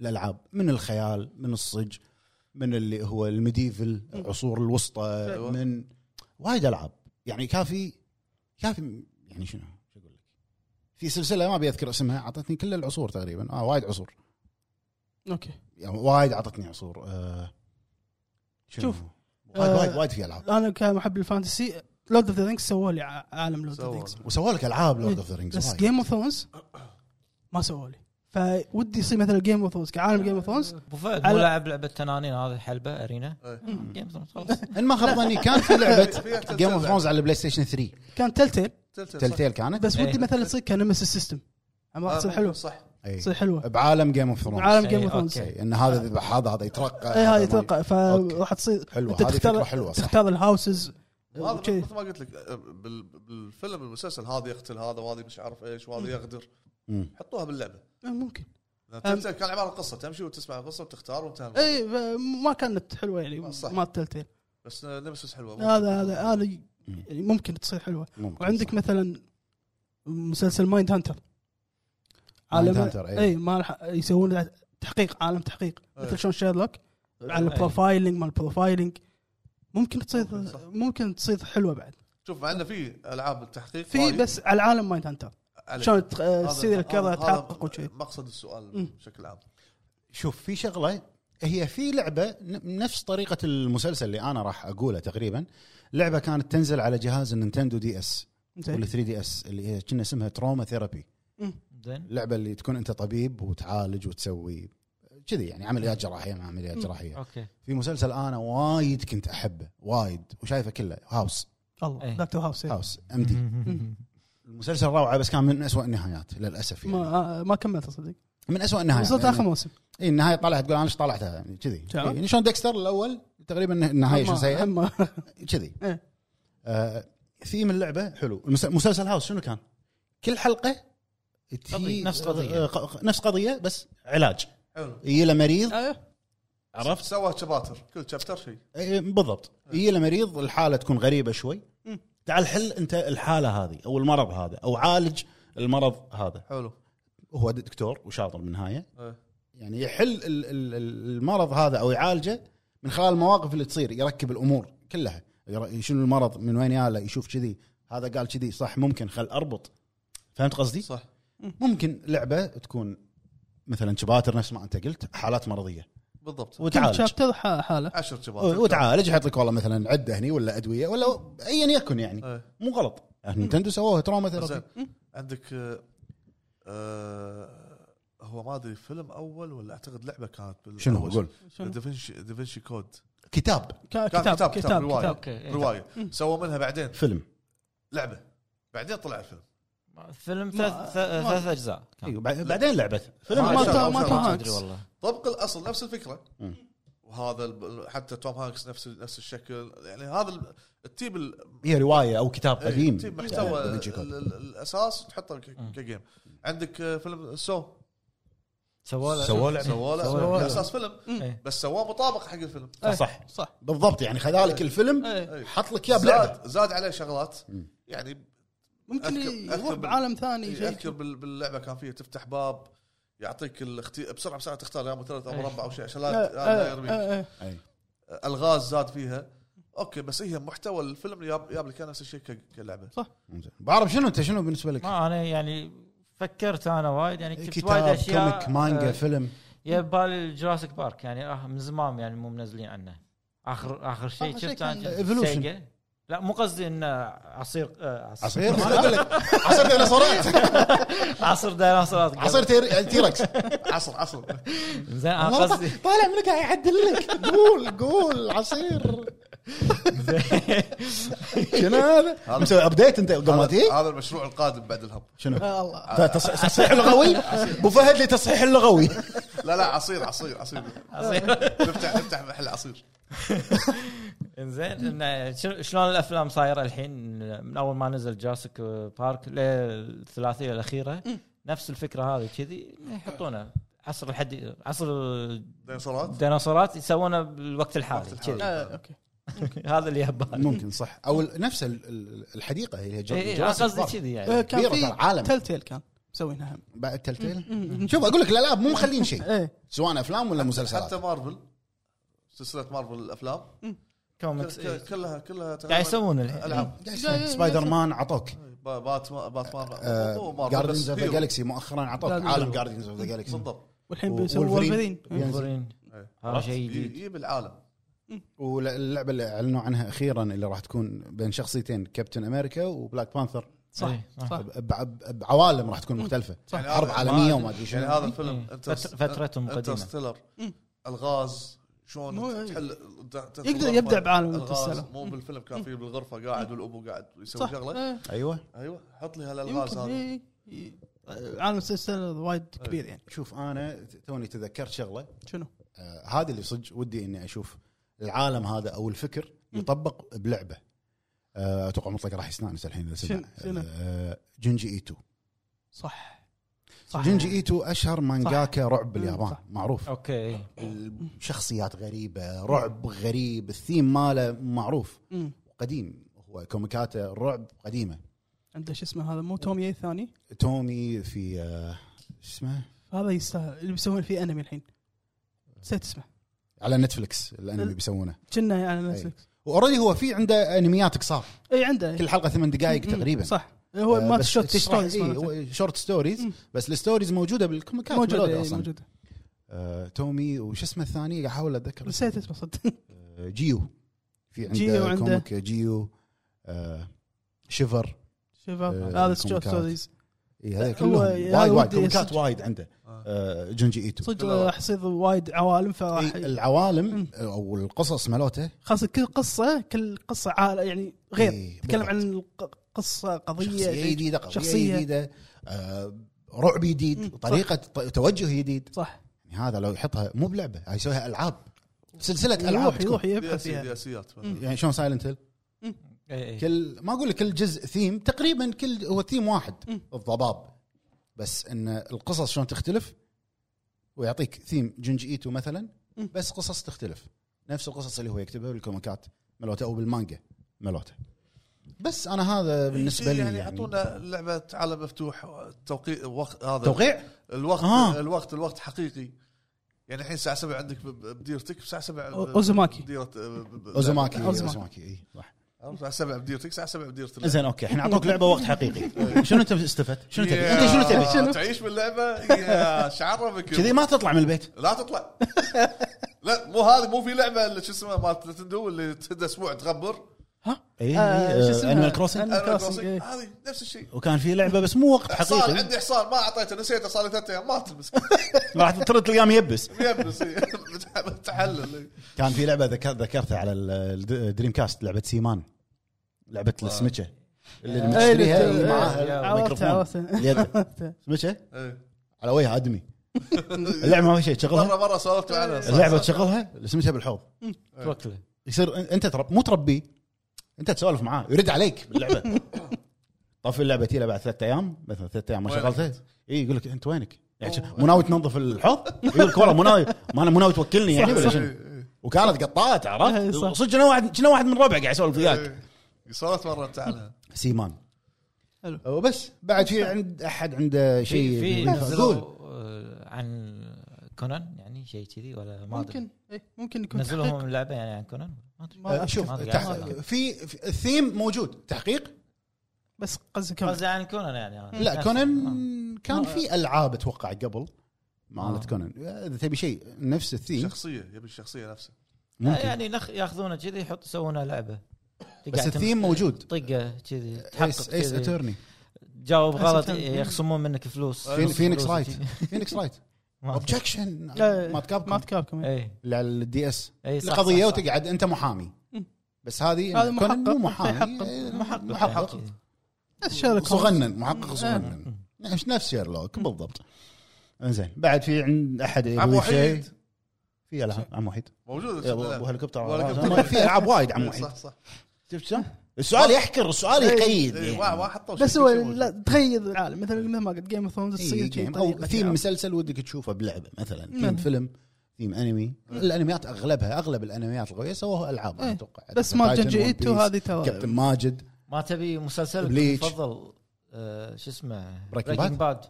Speaker 1: الالعاب من الخيال من الصج من اللي هو الميديفل العصور الوسطى
Speaker 2: أيوة.
Speaker 1: من وايد العاب يعني كافي كافي يعني شنو شو اقول لك في سلسله ما ابي اذكر اسمها اعطتني كل العصور تقريبا اه وايد عصور
Speaker 3: اوكي
Speaker 1: يعني وايد اعطتني عصور آه شنو؟
Speaker 3: شوف.
Speaker 1: وايد
Speaker 3: آه،
Speaker 1: وايد وايد في العاب
Speaker 3: انا كمحب الفانتسي لورد اوف ذا رينجز سووا لي ع- عالم لورد اوف
Speaker 2: سووا
Speaker 3: ذا رينجز
Speaker 1: وسووا لك العاب لورد اوف ذا
Speaker 3: بس
Speaker 1: رينجز
Speaker 3: جيم اوف ثرونز ما سووا لي فودي يصير مثلا جيم اوف ثرونز كعالم جيم اوف ثرونز
Speaker 4: ابو فهد مو
Speaker 3: على-
Speaker 4: لاعب لعبه تنانين هذا الحلبه ارينا
Speaker 2: إيه.
Speaker 4: جيمز خلاص
Speaker 1: ان ما خاب ظني كان في لعبه
Speaker 2: فيها تلتيل
Speaker 1: جيم اوف
Speaker 2: بعد.
Speaker 1: ثرونز على البلاي ستيشن 3
Speaker 3: كان تلتيل
Speaker 2: تلتيل صح.
Speaker 1: تلتيل كانت
Speaker 3: بس
Speaker 4: إيه.
Speaker 3: ودي مثلا تصير كنمس السيستم اما راح
Speaker 2: آه،
Speaker 3: تصير
Speaker 2: ممكن،
Speaker 3: حلوه
Speaker 2: صح
Speaker 1: أي.
Speaker 3: تصير حلوه
Speaker 1: إيه. بعالم جيم اوف ثرونز
Speaker 3: عالم جيم
Speaker 4: إيه،
Speaker 3: اوف ثرونز
Speaker 4: أوكي.
Speaker 1: ان هذا ذبح هذا هذا يترقى
Speaker 3: اي
Speaker 1: هذا
Speaker 3: هاي
Speaker 1: ما-
Speaker 3: يتوقع إيه، فراح تصير
Speaker 1: حلوة،
Speaker 3: انت
Speaker 1: هذه فكرة
Speaker 3: تختار
Speaker 1: حلوة، صح.
Speaker 3: تختار الهاوسز
Speaker 2: وهذا
Speaker 3: وكذي.
Speaker 2: مثل ما قلت لك آه، بال- بالفيلم المسلسل هذا يقتل هذا وهذا مش عارف ايش وهذا يغدر
Speaker 1: مم.
Speaker 2: حطوها باللعبه
Speaker 3: آه، ممكن
Speaker 2: تلتيل كان عباره عن قصه تمشي وتسمع القصه وتختار وانتهى الموضوع.
Speaker 3: اي ف- إيه، ما كانت حلوه يعني
Speaker 2: صح.
Speaker 3: ما تلتيل
Speaker 2: بس آه، نمسس حلوه
Speaker 3: هذا هذا هذا ي- يعني ممكن تصير حلوه
Speaker 1: ممكن
Speaker 3: وعندك
Speaker 1: صح.
Speaker 3: مثلا مسلسل مايند هانتر
Speaker 1: هانتر، إيه.
Speaker 3: اي ما رح- يسوون له تحقيق عالم تحقيق
Speaker 2: إيه.
Speaker 3: مثل شلون شيرلوك على
Speaker 4: إيه.
Speaker 3: البروفايلنج مال البروفايلنج ممكن تصير
Speaker 2: ممكن، صح.
Speaker 3: ممكن تصير حلوه بعد
Speaker 2: شوف مع انه في العاب التحقيق
Speaker 3: في
Speaker 2: وايد
Speaker 3: بس على العالم مايند هانتر
Speaker 2: عليه.
Speaker 3: شلون تخ-
Speaker 2: هذا-
Speaker 3: تصير الكذا
Speaker 2: هذا-
Speaker 3: تحقق وشي
Speaker 2: مقصد السؤال
Speaker 3: مم.
Speaker 2: بشكل عام
Speaker 1: شوف في شغله هي في لعبه ن- نفس طريقه المسلسل اللي انا راح اقوله تقريبا لعبه كانت تنزل على جهاز النينتندو دي اس
Speaker 3: زين.
Speaker 1: ولا 3 دي اس اللي هي كنا اسمها تروما ثيرابي
Speaker 4: زين
Speaker 1: اللعبه اللي تكون انت طبيب وتعالج وتسوي كذي يعني عمليات جراحيه مع عمليات جراحيه
Speaker 4: اوكي
Speaker 1: في مسلسل انا وايد كنت احبه وايد وشايفه كله هاوس
Speaker 3: الله
Speaker 4: إيه.
Speaker 3: دكتور هاوس إيه.
Speaker 1: هاوس ام دي المسلسل روعه بس كان من أسوأ النهايات للاسف يعني
Speaker 3: ما ما كملت صدق
Speaker 1: من أسوأ النهايات
Speaker 3: وصلت اخر
Speaker 1: يعني
Speaker 3: موسم
Speaker 1: اي النهايه طلعت تقول انا ايش طلعتها يعني كذي
Speaker 3: تمام.
Speaker 1: يعني شلون ديكستر الاول تقريبا النهايه شو
Speaker 3: هم-
Speaker 1: سيئه
Speaker 3: هم-
Speaker 1: كذي
Speaker 3: إيه.
Speaker 1: آه، ثيم اللعبه حلو المس- مسلسل هاوس شنو كان؟ كل حلقه
Speaker 4: قضية، نفس قضية.
Speaker 1: آه، ق- نفس قضيه بس علاج
Speaker 2: حلو
Speaker 1: يجي له مريض
Speaker 3: ايوه
Speaker 1: عرفت
Speaker 2: سوى شباتر كل شابتر شيء
Speaker 1: إيه، بالضبط يجي له مريض الحاله تكون غريبه شوي
Speaker 3: مم.
Speaker 1: تعال حل انت الحاله هذه او المرض هذا او عالج المرض هذا
Speaker 2: حلو
Speaker 1: هو دكتور وشاطر بالنهايه
Speaker 2: إيه.
Speaker 1: يعني يحل ال- ال- ال- المرض هذا او يعالجه من خلال المواقف اللي تصير يركب الامور كلها ير- شنو المرض من وين ياله يشوف كذي هذا قال كذي صح ممكن خل اربط فهمت قصدي؟
Speaker 2: صح
Speaker 1: ممكن لعبه تكون مثلا شباتر نفس ما انت قلت حالات مرضيه
Speaker 2: بالضبط
Speaker 3: كل
Speaker 1: وتعالج
Speaker 3: شابتر ح- حاله
Speaker 2: عشر
Speaker 1: إيه،
Speaker 2: شباتر
Speaker 1: وتعالج يحط لك والله مثلا عده هني ولا ادويه ولا ايا يكن يعني
Speaker 2: إيه.
Speaker 1: مو غلط نينتندو سووها تروما
Speaker 2: زين
Speaker 1: ثيرابي
Speaker 2: عندك آه، آه هو ما ادري فيلم اول ولا اعتقد لعبه كانت بال-
Speaker 1: شنو هو
Speaker 2: أول.
Speaker 1: قول
Speaker 3: شنو؟
Speaker 2: دافنشي دافنشي كود
Speaker 1: كتاب
Speaker 3: ك-
Speaker 2: كان
Speaker 3: كتاب كتاب
Speaker 2: روايه
Speaker 3: كتاب
Speaker 4: كتاب. أوكي، إيه.
Speaker 2: روايه سووا منها بعدين
Speaker 1: فيلم
Speaker 2: لعبه بعدين طلع الفيلم
Speaker 4: فيلم ثلاث ثلاث ثلاث اجزاء
Speaker 3: إيه.
Speaker 4: كان.
Speaker 1: ايوه بعد- بعدين لعبه فيلم
Speaker 4: أه.
Speaker 3: ما
Speaker 1: ما-
Speaker 3: توم- ما توم
Speaker 4: ما
Speaker 3: هانكس.
Speaker 4: ادري والله
Speaker 2: طبق الاصل نفس الفكره
Speaker 1: مم.
Speaker 2: وهذا ال- حتى توم هانكس نفس نفس الشكل يعني هذا ال- التيم ال-
Speaker 1: هي روايه او كتاب قديم
Speaker 2: تيم إيه، محتوى
Speaker 1: يعني دافنشي كود.
Speaker 2: ال- ال- الاساس تحطه ك- كجيم عندك آه، فيلم سو
Speaker 4: سووا له
Speaker 1: سووا له
Speaker 2: سووا
Speaker 4: سووا
Speaker 2: له
Speaker 4: له.
Speaker 2: اساس فيلم
Speaker 4: إيه.
Speaker 2: بس سواه مطابق حق الفيلم
Speaker 1: أه، صح
Speaker 3: صح
Speaker 1: بالضبط يعني خذلك الفيلم
Speaker 3: إيه.
Speaker 1: حط لك اياه بلعبه
Speaker 2: زاد زاد عليه شغلات يعني
Speaker 3: ممكن
Speaker 2: أذكر- أذكر
Speaker 3: يروح
Speaker 2: بال-
Speaker 3: بعالم ثاني
Speaker 2: اذكر
Speaker 3: شيء
Speaker 2: بال- باللعبه كان فيه تفتح باب يعطيك الاختي... بسرعه بسرعه تختار يا مثلث او
Speaker 4: إيه.
Speaker 2: مربع او شيء عشان
Speaker 3: آه،
Speaker 2: لا ت- لا
Speaker 3: آه،
Speaker 2: يرميك
Speaker 3: آه، آه.
Speaker 1: أي.
Speaker 2: الغاز زاد فيها اوكي بس هي محتوى الفيلم ياب ياب لك كان نفس الشيء ك- كلعبه
Speaker 1: إنزين. بعرف شنو انت شنو بالنسبه لك؟ إيه،
Speaker 4: ما انا يعني فكرت انا وايد يعني كتبت وايد
Speaker 1: كتاب
Speaker 4: اشياء
Speaker 1: كوميك مانجا
Speaker 4: آه،
Speaker 1: فيلم
Speaker 4: يا بالي جوراسيك بارك يعني آه من زمان يعني مو منزلين عنه اخر اخر شيء
Speaker 3: آخر شيء
Speaker 4: شفت
Speaker 3: كان
Speaker 4: أنا
Speaker 1: Evolution.
Speaker 4: سيجا. لا مو قصدي انه عصير آه،
Speaker 1: عصير ما أنا اقول لك عصير ديناصورات
Speaker 4: عصير ديناصورات قبل.
Speaker 1: عصير تير- تيركس
Speaker 2: عصر عصر
Speaker 4: زين
Speaker 3: آه،
Speaker 4: انا قصدي
Speaker 1: طالع منك قاعد يعدل لك قول قول عصير شنو هذا؟ مسوي ابديت انت قبل ما تجي؟
Speaker 2: هذا هذا المشروع القادم بعد الهب
Speaker 1: شنو؟
Speaker 3: آه، الله
Speaker 1: ت- تص- تصحيح لغوي ابو فهد لي تصحيح لغوي
Speaker 2: لا لا عصير عصير عصير
Speaker 4: عصير
Speaker 2: نفتح نفتح محل عصير
Speaker 4: زين انه شنو- شلون الافلام صايره الحين من اول ما نزل جوراسيك بارك للثلاثيه الاخيره نفس الفكره هذه كذي يحطونه عصر الحديث عصر
Speaker 2: ديناصورات
Speaker 4: الديناصورات يسوونه بالوقت الحالي
Speaker 2: الوقت
Speaker 4: كذي
Speaker 3: آه، اوكي
Speaker 4: هذا اللي يبان
Speaker 1: ممكن صح او ال- نفس ال- ال- الحديقه هي
Speaker 4: إيه، إيه،
Speaker 1: جراسيك
Speaker 4: قصدي
Speaker 1: بارك.
Speaker 4: كذي
Speaker 3: آه،
Speaker 4: يعني
Speaker 1: كبيرة ترى، عالم.
Speaker 3: كان في تلتيل كان مسوينها هم
Speaker 1: بعد تلتيل
Speaker 3: مم.
Speaker 1: شوف اقول لك الالعاب مو مخلين شيء
Speaker 3: ايه
Speaker 1: سواء افلام ولا مسلسلات
Speaker 2: حتى مارفل سلسله مارفل الافلام
Speaker 4: كوميكس إيه.
Speaker 2: ك- كلها كلها
Speaker 4: قاعد
Speaker 2: تقريباً
Speaker 4: يسوون الحين
Speaker 2: العاب
Speaker 3: جاي-
Speaker 1: سبايدر مان عطوك آه،
Speaker 2: با- باتمان باتمان مو مارفل، بس
Speaker 1: جاردنز اوف ذا
Speaker 2: هيرو.
Speaker 1: جالكسي مؤخرا عطوك
Speaker 3: Guardians
Speaker 1: عالم
Speaker 3: of-
Speaker 1: جاردنز اوف ذا جالكسي
Speaker 2: بالضبط
Speaker 3: والحين
Speaker 1: و-
Speaker 3: بيسووا
Speaker 1: Wolverine.
Speaker 3: ولفرين
Speaker 4: وولفرين.
Speaker 2: إيه.
Speaker 4: هذا شيء
Speaker 2: ي-
Speaker 4: جديد
Speaker 2: يجيب العالم
Speaker 1: واللعبه اللي اعلنوا عنها اخيرا اللي راح تكون بين شخصيتين كابتن امريكا وبلاك بانثر
Speaker 3: صح
Speaker 4: إيه،
Speaker 3: صح
Speaker 1: ب- ب- بعوالم راح تكون مختلفه
Speaker 3: صح.
Speaker 2: يعني
Speaker 1: حرب
Speaker 2: هذا-
Speaker 1: عالميه وما ادري
Speaker 2: يعني
Speaker 1: شنو
Speaker 2: هذا الفيلم
Speaker 4: إيه. فت- فترتهم قديمة.
Speaker 2: انترستيلر
Speaker 3: مم.
Speaker 2: الغاز
Speaker 3: مو-
Speaker 2: شلون تحل تدخل
Speaker 3: يقدر
Speaker 2: غرفة،
Speaker 3: يبدع بعالم
Speaker 2: الغاز
Speaker 3: Interstellar.
Speaker 2: مو بالفيلم كان فيه بالغرفه قاعد والابو قاعد يسوي
Speaker 3: صح
Speaker 2: شغله
Speaker 3: إيه،
Speaker 1: ايوه
Speaker 2: ايوه حط لي هالالغاز
Speaker 3: يمكن
Speaker 2: هذا
Speaker 3: إيه، إيه. آه، عالم السلسله وايد كبير يعني
Speaker 1: شوف انا توني تذكرت شغله
Speaker 3: شنو؟
Speaker 1: آه، هذا اللي صدق ودي اني اشوف العالم هذا او الفكر يطبق بلعبه آه، اتوقع مطلق راح يستانس الحين اذا سمع
Speaker 3: شنو- شنو؟
Speaker 1: آه، جنجي ايتو
Speaker 3: صح
Speaker 1: جنجي ايتو اشهر مانجاكا رعب باليابان معروف
Speaker 4: اوكي
Speaker 1: شخصيات غريبه رعب غريب الثيم ماله معروف
Speaker 3: مم.
Speaker 1: قديم هو كوميكاته الرعب قديمه
Speaker 3: عنده شو اسمه هذا مو تومي الثاني
Speaker 1: تومي في آه، شو اسمه
Speaker 3: هذا يستاهل اللي بيسوون فيه انمي الحين نسيت اسمه
Speaker 1: على نتفلكس الانمي بيسوونه
Speaker 3: كنا على نتفلكس
Speaker 1: اوريدي هو في عنده انميات قصار
Speaker 3: اي عنده
Speaker 1: كل حلقه ثمان دقائق
Speaker 3: مم، مم،
Speaker 1: تقريبا
Speaker 3: صح هو
Speaker 1: آه،
Speaker 3: مات
Speaker 1: بس
Speaker 3: شوت
Speaker 1: تشرح
Speaker 3: ستوريز
Speaker 1: إيه
Speaker 3: مالته.
Speaker 1: هو شورت ستوريز
Speaker 3: مم.
Speaker 1: بس الستوريز موجوده بالكوميكات
Speaker 3: موجوده
Speaker 1: موجوده
Speaker 3: إيه،
Speaker 1: اصلا
Speaker 3: موجوده
Speaker 1: آه، تومي وش اسمه الثاني قاعد احاول اتذكر
Speaker 3: نسيت اسمه صدق
Speaker 1: آه، جيو في عنده
Speaker 3: جيو
Speaker 1: جيو
Speaker 3: عنده.
Speaker 1: كوميك جيو آه، شيفر
Speaker 3: شباب
Speaker 1: آه،
Speaker 3: هذا شوت
Speaker 1: كوميكات.
Speaker 3: ستوريز
Speaker 1: إي، هذا
Speaker 3: آه، هو-
Speaker 1: كلهم
Speaker 3: يا
Speaker 1: وايد وايد
Speaker 3: ودي
Speaker 1: كوميكات
Speaker 3: صدق.
Speaker 1: وايد عنده آه، جونجي ايتو
Speaker 3: صدق
Speaker 2: كله-
Speaker 3: آه، حصير وايد عوالم
Speaker 1: إي،
Speaker 3: فراح
Speaker 1: العوالم
Speaker 3: مم.
Speaker 1: او القصص مالته
Speaker 3: خاصة كل قصة كل قصة عال يعني غير
Speaker 1: إيه،
Speaker 3: تتكلم
Speaker 1: بالضبط.
Speaker 3: عن الق- قصة قضية
Speaker 1: شخصيه جديده قضيه
Speaker 3: شخصية.
Speaker 1: جديده آه، رعب
Speaker 3: مم،
Speaker 1: جديد
Speaker 3: صح.
Speaker 1: طريقه ط- توجه جديد
Speaker 3: صح
Speaker 1: يعني هذا لو يحطها مو بلعبه يسويها العاب سلسله العاب
Speaker 3: يروح
Speaker 1: تكون.
Speaker 3: يروح يبحث
Speaker 2: دياسي-
Speaker 3: فيها
Speaker 2: دياسيات
Speaker 1: يعني شلون سايلنت هيل
Speaker 4: إيه، إيه.
Speaker 1: كل ما اقول لك كل جزء ثيم تقريبا كل هو ثيم واحد الضباب بس ان القصص شلون تختلف ويعطيك ثيم جنجي ايتو مثلا
Speaker 3: مم.
Speaker 1: بس قصص تختلف نفس القصص اللي هو يكتبها بالكوميكات ملوته او بالمانجا ملوته بس انا
Speaker 3: إيه،
Speaker 1: هذا بالنسبه لي
Speaker 2: يعني
Speaker 1: يعني,
Speaker 2: يعطونا لعبه عالم مفتوح توقيع وقت هذا
Speaker 1: توقيع
Speaker 2: الوقت
Speaker 1: آه.
Speaker 2: آه. الوقت الوقت حقيقي يعني الحين الساعه 7 عندك ب- ب- بديرتك الساعه 7
Speaker 3: أو- أوزوماكي.
Speaker 2: بديرة ب- ب-
Speaker 1: اوزوماكي
Speaker 3: أوزوماكي.
Speaker 1: اوزوماكي اي صح
Speaker 2: الساعه 7 بديرتك الساعه 7 بديرة
Speaker 1: زين اوكي احنا اعطوك لعبه وقت
Speaker 3: إيه.
Speaker 1: حقيقي شنو انت استفدت؟ شنو تبي؟ انت شنو تبي؟
Speaker 2: شنو تعيش باللعبه يا شعربك
Speaker 1: كذي ما تطلع من البيت
Speaker 2: لا تطلع لا مو هذه مو في لعبه اللي شو اسمها مالت نتندو اللي تهد اسبوع تغبر
Speaker 1: اي
Speaker 3: آه، شو اسمها؟
Speaker 1: انيمال كروسنج
Speaker 3: Animal
Speaker 2: أنا
Speaker 3: Crossing،
Speaker 2: قصدي
Speaker 3: إيه.
Speaker 2: هذه نفس الشيء
Speaker 1: إيه، وكان في لعبه بس مو وقت
Speaker 2: حصان
Speaker 1: حقيقي
Speaker 2: عندي حصان ما اعطيته نسيته صار لي ثلاث ايام مات المسكين
Speaker 1: راح ترى تلقاه ميبس
Speaker 2: يبس تحلل
Speaker 1: كان في لعبه ذكر ذكرتها على ال- الد- الدريم كاست لعبه سيمان لعبه السمكه اللي
Speaker 4: آه.
Speaker 1: مشتريها
Speaker 3: إيه،
Speaker 1: اللي
Speaker 3: إيه،
Speaker 1: معاها
Speaker 3: عرفت
Speaker 1: ميكروفون
Speaker 3: عرفت
Speaker 1: اليد سمكه
Speaker 2: إيه.
Speaker 1: على وجه ادمي اللعبه ما في شيء
Speaker 2: مره
Speaker 1: تشغلها
Speaker 2: مره سولفت عنها صح،
Speaker 1: اللعبه
Speaker 2: صح.
Speaker 1: تشغلها سمكه بالحوض
Speaker 4: توكله
Speaker 1: يصير أن- انت ترب مو تربيه انت تسولف معاه يرد عليك باللعبه طفي اللعبه تيلا بعد ثلاثة ايام مثلا ثلاثة ايام ما
Speaker 2: وينك
Speaker 1: شغلتها
Speaker 2: أنت؟
Speaker 1: اي يقول لك انت وينك؟ يعني شو-
Speaker 2: أوه.
Speaker 1: مو ناوي تنظف الحوض؟ يقول لك والله مو ناوي ما انا مو ناوي توكلني يعني ولا شنو؟
Speaker 2: إيه، إيه.
Speaker 1: وكانت قطات
Speaker 3: إيه،
Speaker 1: عرفت؟
Speaker 3: صح.
Speaker 1: صدق كنا واحد كنا واحد من ربع قاعد يسولف وياك
Speaker 2: إيه. سولفت مره أنت عنها
Speaker 1: سيمان
Speaker 3: حلو.
Speaker 1: وبس بعد في عند احد عنده شيء
Speaker 4: في
Speaker 1: بالضبط. قول
Speaker 4: نزلوا آه، عن كونان يعني شيء كذي ولا ما أدري.
Speaker 3: ممكن إيه، ممكن يكون
Speaker 4: نزلوا
Speaker 3: تحقيق.
Speaker 4: هم اللعبه يعني عن كونان ما أدري.
Speaker 3: ما
Speaker 1: آه، شوف
Speaker 4: ما أدري.
Speaker 1: تح- في في- الثيم موجود تحقيق
Speaker 3: بس قصدي كم
Speaker 4: قصدي عن كونان يعني أنا.
Speaker 1: لا
Speaker 4: نفسه.
Speaker 1: كونان كان
Speaker 3: آه.
Speaker 1: في العاب اتوقع قبل
Speaker 4: آه.
Speaker 1: مالت كونان اذا تبي شيء نفس الثيم
Speaker 2: شخصيه يبي الشخصيه نفسها
Speaker 4: آه،
Speaker 1: ممكن
Speaker 4: يعني نخ- ياخذونه كذي يحط يسوونه لعبه
Speaker 1: بس الثيم موجود
Speaker 4: طقه كذي
Speaker 1: ايس
Speaker 4: تحقق
Speaker 1: ايس
Speaker 4: كذي
Speaker 1: اتورني
Speaker 4: تجاوب
Speaker 3: Ace
Speaker 4: غلط
Speaker 3: Attorney.
Speaker 4: يخصمون منك فلوس
Speaker 2: فين-
Speaker 1: فينيكس
Speaker 4: فلوس
Speaker 1: رايت.
Speaker 4: وشي.
Speaker 1: فينيكس رايت
Speaker 4: ما أدري.
Speaker 1: اوبجكشن
Speaker 3: لا،
Speaker 1: مات كابكوم
Speaker 3: مات كاب
Speaker 1: إيه.
Speaker 3: كمان
Speaker 4: اي
Speaker 1: اللي على الدي اس
Speaker 4: اي صح،
Speaker 1: قضيه
Speaker 4: صح، صح.
Speaker 1: وتقعد انت محامي
Speaker 3: مم.
Speaker 1: بس هذه
Speaker 3: هذا
Speaker 1: كونان مو
Speaker 3: محقق،
Speaker 1: محامي
Speaker 3: محقق.
Speaker 1: إيه،
Speaker 4: محقق
Speaker 1: محقق
Speaker 4: يعني.
Speaker 3: نفس شيرلوك هولمز.
Speaker 1: صغنن محقق صغنن نفس نفس شيرلوك بالضبط انزين بعد في عند احد
Speaker 2: عم
Speaker 1: يضيف شيء
Speaker 2: وحيد
Speaker 1: في العاب عم وحيد
Speaker 2: موجود
Speaker 1: يا أبو- أبو هليكوبتر على
Speaker 2: ولا
Speaker 1: راسه.
Speaker 2: قبل.
Speaker 1: في العاب وايد عم
Speaker 2: إيه،
Speaker 1: وحيد
Speaker 2: صح صح
Speaker 1: شفت شلون؟ السؤال يحكر السؤال يقيد
Speaker 2: إيه،
Speaker 1: يعني.
Speaker 2: ما ما حطوا شيء،
Speaker 3: بس
Speaker 2: كل
Speaker 3: هو
Speaker 2: شيء موجود.
Speaker 3: لا تغير العالم مثلا مثل ما قلت جيم اوف ثرونز
Speaker 1: اي جيم
Speaker 3: طيب،
Speaker 1: او إيه، يعني ثيم مسلسل ودك تشوفه بلعبه مثلا ثيم
Speaker 3: مم.
Speaker 1: فيلم ثيم انمي الانميات اغلبها اغلب الانميات القويه سووها العاب أنا
Speaker 3: إيه.
Speaker 1: اتوقع
Speaker 3: بس
Speaker 1: Attack on
Speaker 3: ما
Speaker 1: Titan,
Speaker 3: جنجي
Speaker 1: One
Speaker 3: ايتو
Speaker 1: Piece،
Speaker 3: هذه
Speaker 1: كابتن
Speaker 3: ترى
Speaker 1: ماجد
Speaker 4: ما تبي مسلسل
Speaker 1: بليتش.
Speaker 4: مفضل آه، شو اسمه
Speaker 1: Breaking
Speaker 4: بريكنج باد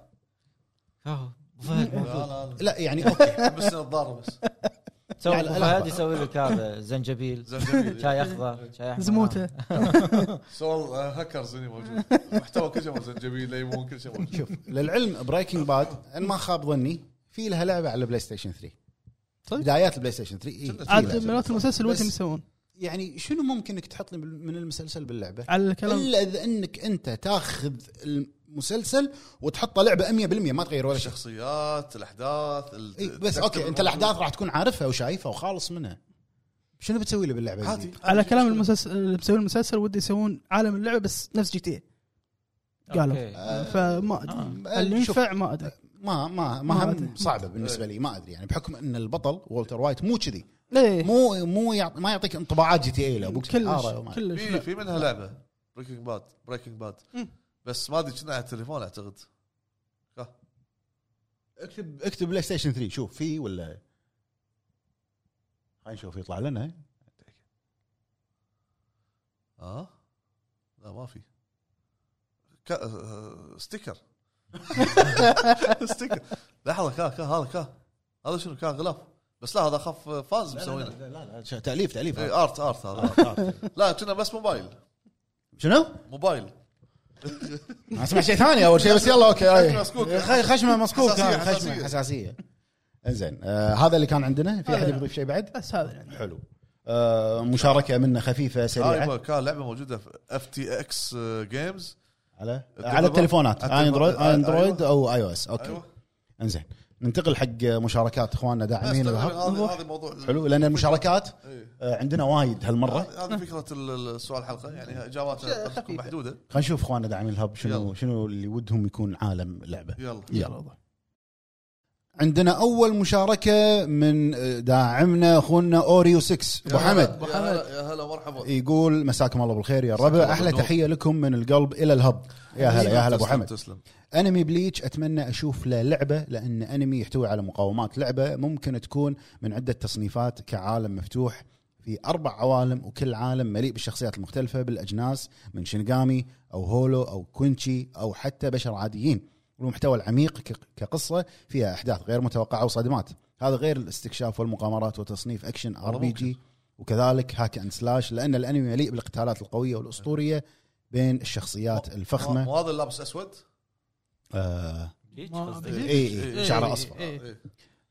Speaker 4: اهو أبو فهد موجود.
Speaker 2: لا لا
Speaker 1: لا يعني اوكي
Speaker 2: لا بس نظاره بس
Speaker 4: سوي
Speaker 1: لا،
Speaker 4: أبو
Speaker 1: لا، لا.
Speaker 4: فهد يسوي لك هذا زنجبيل
Speaker 2: زنجبيل.
Speaker 4: شاي اخضر شاي احمر
Speaker 1: آه.
Speaker 3: زموته
Speaker 2: سول آه، هاكرز هني موجود محتوى كل شيء موجود زنجبيل ليمون كل شيء موجود
Speaker 1: شوف للعلم برايكنج باد ان ما خاب ظني في لها لعبه على البلاي ستيشن 3
Speaker 3: طيب.
Speaker 1: بدايات البلاي ستيشن 3 إيه، في
Speaker 3: عاد
Speaker 1: لها.
Speaker 3: مرات المسلسل
Speaker 1: بس-
Speaker 3: ودهم يسوون
Speaker 1: يعني شنو ممكن انك تحط لي من المسلسل باللعبه؟
Speaker 3: على الكلام
Speaker 1: الا اذا انك انت تاخذ المسلسل وتحطه لعبه 100% ما تغير ولا شيء
Speaker 2: الشخصيات الاحداث ال-
Speaker 1: إيه بس
Speaker 2: تكتب
Speaker 1: اوكي انت
Speaker 2: الموضوع.
Speaker 1: الاحداث راح تكون عارفها وشايفها وخالص منها شنو بتسوي له باللعبه
Speaker 2: عادي
Speaker 1: هذه؟
Speaker 3: على كلام المسلسل اللي مسوي المسلسل ودي يسوون عالم اللعبه بس نفس جي تي إيه. قالوا
Speaker 4: أوكي.
Speaker 1: آه،
Speaker 3: فما ادري
Speaker 1: آه،
Speaker 3: اللي
Speaker 1: شوف،
Speaker 3: ينفع ما ادري
Speaker 1: ما ما
Speaker 3: ما
Speaker 1: ما هم
Speaker 3: أدري.
Speaker 1: صعبه بالنسبه لي ما ادري يعني بحكم ان البطل والتر وايت مو كذي
Speaker 3: ليه
Speaker 1: مو مو يعط ما يعطيك انطباعات جي تي اي لو ابوك سحارة وما-
Speaker 3: إيه. كلش كلش
Speaker 2: في
Speaker 3: لا.
Speaker 2: في منها لعبه بريكنج باد بريكنج باد
Speaker 3: مم.
Speaker 2: بس ما ادري كنا على التليفون اعتقد
Speaker 1: اكتب اكتب بلاي ستيشن 3 شوف في ولا خلينا نشوف يطلع لنا
Speaker 2: اه لا ما في كا... آه، ستيكر ستيكر لحظه كا كا هذا كا هذا شنو كا غلاف بس لا هذا اخاف فاز مسوينه
Speaker 1: لا لا شو- تاليف تاليف
Speaker 2: إيه، ارت ارت هذا لا كنا بس موبايل
Speaker 1: شنو؟
Speaker 2: موبايل
Speaker 1: ما اسمع شيء ثاني اول شيء بس يلا اوكي هاي.
Speaker 2: خشمة مسكوك.
Speaker 1: خ- خشمه مسكوك آه،
Speaker 2: حساسية،
Speaker 1: ها، خشمه
Speaker 2: حساسية.
Speaker 1: حساسيه زين آه هذا اللي كان عندنا في احد
Speaker 2: آه.
Speaker 3: هذا.
Speaker 1: يضيف شيء بعد؟
Speaker 3: بس هذا يعني
Speaker 1: حلو آه مشاركه منا
Speaker 2: آه،
Speaker 1: خفيفه سريعه
Speaker 2: هاي كان لعبه موجوده في اف تي اكس جيمز
Speaker 1: على
Speaker 2: التليفون.
Speaker 1: على التليفونات آه،
Speaker 2: على التليفون.
Speaker 1: اندرويد اندرويد
Speaker 2: أيوة.
Speaker 1: او اي او اس اوكي
Speaker 2: ايوه
Speaker 1: انزين ننتقل حق مشاركات اخواننا
Speaker 2: بس
Speaker 1: داعمين
Speaker 2: تقريباً
Speaker 1: وهب.
Speaker 2: هذا هذا موضوع
Speaker 1: حلو لان المشاركات
Speaker 2: إيه.
Speaker 1: آه عندنا وايد هالمره
Speaker 2: هذه هذه فكره ال- السؤال الحلقه يعني اجاباتها قد تكون محدوده
Speaker 1: خلينا نشوف اخواننا داعمين الهب شنو
Speaker 2: يلا.
Speaker 1: شنو اللي ودهم يكون عالم لعبه
Speaker 2: يلا
Speaker 1: يلا عندنا اول مشاركه من داعمنا اخونا اوريو 6 ابو حمد
Speaker 2: ابو حمد يا هلا مرحبا
Speaker 1: يقول مساكم الله بالخير يا
Speaker 2: مساك
Speaker 1: الربع
Speaker 2: الله
Speaker 1: احلى
Speaker 2: بالنور.
Speaker 1: تحيه لكم من القلب الى الهب يا هلا يا هلا ابو
Speaker 2: تسلم،
Speaker 1: حمد
Speaker 2: تسلم
Speaker 1: انمي بليتش اتمنى اشوف له لعبه لان انمي يحتوي على مقاومات لعبه ممكن تكون من عده تصنيفات كعالم مفتوح في اربع عوالم وكل عالم مليء بالشخصيات المختلفه بالاجناس من شينغامي او هولو او كونشي او حتى بشر عاديين والمحتوى العميق ك- كقصه فيها احداث غير متوقعه وصدمات هذا غير الاستكشاف والمغامرات وتصنيف اكشن ار
Speaker 2: والله
Speaker 1: بي جي وكذلك هاك اند سلاش لان الانمي مليء بالقتالات القويه والاسطوريه بين الشخصيات الفخمه
Speaker 2: مو هذا اللي لابس اسود
Speaker 1: آه
Speaker 4: ليش
Speaker 3: ما-
Speaker 4: قصدك؟
Speaker 1: إيه، إيه، شعره أصفر.
Speaker 2: إيه.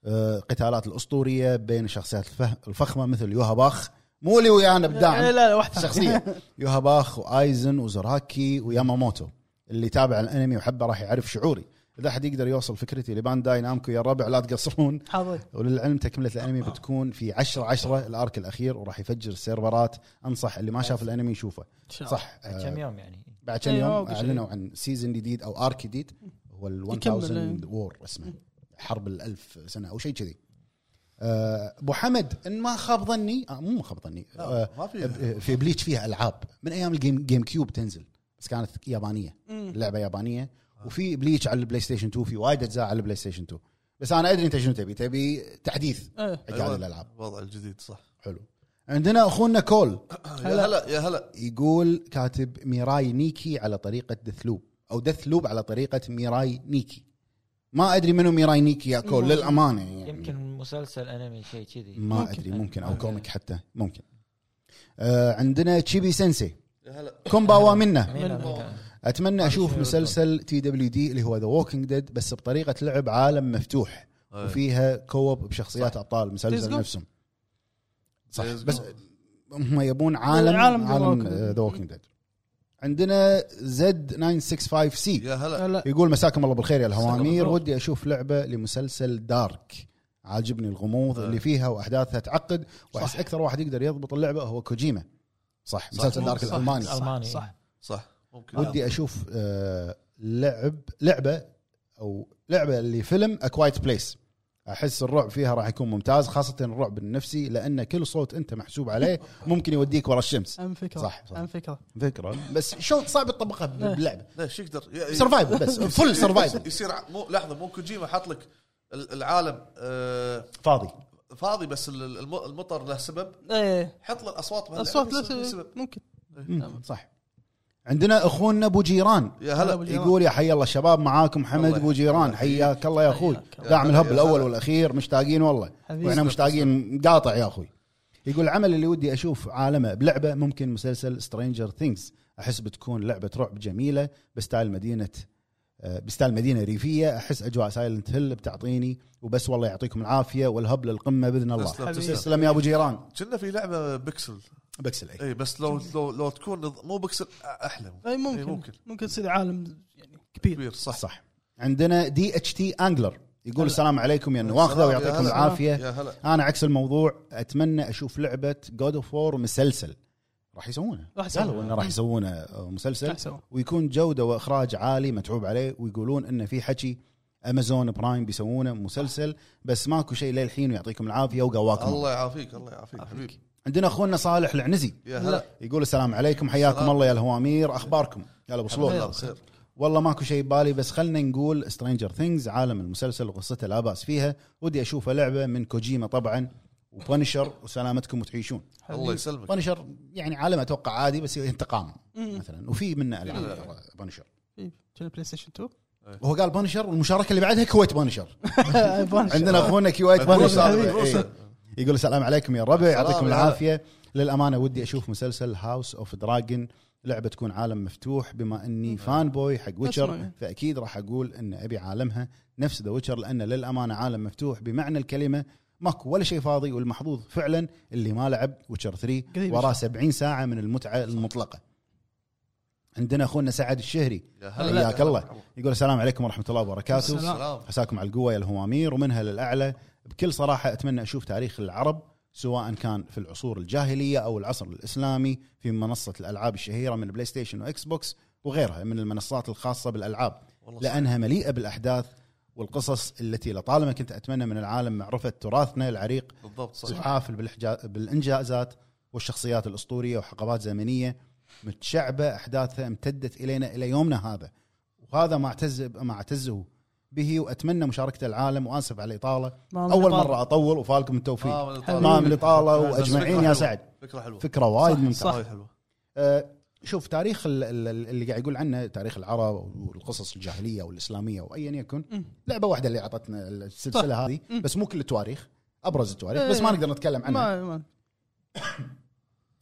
Speaker 1: آه، قتالات الاسطوريه بين الشخصيات الفه- الفخمه مثل يوها باخ مو اللي ويانا
Speaker 3: إيه، لا
Speaker 1: بداعم
Speaker 3: لا لا واحده
Speaker 1: شخصيه يوها باخ وايزن وزراكي وياماموتو اللي تابع الانمي وحبه راح يعرف شعوري اذا حد يقدر يوصل فكرتي لبانداي نامكو يا الربع لا تقصرون
Speaker 3: حاضر
Speaker 1: وللعلم تكمله الانمي بتكون في 10 10 الارك الاخير وراح يفجر السيرفرات انصح اللي ما شاف الانمي يشوفه صح
Speaker 4: بعد
Speaker 1: آه،
Speaker 4: كم يوم يعني
Speaker 1: بعد كم
Speaker 3: إيه،
Speaker 1: يوم
Speaker 3: هو بشيء.
Speaker 1: اعلنوا عن سيزون جديد او ارك جديد هو ال
Speaker 3: يكمل،
Speaker 1: 1000
Speaker 3: إيه.
Speaker 1: وور اسمه حرب الألف سنه او شيء كذي آه، ابو حمد ان ما خاب ظني آه، مو ما خاب ظني
Speaker 2: لا،
Speaker 1: آه،
Speaker 2: ما
Speaker 1: ب-
Speaker 2: في
Speaker 1: في بليتش فيها العاب من ايام الجيم جيم كيوب تنزل بس كانت يابانيه لعبه يابانيه وفي بليتش على البلاي ستيشن 2 في وايد اجزاء على البلاي ستيشن 2 بس انا ادري انت شنو تبي تبي تحديث
Speaker 3: إيه.
Speaker 1: حق
Speaker 2: أيوة.
Speaker 1: هذه الالعاب
Speaker 2: الوضع الجديد صح
Speaker 1: حلو عندنا اخونا كول
Speaker 2: يا هلا يا هلا
Speaker 1: يقول كاتب ميراي نيكي على طريقه دثلوب او دثلوب على طريقه ميراي نيكي ما ادري منو ميراي نيكي يا كول
Speaker 3: مم.
Speaker 1: للامانه يعني
Speaker 4: يمكن مسلسل انمي شيء كذي
Speaker 1: ما
Speaker 3: ممكن.
Speaker 1: ادري ممكن او
Speaker 4: ممكن.
Speaker 1: كوميك حتى ممكن آه عندنا تشيبي سensei
Speaker 2: يا هلا
Speaker 1: كومباوا منا
Speaker 4: مين-
Speaker 2: من-
Speaker 1: اتمنى اشوف
Speaker 4: شنو
Speaker 1: مسلسل تي دبليو دي اللي هو ذا ووكينج ديد بس بطريقه لعب عالم مفتوح
Speaker 2: إيه.
Speaker 1: وفيها كوب بشخصيات ابطال المسلسل
Speaker 3: Let's go.
Speaker 1: نفسهم صح
Speaker 2: إيه، Let's go.
Speaker 1: بس إيه. هم يبون عالم
Speaker 3: عالم The
Speaker 1: عالم
Speaker 3: Walking Dead.
Speaker 1: ذا ووكينج ديد عندنا زد 965 سي
Speaker 2: يا هلا
Speaker 3: لا لا
Speaker 1: يقول مساكم الله بالخير يا
Speaker 4: مساكم
Speaker 1: الهوامير
Speaker 4: الله.
Speaker 1: ودي اشوف لعبه لمسلسل دارك عاجبني الغموض
Speaker 2: آه.
Speaker 1: اللي فيها واحداثها تعقد واحس اكثر واحد يقدر يضبط اللعبه هو كوجيما صح مسلسل دارك
Speaker 2: صح.
Speaker 1: الالماني
Speaker 4: صح. ألماني.
Speaker 3: صح
Speaker 2: صح ممكن
Speaker 1: ودي اشوف آه، لعب لعبه او لعبه اللي فيلم اكوايت بليس احس الرعب فيها راح يكون ممتاز خاصه الرعب النفسي لان كل صوت انت محسوب عليه ممكن يوديك ورا الشمس
Speaker 3: ام فكره
Speaker 1: صح، صح.
Speaker 3: ام فكره
Speaker 1: فكره بس شلون صعب تطبقها باللعبه
Speaker 2: ليش يقدر يا-
Speaker 1: سرفايف بس فل سرفايف
Speaker 2: يصير ع- مو لحظه مو كوجيما حاط لك ال- العالم آه،
Speaker 1: فاضي
Speaker 2: فاضي بس ال- الم- المطر له سبب
Speaker 3: ايه
Speaker 2: حط له الاصوات بهاللعبة
Speaker 3: الصوت
Speaker 2: يصير له
Speaker 3: لا
Speaker 2: سبب
Speaker 3: ممكن
Speaker 1: مم، صح عندنا اخونا ابو جيران
Speaker 2: يا هلا
Speaker 3: أبو جيران.
Speaker 1: يقول يا حي الله الشباب معاكم حمد
Speaker 2: الله
Speaker 1: ابو
Speaker 2: يحييك.
Speaker 1: جيران
Speaker 2: الله يحييك.
Speaker 1: حياك الله يا اخوي
Speaker 3: حياك الله.
Speaker 1: داعم الهب
Speaker 2: يا
Speaker 1: الاول
Speaker 2: هلا.
Speaker 1: والاخير مشتاقين والله
Speaker 3: حبيبي.
Speaker 1: واحنا مشتاقين قاطع يا اخوي يقول العمل اللي ودي اشوف عالمه بلعبه ممكن مسلسل سترينجر ثينجز احس بتكون لعبه رعب جميله بستايل مدينه آه، بستايل مدينه ريفيه احس اجواء سايلنت هيل بتعطيني وبس والله يعطيكم العافيه والهب للقمه باذن الله
Speaker 2: تسلم،
Speaker 3: حبيبي.
Speaker 2: تسلم.
Speaker 1: تسلم يا ابو جيران
Speaker 2: كنا في لعبه بيكسل
Speaker 1: بكسل اي
Speaker 2: اي بس لو لو لو تكون نظ- مو بيكسل أ- احلى
Speaker 3: اي
Speaker 2: إيه،
Speaker 3: ممكن
Speaker 2: ممكن.
Speaker 3: ممكن تصير عالم يعني كبير
Speaker 2: كبير صح
Speaker 1: صح عندنا دي اتش تي انجلر يقول
Speaker 3: هلا.
Speaker 1: السلام عليكم يا نواخذه
Speaker 2: السلام، يا
Speaker 1: ويعطيكم
Speaker 2: هلا.
Speaker 1: العافيه
Speaker 2: يا هلا
Speaker 1: انا عكس الموضوع اتمنى اشوف لعبه جود اوف وور مسلسل راح يسوونه
Speaker 3: راح يسوونه.
Speaker 1: قالوا انه راح يسوونه آه، مسلسل
Speaker 3: احسن
Speaker 1: ويكون جوده واخراج عالي متعوب عليه ويقولون انه في حكي امازون برايم بيسوونه مسلسل بس ماكو شيء للحين ويعطيكم العافيه وقواكم الله.
Speaker 2: الله يعافيك الله يعافيك حبيبي
Speaker 1: عندنا اخونا صالح العنزي
Speaker 2: يا هلا
Speaker 1: يقول السلام عليكم حياكم
Speaker 2: السلام.
Speaker 1: الله يا الهوامير اخباركم يا ابو صلوح
Speaker 2: الله بخير
Speaker 1: والله ماكو شيء ببالي بس خلنا نقول سترينجر ثينجز عالم المسلسل وقصته لا باس فيها ودي اشوفه لعبه من كوجيما طبعا وبانشر وسلامتكم وتعيشون
Speaker 2: الله يسلمك
Speaker 1: بانشر يعني عالم اتوقع عادي بس انتقام مثلا وفي منه العاب
Speaker 2: لا.
Speaker 1: بانشر
Speaker 3: إيه، كان بلاي ستيشن 2
Speaker 1: وهو قال بانشر والمشاركه اللي بعدها كويت بانشر عندنا
Speaker 3: عندنا
Speaker 1: اخونا كويت
Speaker 2: مدروسة
Speaker 1: بانشر
Speaker 2: هذه،
Speaker 1: إيه.
Speaker 2: مدروسة.
Speaker 1: يقول السلام عليكم يا الربع
Speaker 2: السلام
Speaker 1: يعطيكم
Speaker 2: يا هلا.
Speaker 1: العافيه للامانه ودي اشوف مسلسل هاوس اوف دراجون لعبه تكون عالم مفتوح بما اني فان بوي حق ويتشر
Speaker 3: أسمع.
Speaker 1: فاكيد راح اقول ان ابي عالمها نفس ذا ويتشر لان للامانه عالم مفتوح بمعنى الكلمه ماكو ولا شيء فاضي والمحظوظ فعلا اللي ما لعب ويتشر 3
Speaker 3: قريب
Speaker 1: وراه 70 ساعه من المتعه المطلقه عندنا اخونا سعد الشهري
Speaker 2: يا
Speaker 1: حياك الله. يقول السلام عليكم ورحمه الله وبركاته
Speaker 3: السلام.
Speaker 2: سلام
Speaker 1: عساكم على القوه يا الهوامير ومنها للاعلى بكل صراحه اتمنى اشوف تاريخ العرب سواء كان في العصور الجاهليه او العصر الاسلامي في منصه الالعاب الشهيره من بلاي ستيشن واكس بوكس وغيرها من المنصات الخاصه بالالعاب
Speaker 2: والله
Speaker 1: لانها مليئه بالاحداث والقصص التي لطالما كنت اتمنى من العالم معرفه تراثنا العريق
Speaker 2: بالضبط صحيح
Speaker 1: وحافل بالحجا- بالانجازات والشخصيات الاسطوريه وحقبات زمنيه متشعبه احداثها امتدت الينا الى يومنا هذا وهذا ما اعتز ما اعتزه به واتمنى مشاركه العالم واسف على الاطاله اول مره اطول وفالكم التوفيق
Speaker 2: آه، من الإطالة.
Speaker 1: ما من الاطاله
Speaker 2: بس
Speaker 1: واجمعين
Speaker 2: فكرة
Speaker 1: يا
Speaker 2: حلوة.
Speaker 1: سعد
Speaker 2: فكره حلوه
Speaker 1: فكره وايد
Speaker 3: صح،
Speaker 1: ممتازه
Speaker 3: صح.
Speaker 2: وايد حلوه
Speaker 1: أه، شوف تاريخ ال- ال- ال- اللي قاعد يقول عنه تاريخ العرب والقصص الجاهليه والاسلاميه وايا يكن
Speaker 3: مم.
Speaker 1: لعبه واحده اللي اعطتنا السلسله هذه
Speaker 3: مم.
Speaker 1: بس مو كل التواريخ ابرز التواريخ
Speaker 2: آه،
Speaker 3: إيه.
Speaker 1: بس ما نقدر نتكلم عنها
Speaker 3: ما ما-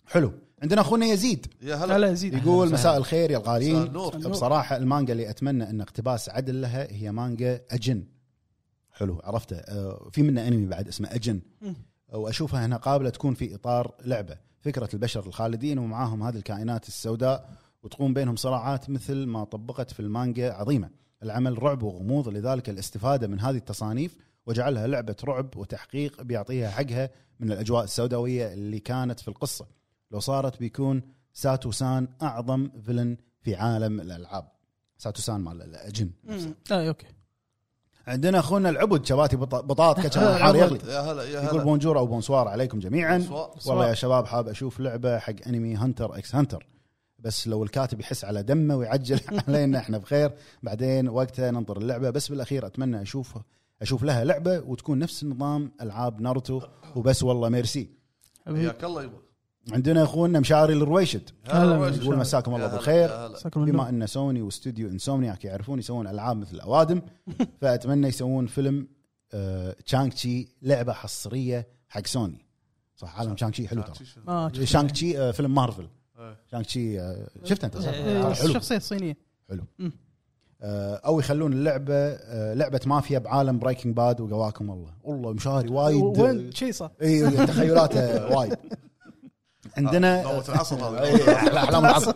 Speaker 1: حلو عندنا اخونا يزيد
Speaker 2: يا
Speaker 3: لا
Speaker 2: هلا
Speaker 3: لا يزيد
Speaker 1: يقول
Speaker 4: وسهلا.
Speaker 1: مساء الخير يا
Speaker 2: مساء
Speaker 1: الغاليين
Speaker 2: النور
Speaker 3: النور.
Speaker 1: بصراحه المانجا اللي اتمنى ان اقتباس عدل لها هي مانجا اجن حلو عرفته أه، في منه انمي بعد اسمه اجن
Speaker 3: مم.
Speaker 1: واشوفها انها قابله تكون في اطار لعبه فكره البشر الخالدين ومعاهم هذه الكائنات السوداء وتقوم بينهم صراعات مثل ما طبقت في المانجا عظيمه العمل رعب وغموض لذلك الاستفاده من هذه التصانيف وجعلها لعبه رعب وتحقيق بيعطيها حقها من الاجواء السوداويه اللي كانت في القصه لو صارت بيكون ساتو سان اعظم فيلن في عالم الالعاب ساتو سان مال الاجن
Speaker 3: مم. اي اوكي
Speaker 1: عندنا اخونا العبد شباتي بط- بطاط كشان حار يغلي
Speaker 2: يا هلا يا
Speaker 1: يقول
Speaker 2: هلا
Speaker 1: بونجور او بونسوار عليكم جميعا
Speaker 2: سواء-
Speaker 1: والله يا شباب حاب اشوف لعبه حق انمي هنتر اكس هنتر بس لو الكاتب يحس على دمه ويعجل علينا احنا بخير بعدين وقتها ننطر اللعبه بس بالاخير اتمنى اشوف اشوف لها لعبه وتكون نفس نظام العاب ناروتو وبس والله ميرسي
Speaker 3: حبيبي
Speaker 2: حياك الله يبا
Speaker 1: عندنا اخونا مشاري الرويشد
Speaker 3: هلا.
Speaker 2: الرجل.
Speaker 1: يقول مساكم الله
Speaker 2: يا هلا،
Speaker 1: بالخير
Speaker 2: يا هلا.
Speaker 3: ساكن
Speaker 1: بما
Speaker 3: بما
Speaker 1: ان سوني واستوديو انسومنياك يعرفون يسوون العاب مثل الاوادم فاتمنى يسوون فيلم آه، تشانغ تشي لعبه حصريه حق سوني صح عالم تشانغ تشي حلو ترى
Speaker 3: ما
Speaker 1: شانغ تشي آه، فيلم مارفل
Speaker 2: إيه.
Speaker 1: شانغ تشي آه، شفته انت صح؟
Speaker 4: إيه.
Speaker 1: آه، حلو
Speaker 3: الشخصيه الصينيه
Speaker 1: آه، او يخلون اللعبه آه، لعبه مافيا بعالم برايكنج باد وقواكم الله والله مشاري وايد
Speaker 3: وين شيء صار
Speaker 1: اي تخيلاته وايد عندنا
Speaker 2: نومة العصر هذا
Speaker 1: إيه، أحلى احلام العصر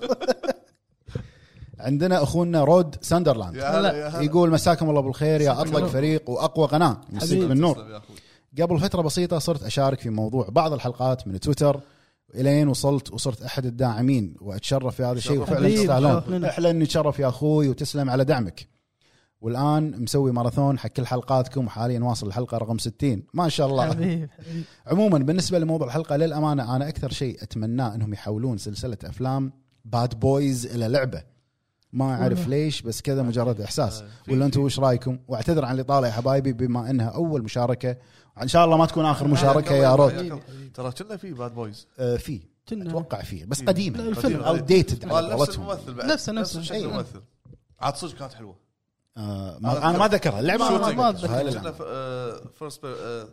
Speaker 1: عندنا اخونا رود ساندرلاند
Speaker 2: يا هلا يا هلا
Speaker 1: يقول مساكم الله بالخير يا اطلق فريق واقوى قناه مسيك
Speaker 3: حبيبي.
Speaker 1: بالنور
Speaker 2: تسلم يا أخوي.
Speaker 1: قبل فتره بسيطه صرت اشارك في موضوع بعض الحلقات من تويتر الين وصلت وصرت احد الداعمين واتشرف في هذا الشيء
Speaker 2: شرف
Speaker 1: وفعلا
Speaker 3: حبيبي، شرف
Speaker 1: تستاهلون
Speaker 3: لنا.
Speaker 1: احلى نتشرف يا اخوي وتسلم على دعمك والان مسوي ماراثون حق كل حلقاتكم وحاليا واصل الحلقه رقم 60 ما شاء الله
Speaker 3: حبيبي
Speaker 1: عموما بالنسبه لموضوع الحلقه للامانه انا اكثر شيء اتمناه انهم يحولون سلسله افلام باد بويز الى لعبه ما اعرف ليش بس كذا مجرد احساس
Speaker 3: آه،
Speaker 1: ولا انتم وش رايكم واعتذر عن الاطاله يا حبايبي بما انها اول مشاركه ان شاء الله ما تكون
Speaker 3: آه،
Speaker 1: اخر مشاركه يا رود
Speaker 2: حياك الله. ترى كنا في باد بويز
Speaker 1: آه، في
Speaker 3: كنا-
Speaker 1: اتوقع في بس
Speaker 2: في.
Speaker 1: قديمه
Speaker 3: لا، الفيلم.
Speaker 1: او ديتد على
Speaker 2: نفس
Speaker 1: قولتهم
Speaker 2: الممثل بعد
Speaker 3: نفسه- نفسه.
Speaker 2: شكل
Speaker 1: أيوة.
Speaker 2: الممثل عاد صدق كانت حلوه
Speaker 1: آه، ما- انا ما ذكرها اللعبه أنا ما
Speaker 3: ما
Speaker 1: اتذكرها هاي
Speaker 2: كنا
Speaker 1: اللعبة.
Speaker 2: ف- آه، فيرست بير- آه،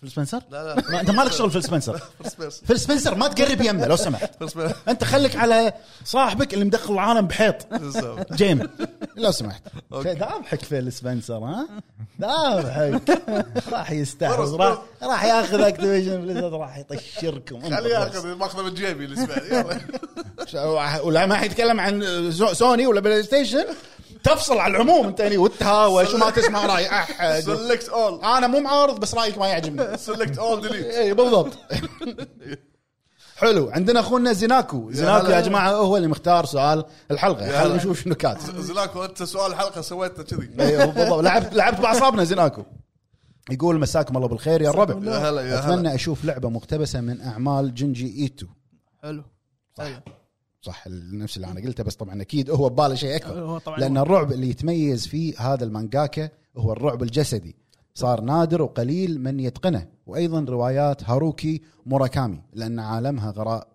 Speaker 1: فيل سبنسر
Speaker 2: لا لا
Speaker 1: ما- انت مالك شغل في سبنسر
Speaker 2: فيرست بيرسون
Speaker 1: فيل سبنسر ما تقرب يمه لو سمحت
Speaker 2: فيرست بيرسون
Speaker 1: انت خليك على صاحبك اللي مدخل العالم بحيط
Speaker 2: بالضبط.
Speaker 1: جيم لو سمحت
Speaker 2: أوكي.
Speaker 1: ذابحك فيل سبنسر ها ذابحك راح
Speaker 2: فرص،
Speaker 1: يستحوذ
Speaker 2: فرص.
Speaker 1: راح راح ياخذ اكتيفيشن بليزرد راح يطشركم
Speaker 2: خليه ياخذ ماخذه من جيبي اللي اسمه يلا.
Speaker 1: ولا ما حيتكلم عن زو- سوني ولا بلاي ستيشن تفصل على العموم انت هني وتهاوش وما تسمع راي احد
Speaker 2: سلكت اول
Speaker 1: انا مو معارض بس رايك ما يعجبني
Speaker 2: سلكت اول ديليت
Speaker 1: اي بالضبط حلو عندنا اخونا زيناكو زيناكو
Speaker 2: هلا.
Speaker 1: يا جماعه هو اللي مختار سؤال الحلقه
Speaker 2: يا
Speaker 1: خلينا
Speaker 2: هلا.
Speaker 1: نشوف شنو كاتب
Speaker 2: زلاكو انت سؤال الحلقه سويته كذي
Speaker 1: ايوه بالضبط لعبت لعبت باعصابنا زيناكو يقول مساكم الله بالخير يا الربع
Speaker 2: يا هلا يا هلا
Speaker 1: اتمنى اشوف لعبه مقتبسه من اعمال جنجي ايتو
Speaker 3: حلو طيب.
Speaker 1: صح نفس اللي انا قلته بس طبعا اكيد هو بباله شيء اكثر
Speaker 3: آه، هو طبعا
Speaker 1: لان الرعب اللي يتميز فيه هذا المانجاكا هو الرعب الجسدي صار نادر وقليل من يتقنه وايضا روايات هاروكي موراكامي لان عالمها غراء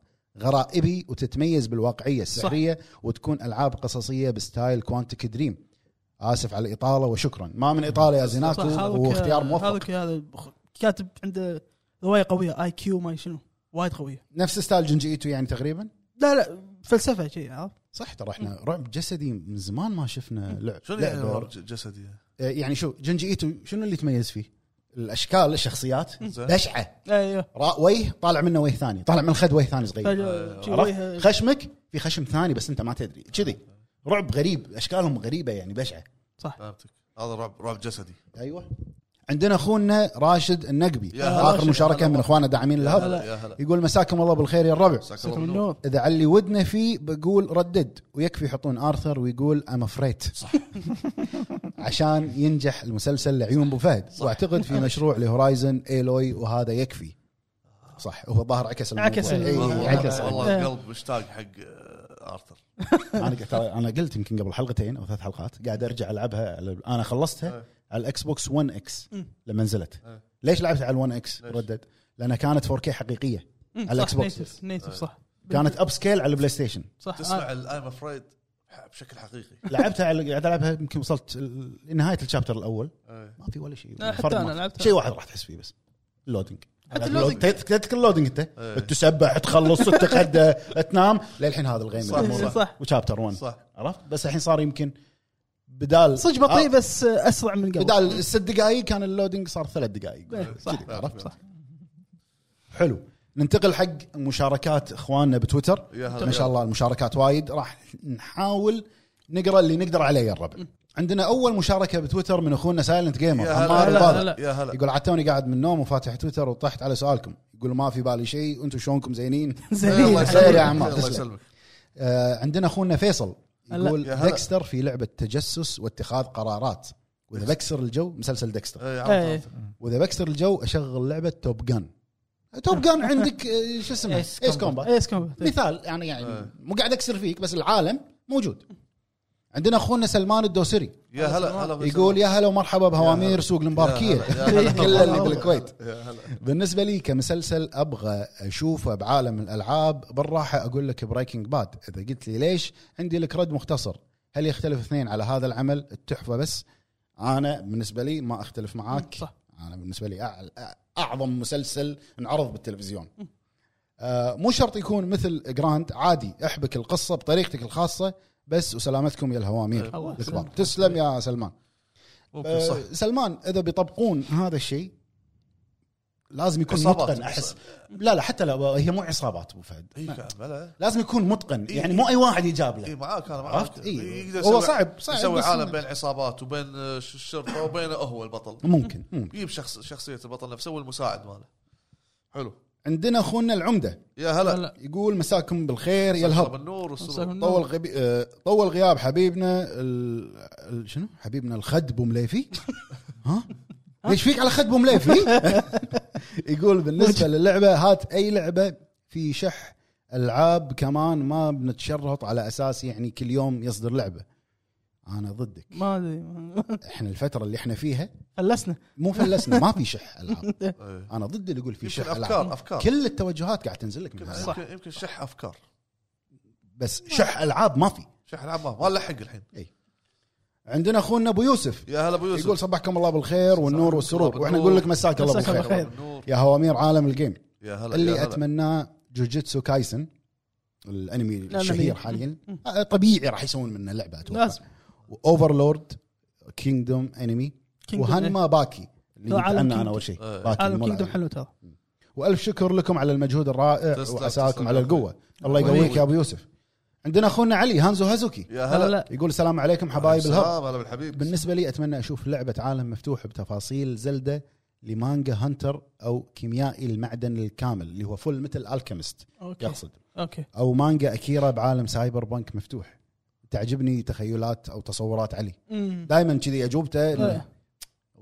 Speaker 1: غرائبي وتتميز بالواقعيه السحريه صح. وتكون العاب قصصيه بستايل كوانتيك دريم اسف على الاطاله وشكرا ما من اطاله يا
Speaker 3: صح،
Speaker 1: زيناكو
Speaker 3: هذاك-
Speaker 1: واختيار موفق
Speaker 3: هذاك هذا بخ- كاتب عنده روايه قويه اي كيو ما شنو وايد قويه
Speaker 1: نفس ستايل جنجي ايتو يعني تقريبا
Speaker 3: لا لا فلسفه شيء عرفت
Speaker 1: صح ترى احنا رعب جسدي من زمان ما شفنا لعب
Speaker 2: شنو يعني
Speaker 1: لعبة
Speaker 2: رعب جسدي؟
Speaker 1: آه، يعني شو جنجي ايتو شنو اللي تميز فيه؟ الاشكال الشخصيات
Speaker 2: زين.
Speaker 1: بشعه
Speaker 3: ايوه
Speaker 1: راء وجه طالع منه وجه ثاني طالع من الخد وجه ثاني صغير
Speaker 3: فجأة شي
Speaker 1: عرفت
Speaker 3: وجهه-
Speaker 1: خشمك في خشم ثاني بس انت ما تدري كذي رعب غريب اشكالهم غريبه يعني بشعه
Speaker 3: صح
Speaker 2: فهمتك هذا رعب رعب جسدي
Speaker 1: ايوه عندنا اخونا راشد النقبي
Speaker 2: يا هلا
Speaker 1: اخر
Speaker 3: راشد،
Speaker 1: مشاركه
Speaker 2: هلا
Speaker 1: من
Speaker 2: والله.
Speaker 1: اخواننا داعمين
Speaker 2: يا
Speaker 1: الهب
Speaker 2: هلا يا هلا
Speaker 1: يقول مساكم الله بالخير يا الربع
Speaker 2: مساك
Speaker 3: سكر
Speaker 2: الله بالنور
Speaker 3: النور
Speaker 1: اذا علي ودنا فيه بقول ردد ويكفي يحطون ارثر ويقول ام افريت صح عشان ينجح المسلسل لعيون ابو فهد واعتقد في مشروع لهورايزن ايلوي وهذا يكفي صح هو ظاهر عكس الموضوع.
Speaker 3: عكس ال-
Speaker 1: إي،
Speaker 2: والله-
Speaker 1: عكس
Speaker 2: والله
Speaker 3: إيه.
Speaker 2: القلب مشتاق حق آه، ارثر
Speaker 1: انا قلت انا قلت يمكن قبل حلقتين او ثلاث حلقات قاعد ارجع العبها على- انا خلصتها
Speaker 2: أي.
Speaker 1: على الاكس بوكس 1 اكس
Speaker 3: مم.
Speaker 1: لما نزلت
Speaker 2: أي.
Speaker 1: ليش لعبتها على 1 اكس
Speaker 2: ليش؟
Speaker 1: ردد لانها كانت 4K حقيقيه
Speaker 3: مم،
Speaker 1: على
Speaker 3: صح،
Speaker 1: الإكس بوكس.
Speaker 3: نيتف- نيتف صح
Speaker 1: كانت اب سكيل على البلاي ستيشن
Speaker 3: صح آه،
Speaker 2: تسمع الايم افريد بشكل حقيقي
Speaker 1: لعبتها على قاعد العبها يمكن وصلت ال- لنهايه الشابتر الاول
Speaker 2: إيه.
Speaker 1: ما في ولا شيء
Speaker 3: لا، حتى
Speaker 1: فرق
Speaker 3: أنا
Speaker 1: ما في.
Speaker 3: لعبتها.
Speaker 1: شيء واحد راح تحس فيه بس اللودنج
Speaker 3: حتى اللودينج.
Speaker 1: تذكر اللودنج انت
Speaker 2: إيه.
Speaker 1: تسبح تخلص تتغدى تنام للحين هذا الغيم
Speaker 2: صح،
Speaker 1: الموضوع.
Speaker 3: صح. صح.
Speaker 1: وشابتر 1
Speaker 2: صح
Speaker 1: عرفت بس الحين صار يمكن بدال
Speaker 3: صدق بطيء بس اسرع من قبل
Speaker 1: بدال الست دقائق كان اللودنج صار ثلاث دقائق
Speaker 3: إيه، صح
Speaker 1: كذي، عرفت صح حلو ننتقل حق مشاركات اخواننا بتويتر
Speaker 2: يا هلا.
Speaker 1: ما شاء الله المشاركات وايد راح نحاول نقرا اللي نقدر عليه يا الربع عندنا اول مشاركه بتويتر من اخونا سايلنت جيمر
Speaker 2: يا هلا.
Speaker 1: عمار
Speaker 3: هلا،
Speaker 1: الفاضل
Speaker 3: هلا.
Speaker 2: يا هلا
Speaker 1: يقول عتوني قاعد من النوم وفاتح تويتر وطحت على سؤالكم يقول ما في بالي شيء انتم شلونكم زينين
Speaker 3: زين
Speaker 1: خير يا عمار،
Speaker 2: الله
Speaker 1: تسلم.
Speaker 2: يسلمك
Speaker 1: آه عندنا اخونا فيصل يقول
Speaker 2: هلا. يا هلا.
Speaker 1: ديكستر في لعبه تجسس واتخاذ قرارات واذا بكسر الجو مسلسل ديكستر
Speaker 2: إيه، عرفت،
Speaker 3: إيه.
Speaker 2: عرفت.
Speaker 1: واذا بكسر الجو اشغل لعبه توب جان توب جان عندك آه، شو اسمه
Speaker 4: إيس
Speaker 1: ايس
Speaker 4: كومبات.
Speaker 1: كومبات
Speaker 3: ايس كومبات
Speaker 1: مثال يعني يعني
Speaker 2: إيه.
Speaker 1: مو قاعد اكسر فيك بس العالم موجود عندنا اخونا سلمان الدوسري
Speaker 2: يا هلا هلا
Speaker 1: يقول يا هلا ومرحبا
Speaker 2: يا
Speaker 1: بهوامير
Speaker 2: هلا.
Speaker 1: سوق
Speaker 2: يا
Speaker 1: المباركيه
Speaker 2: هلا، يا هلا.
Speaker 1: كل اللي بالكويت
Speaker 2: يا هلا
Speaker 1: بالنسبه لي كمسلسل ابغى اشوفه بعالم الالعاب بالراحه اقول لك بريكنج باد اذا قلت لي ليش عندي لك رد مختصر هل يختلف اثنين على هذا العمل التحفه بس انا بالنسبه لي ما اختلف معاك
Speaker 3: صح.
Speaker 1: انا بالنسبه لي أع- اعظم مسلسل انعرض بالتلفزيون آه، مو شرط يكون مثل جراند عادي احبك القصه بطريقتك الخاصه بس وسلامتكم يا الهوامير
Speaker 3: الله
Speaker 1: الكبار
Speaker 3: يسلمك.
Speaker 1: تسلم يا سلمان
Speaker 2: اوكي
Speaker 1: آه،
Speaker 2: صح
Speaker 1: سلمان اذا بيطبقون هذا الشيء لازم يكون
Speaker 2: عصابات.
Speaker 1: متقن احس لا لا حتى لا هي مو عصابات ابو فهد
Speaker 2: اي كعب، هلا
Speaker 1: لازم يكون متقن
Speaker 2: إي.
Speaker 1: يعني مو اي واحد يجاب
Speaker 2: اي
Speaker 1: له
Speaker 2: إيه، معاك انا معاك
Speaker 1: عرفت؟ إي.
Speaker 2: إيه. يقدر
Speaker 1: هو
Speaker 2: يسوي-
Speaker 1: صعب- صعب،
Speaker 2: يسوي
Speaker 1: بس
Speaker 2: عالم
Speaker 1: إنه-
Speaker 2: بين عصابات وبين آه، الش- الشرطه وبين هو البطل
Speaker 1: ممكن ممكن
Speaker 2: يجيب شخص شخصيه البطل نفسه والمساعد ماله حلو
Speaker 1: عندنا اخونا العمده
Speaker 2: يا هلا
Speaker 1: يقول مساكم بالخير يا
Speaker 2: الله
Speaker 1: الهب
Speaker 2: بالنور والسرور
Speaker 3: مساكم
Speaker 1: طول غبي... آه، طول غياب حبيبنا ال... ال- شنو حبيبنا الخد بو مليفي ها ليش فيك على خد بو مليفي يقول بالنسبه للعبه هات اي لعبه في شح العاب كمان ما بنتشرط على اساس يعني كل يوم يصدر لعبه انا ضدك
Speaker 3: ما ادري
Speaker 1: احنا الفتره اللي احنا فيها
Speaker 3: خلصنا
Speaker 1: مو فلسنا ما في شح العاب
Speaker 2: إيه.
Speaker 1: انا ضد اللي يقول في شح
Speaker 2: يمكن
Speaker 1: العاب
Speaker 2: افكار افكار
Speaker 1: كل التوجهات قاعد تنزل لك من
Speaker 2: يمكن-
Speaker 1: هذا.
Speaker 3: صح.
Speaker 2: يمكن يمكن شح افكار
Speaker 1: بس شح العاب ما في
Speaker 2: شح العاب ما- ما لحق الحين
Speaker 1: عندنا اخونا ابو يوسف
Speaker 2: يا هلا ابو يوسف
Speaker 1: يقول صبحكم الله بالخير والنور والسرور
Speaker 2: بالنور.
Speaker 1: واحنا نقول لك مساك الله
Speaker 3: مساك الله
Speaker 1: بالخير
Speaker 3: بالخير.
Speaker 2: بالنور
Speaker 1: يا هوامير عالم الجيم
Speaker 2: يا هلا يا
Speaker 1: اللي
Speaker 2: هلا.
Speaker 1: اتمناه جوجيتسو كايسن الانمي
Speaker 3: الأنمي.
Speaker 1: الشهير حاليا آه، طبيعي راح يسوون منه لعبه اتوقع
Speaker 3: لازم
Speaker 1: واوفرلورد كينجدوم انمي
Speaker 3: Kingdom
Speaker 1: وهانما باكي اللي
Speaker 3: لا، عالم
Speaker 1: عنه انا
Speaker 3: Kingdom.
Speaker 1: اول شيء
Speaker 2: إيه.
Speaker 1: باكي
Speaker 3: عالم
Speaker 1: الملعب.
Speaker 3: كينجدوم حلو ترى
Speaker 1: والف شكر لكم على المجهود الرائع
Speaker 2: تسلم،
Speaker 1: وعساكم
Speaker 2: تسلم
Speaker 1: على
Speaker 2: يا أخوي.
Speaker 1: القوه الله يقويك يا ابو يوسف عندنا اخونا علي هانزو هازوكي
Speaker 2: يا
Speaker 3: هلا
Speaker 2: هلا
Speaker 3: لا
Speaker 1: يقول السلام عليكم حبايب الهب
Speaker 2: السلام، هلا بالحبيب
Speaker 1: بالنسبه لي اتمنى اشوف لعبه عالم مفتوح بتفاصيل زلده لمانجا هانتر او كيميائي المعدن الكامل اللي هو فول مثل الكيمست
Speaker 3: اوكي
Speaker 1: يقصد
Speaker 3: اوكي
Speaker 1: او مانجا اكيرا بعالم سايبر بانك مفتوح تعجبني تخيلات او تصورات علي
Speaker 3: أمم.
Speaker 1: دائما كذي اجوبته إنه-
Speaker 3: إيه.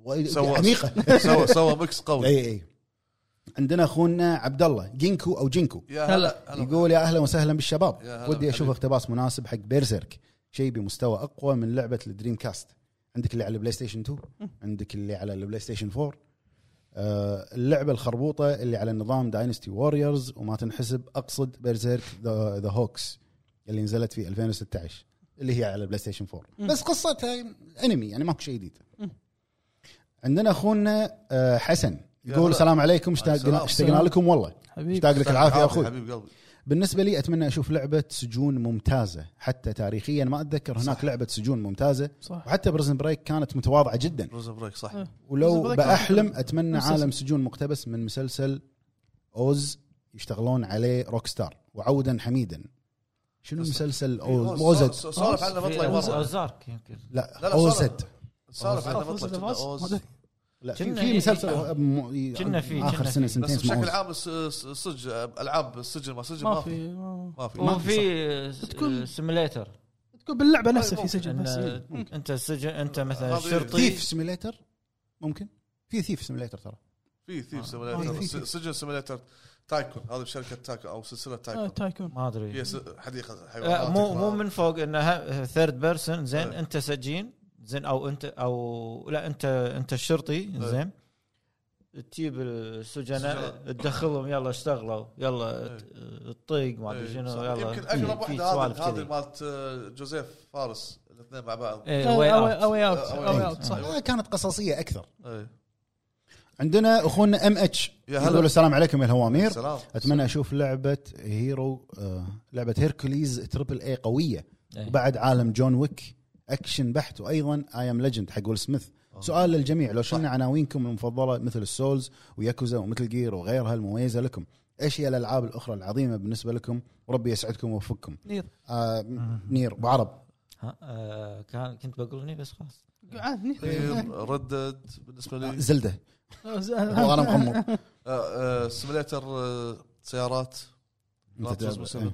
Speaker 1: وايد-
Speaker 2: سوا.
Speaker 1: عميقه
Speaker 2: سوى سوى ميكس قوي
Speaker 1: اي اي عندنا اخونا عبد الله جينكو او جينكو
Speaker 2: يا هلا هلا
Speaker 1: يقول يا اهلا وسهلا بالشباب
Speaker 2: يا هلا
Speaker 1: ودي اشوف
Speaker 2: بالحبيب.
Speaker 1: اقتباس مناسب حق بيرزيرك شيء بمستوى اقوى من لعبه الدريم كاست عندك اللي على البلاي ستيشن 2 عندك اللي على البلاي ستيشن 4 آه، اللعبه الخربوطه اللي على النظام داينستي ووريرز وما تنحسب اقصد بيرزيرك ذا هوكس اللي نزلت في 2016 اللي هي على البلاي ستيشن 4 بس قصتها انمي يعني ماكو شيء جديد عندنا اخونا آه، حسن
Speaker 2: يا
Speaker 1: يقول
Speaker 2: هلا.
Speaker 1: السلام عليكم اشتاقنا
Speaker 2: السلام.
Speaker 1: اشتقنا لكم والله
Speaker 3: حبيبي
Speaker 1: اشتاق لك العافيه يا اخوي
Speaker 2: حبيب قلبي
Speaker 1: بالنسبه لي اتمنى اشوف لعبه سجون ممتازه حتى تاريخيا ما اتذكر هناك صح. لعبه سجون ممتازه
Speaker 3: صح
Speaker 1: وحتى برزن بريك كانت متواضعه جدا
Speaker 2: روز بريك صح
Speaker 3: إيه.
Speaker 1: ولو
Speaker 3: Prison Break
Speaker 1: باحلم
Speaker 3: كانت-
Speaker 1: اتمنى
Speaker 3: مسلسل.
Speaker 1: عالم سجون مقتبس من مسلسل اوز يشتغلون عليه روك ستار وعودا حميدا شنو
Speaker 2: بس-
Speaker 1: مسلسل اوز
Speaker 2: سولف
Speaker 1: اوزد
Speaker 2: سولف عنه مطلع
Speaker 4: أوز-
Speaker 2: مره
Speaker 4: اوزارك يمكن
Speaker 1: لا
Speaker 2: لا،
Speaker 1: اوزد
Speaker 2: سولف عنه مطلع
Speaker 3: ما
Speaker 2: أوز.
Speaker 3: أدري.
Speaker 1: لا في-
Speaker 4: كنا-
Speaker 1: في مسلسل
Speaker 4: آه.
Speaker 1: م-
Speaker 4: كنا في-
Speaker 1: اخر
Speaker 4: كنا
Speaker 1: سنه
Speaker 4: في.
Speaker 2: بس
Speaker 1: سنتين في
Speaker 2: بشكل
Speaker 1: موقف.
Speaker 2: عام الس- الس- صج العاب السجن ما سجن
Speaker 3: ما في ما-
Speaker 2: ما في ما في
Speaker 4: وفي
Speaker 3: تكون-
Speaker 4: سيميليتر
Speaker 3: تكون باللعبه نفسها في سجن بس
Speaker 4: إن انت سجن انت مثلا
Speaker 2: هذه-
Speaker 1: ثيف
Speaker 4: شرطي
Speaker 1: سيميليتر ممكن في ثيف سيميليتر ترى
Speaker 2: في ثيف
Speaker 1: آه،
Speaker 2: سيميليتر
Speaker 1: في- في.
Speaker 2: سجن سيميليتر تايكون هذا بشركه تايكون او سلسله
Speaker 3: آه،
Speaker 2: تايكون
Speaker 3: تايكون
Speaker 4: ما ادري
Speaker 2: هي س- حديقه
Speaker 4: لا
Speaker 2: حيوانات
Speaker 4: مو مو
Speaker 2: أكوان.
Speaker 4: من فوق انها ثيرد بيرسون زين
Speaker 2: إيه.
Speaker 4: انت سجين زين او انت او لا انت انت
Speaker 2: آه.
Speaker 4: الشرطي زين تجيب السجناء
Speaker 2: السجناء.
Speaker 4: تدخلهم يلا اشتغلوا يلا
Speaker 2: إيه.
Speaker 4: الطيق ما ادري
Speaker 2: إيه،
Speaker 4: شنو
Speaker 2: صح.
Speaker 4: يلا
Speaker 2: يمكن اقرب
Speaker 4: في- في
Speaker 2: واحده هذه
Speaker 4: سوالف
Speaker 2: هذه
Speaker 4: كذي.
Speaker 2: مالت آه، جوزيف فارس الاثنين مع بعض
Speaker 4: إيه، way out.
Speaker 3: اوي اوت
Speaker 2: آه،
Speaker 3: اوي اوت صح
Speaker 2: آه.
Speaker 1: آه، كانت قصصيه اكثر
Speaker 2: إيه.
Speaker 1: عندنا اخونا ام اتش
Speaker 2: يا هلا.
Speaker 1: يقول السلام عليكم يا الهوامير
Speaker 2: سلام
Speaker 1: اتمنى اشوف لعبه هيرو آه، لعبه هيركوليز تربل اي قويه
Speaker 4: إيه.
Speaker 1: وبعد عالم جون ويك اكشن بحت وايضا اي ام ليجند حق ويل سميث
Speaker 2: آه.
Speaker 1: سؤال للجميع لو شلنا عناوينكم المفضله مثل السولز وياكوزا ومثل جير وغيرها المميزه لكم ايش هي الالعاب الاخرى العظيمه بالنسبه لكم وربي يسعدكم ويوفقكم
Speaker 3: نير
Speaker 1: آه نير وعرب
Speaker 4: ها، آه، كان كنت بقول إني بس خلاص
Speaker 3: عاد آه، نير
Speaker 2: طيب، ردد بالنسبه لي
Speaker 1: زلده وانا مغمض
Speaker 2: آه، آه، سيميليتر آه، سيارات لا
Speaker 1: أنت
Speaker 2: ترزمو سبب.
Speaker 1: إيه.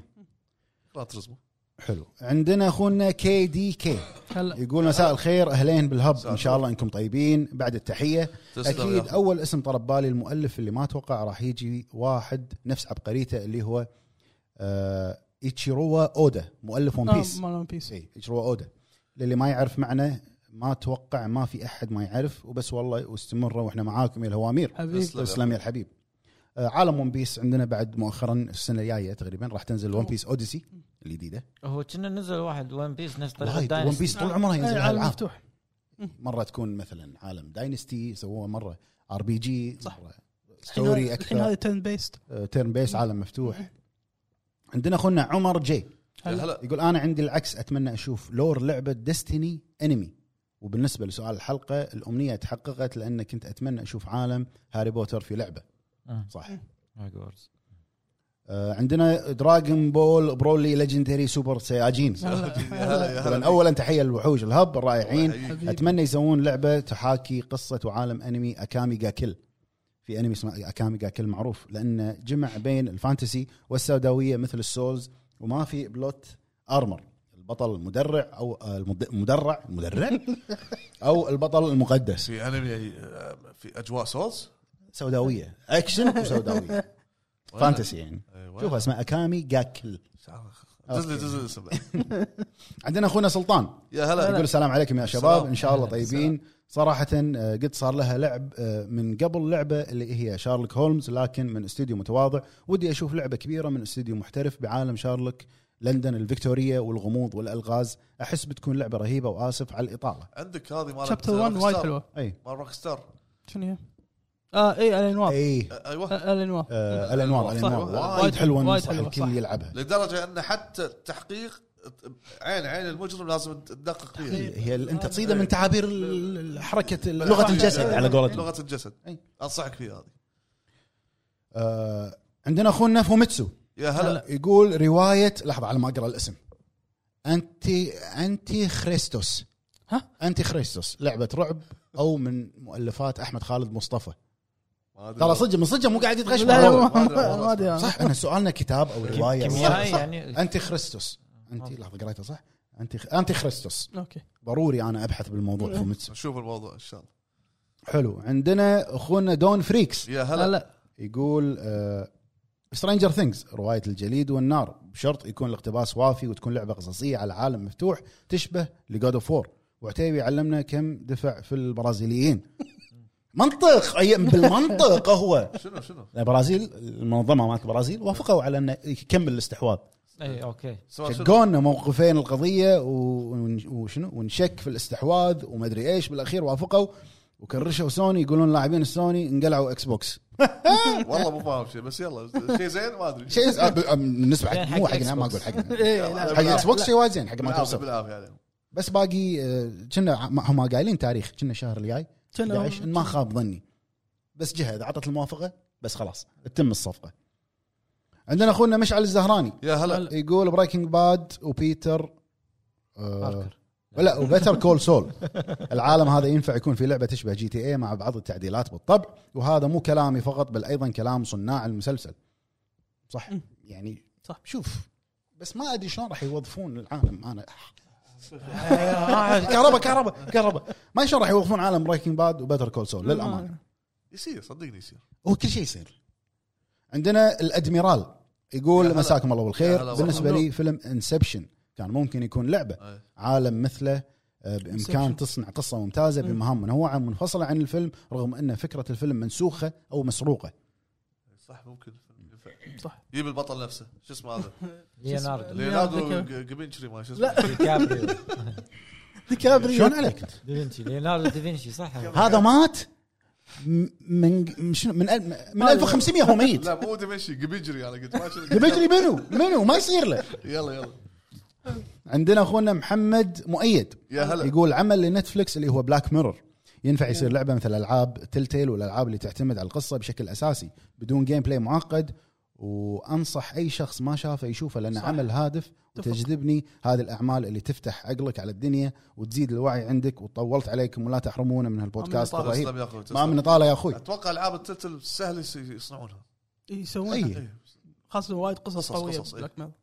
Speaker 2: لا ترزمو
Speaker 1: حلو عندنا اخونا كي دي كي
Speaker 3: هلا
Speaker 1: يقول مساء الخير اهلين بالهب
Speaker 2: مساء
Speaker 1: ان شاء الله انكم طيبين بعد التحيه
Speaker 2: تسلم يا
Speaker 1: اكيد
Speaker 2: أخي.
Speaker 1: اول اسم طرب بالي المؤلف اللي ما اتوقع راح يجي واحد نفس عبقريته اللي هو آه ايتشيروا اودا مؤلف ون بيس
Speaker 3: مال ون بيس
Speaker 1: اي ايتشيروا اودا للي ما يعرف معنى ما اتوقع ما في احد ما يعرف وبس والله واستمروا واحنا معاكم يا الهوامير
Speaker 3: حبيبي
Speaker 2: تسلم.
Speaker 1: تسلم يا الحبيب آه عالم ون بيس عندنا بعد مؤخرا السنه الجايه تقريبا راح تنزل ون بيس اوديسي الجديده
Speaker 4: هو كنا نزل واحد ون بيس نفس
Speaker 2: طيب،
Speaker 4: طريقه
Speaker 1: وايد ون
Speaker 4: داينستي
Speaker 1: بيس طول عمرها ينزل
Speaker 3: إيه،
Speaker 1: لها
Speaker 3: عالم
Speaker 1: العاب
Speaker 3: مفتوح
Speaker 1: مره تكون مثلا عالم داينستي سووها مره ار بي جي
Speaker 3: صح. الحين-
Speaker 1: ستوري
Speaker 3: الحين
Speaker 1: اكثر
Speaker 3: هذه تن بيست
Speaker 1: تيرن بيس آه، عالم مفتوح عندنا اخونا عمر جي
Speaker 2: يا
Speaker 3: هلا
Speaker 2: هلا
Speaker 1: يقول انا عندي العكس اتمنى اشوف لور لعبه ديستني انمي وبالنسبه لسؤال الحلقه الامنيه تحققت لان كنت اتمنى اشوف عالم هاري بوتر في لعبه
Speaker 4: آه.
Speaker 1: صح
Speaker 4: هوجورتس.
Speaker 1: آه، عندنا دراجون بول برولي ليجندري سوبر سياجين
Speaker 2: يا هلا يا
Speaker 1: طبعا
Speaker 2: هلا
Speaker 1: اولا تحيه للوحوش الهب الرائعين
Speaker 2: حبيبي.
Speaker 1: اتمنى يسوون لعبه تحاكي قصه وعالم انمي اكامي جاكل في انمي اسمه اكامي جاكل معروف لانه جمع بين الفانتسي والسوداويه مثل السولز وما في بلوت ارمر البطل المدرع او آه، المد- المدرع المدرع او البطل المقدس
Speaker 2: في انمي آه، في اجواء سولز
Speaker 1: سوداويه اكشن وسوداويه فانتسي يعني شوف اسمه اكامي جاكل
Speaker 2: دزلي دزلي الاسم
Speaker 1: عندنا اخونا سلطان
Speaker 2: يا
Speaker 1: يقول
Speaker 2: هلا
Speaker 1: السلام عليكم يا
Speaker 2: السلام.
Speaker 1: شباب ان شاء الله
Speaker 4: أهلاً.
Speaker 1: طيبين صراحة آه، قد صار لها لعب آه، من قبل لعبة اللي هي شارلوك هولمز لكن من استوديو متواضع ودي اشوف لعبة كبيرة من استوديو محترف بعالم شارلوك لندن الفيكتورية والغموض والالغاز احس بتكون لعبة رهيبة واسف على الاطالة
Speaker 2: عندك هذه مالت
Speaker 3: شابتر 1 وايد حلوه
Speaker 1: اي
Speaker 2: مال روك ستار
Speaker 3: شنو هي؟ اه اي الانوار
Speaker 1: اي
Speaker 2: ايوه
Speaker 3: آه، الانوار
Speaker 1: آه، الانوار
Speaker 2: صح.
Speaker 1: الانوار وايد
Speaker 3: وايد
Speaker 1: حلوة
Speaker 3: حلوة،
Speaker 1: ننصح
Speaker 3: صح.
Speaker 1: الكل يلعبها
Speaker 2: لدرجه ان حتى التحقيق عين عين المجرم لازم تدقق فيها
Speaker 1: هي ال- انت تصيده من تعابير ال- ال- حركة ال- لغة الجسد على قولتهم إيه.
Speaker 2: لغه الجسد
Speaker 1: أي.
Speaker 2: انصحك فيها هذه
Speaker 1: آه، عندنا اخونا فوميتسو
Speaker 2: يا هلا
Speaker 1: يقول روايه لحظه على ما اقرا الاسم انتي انتي خريستوس
Speaker 3: ها؟
Speaker 1: انتي خريستوس لعبه رعب او من مؤلفات احمد خالد مصطفى
Speaker 2: ما أدري
Speaker 1: ترى
Speaker 2: والله.
Speaker 1: صدق من صدق مو قاعد يتغش
Speaker 3: لا،
Speaker 1: بالرعب.
Speaker 2: ما أدري،
Speaker 3: ما ادري أنا.
Speaker 1: صح انا سؤالنا كتاب او روايه
Speaker 4: كيميائي
Speaker 1: صح.
Speaker 4: يعني
Speaker 1: انتي خريستوس
Speaker 3: آه.
Speaker 1: انتي لحظه قريتها صح انتي انتي خريستوس
Speaker 3: اوكي
Speaker 1: ضروري انا ابحث بالموضوع فهمت
Speaker 2: نشوف الموضوع ان شاء الله
Speaker 1: حلو عندنا اخونا دون فريكس
Speaker 2: يا هلا
Speaker 3: هلا
Speaker 1: يقول آه، سترينجر ثينجز روايه الجليد والنار بشرط يكون الاقتباس وافي وتكون لعبه قصصيه على عالم مفتوح تشبه لجود اوف وور وعتيبي علمنا كم دفع في البرازيليين منطق أي بالمنطق هو
Speaker 2: شنو شنو
Speaker 1: البرازيل المنظمه مالت البرازيل وافقوا على انه يكمل الاستحواذ
Speaker 4: اي اوكي
Speaker 2: سؤال شنو؟
Speaker 1: شقونا موقفين القضيه ون- وشنو ونشك في الاستحواذ ومدري ايش بالاخير وافقوا وكرشوا سوني يقولون لاعبين السوني انقلعوا اكس بوكس
Speaker 2: والله مو فاهم شيء بس يلا شيء زين ما ادري
Speaker 1: شيء آه، ب- آه، بالنسبه حق
Speaker 4: زين حق
Speaker 1: مو حقنا
Speaker 4: Xbox.
Speaker 1: ما اقول حقنا
Speaker 3: إيه، لا،
Speaker 1: حق
Speaker 2: لا،
Speaker 1: اكس بوكس شيء وايد زين حق ما
Speaker 2: بالعافيه
Speaker 1: توصف
Speaker 2: بالعافيه عليهم
Speaker 1: بس باقي آه، كنا ع- ما- هم قايلين تاريخ كنا الشهر الجاي
Speaker 3: كنا-
Speaker 1: 11 إن ما خاب ظني بس جهه اذا اعطت الموافقه بس خلاص تتم الصفقه عندنا اخونا مشعل الزهراني
Speaker 2: يا هلا
Speaker 1: يقول بريكنج باد وبيتر آه،
Speaker 4: باركر
Speaker 1: ولا وبتر كول سول العالم هذا ينفع يكون في لعبه تشبه جي تي اي مع بعض التعديلات بالطبع وهذا مو كلامي فقط بل ايضا كلام صناع المسلسل صح
Speaker 3: م.
Speaker 1: يعني
Speaker 3: صح.
Speaker 1: شوف بس ما ادري شلون راح يوظفون العالم انا
Speaker 4: آه،
Speaker 1: كهرباء كهرباء كهرباء ما شلون راح يوظفون عالم بريكنج باد وبتر كول سول للامانه
Speaker 2: يصير صدقني يصير
Speaker 1: هو كل شيء يصير عندنا الادميرال
Speaker 2: يا
Speaker 1: يقول
Speaker 2: هلا.
Speaker 1: مساكم الله
Speaker 2: يا
Speaker 1: بالخير
Speaker 2: هلا
Speaker 1: بالنسبه
Speaker 2: والله.
Speaker 1: لي فيلم انسبشن كان ممكن يكون لعبه
Speaker 2: أي.
Speaker 1: عالم مثله آه، بامكان
Speaker 3: Inception.
Speaker 1: تصنع قصه ممتازه بمهام منوعه منفصله عن الفيلم رغم ان فكره الفيلم منسوخه او مسروقه
Speaker 2: صح ممكن ينفع.
Speaker 3: صح.
Speaker 2: يجيب البطل نفسه شو اسمه هذا
Speaker 4: ليوناردو
Speaker 2: ليوناردو جابنشري ما شو اسمه
Speaker 3: لا.
Speaker 4: دي كابريو
Speaker 3: ديكابريو
Speaker 1: شلون عليك انت؟
Speaker 4: دافنشي ليوناردو دافنشي صح
Speaker 1: هذا مات م- من من شنو من ال- من 1500 هو ميت
Speaker 2: أيوة. لا مو دمشي جابنشري انا قلت ما شنو
Speaker 1: يبجري منو منو ما يصير له
Speaker 2: يلا يلا
Speaker 1: عندنا اخونا محمد مؤيد
Speaker 2: يا هلا.
Speaker 1: يقول عمل لنتفلكس اللي هو بلاك ميرور ينفع يصير لعبه مثل العاب تلتيل والالعاب اللي تعتمد على القصه بشكل اساسي بدون جيم بلاي معقد وانصح اي شخص ما شافه يشوفه لان
Speaker 3: صح.
Speaker 1: عمل هادف
Speaker 3: اتفق.
Speaker 1: وتجذبني هذه الاعمال اللي تفتح عقلك على الدنيا وتزيد الوعي عندك وطولت عليكم ولا تحرمونا من هالبودكاست
Speaker 3: ما من
Speaker 1: الرهيب
Speaker 2: تسلم يا اخوي
Speaker 1: ما
Speaker 2: تسلم.
Speaker 1: من طاله يا اخوي
Speaker 2: اتوقع العاب التتل سهل يس- يصنعونها
Speaker 3: يسوون
Speaker 1: إيه.
Speaker 3: خاصه وايد قصص
Speaker 2: قصص-
Speaker 3: قويه
Speaker 2: قصص، إيه.
Speaker 3: بلاك ميرور.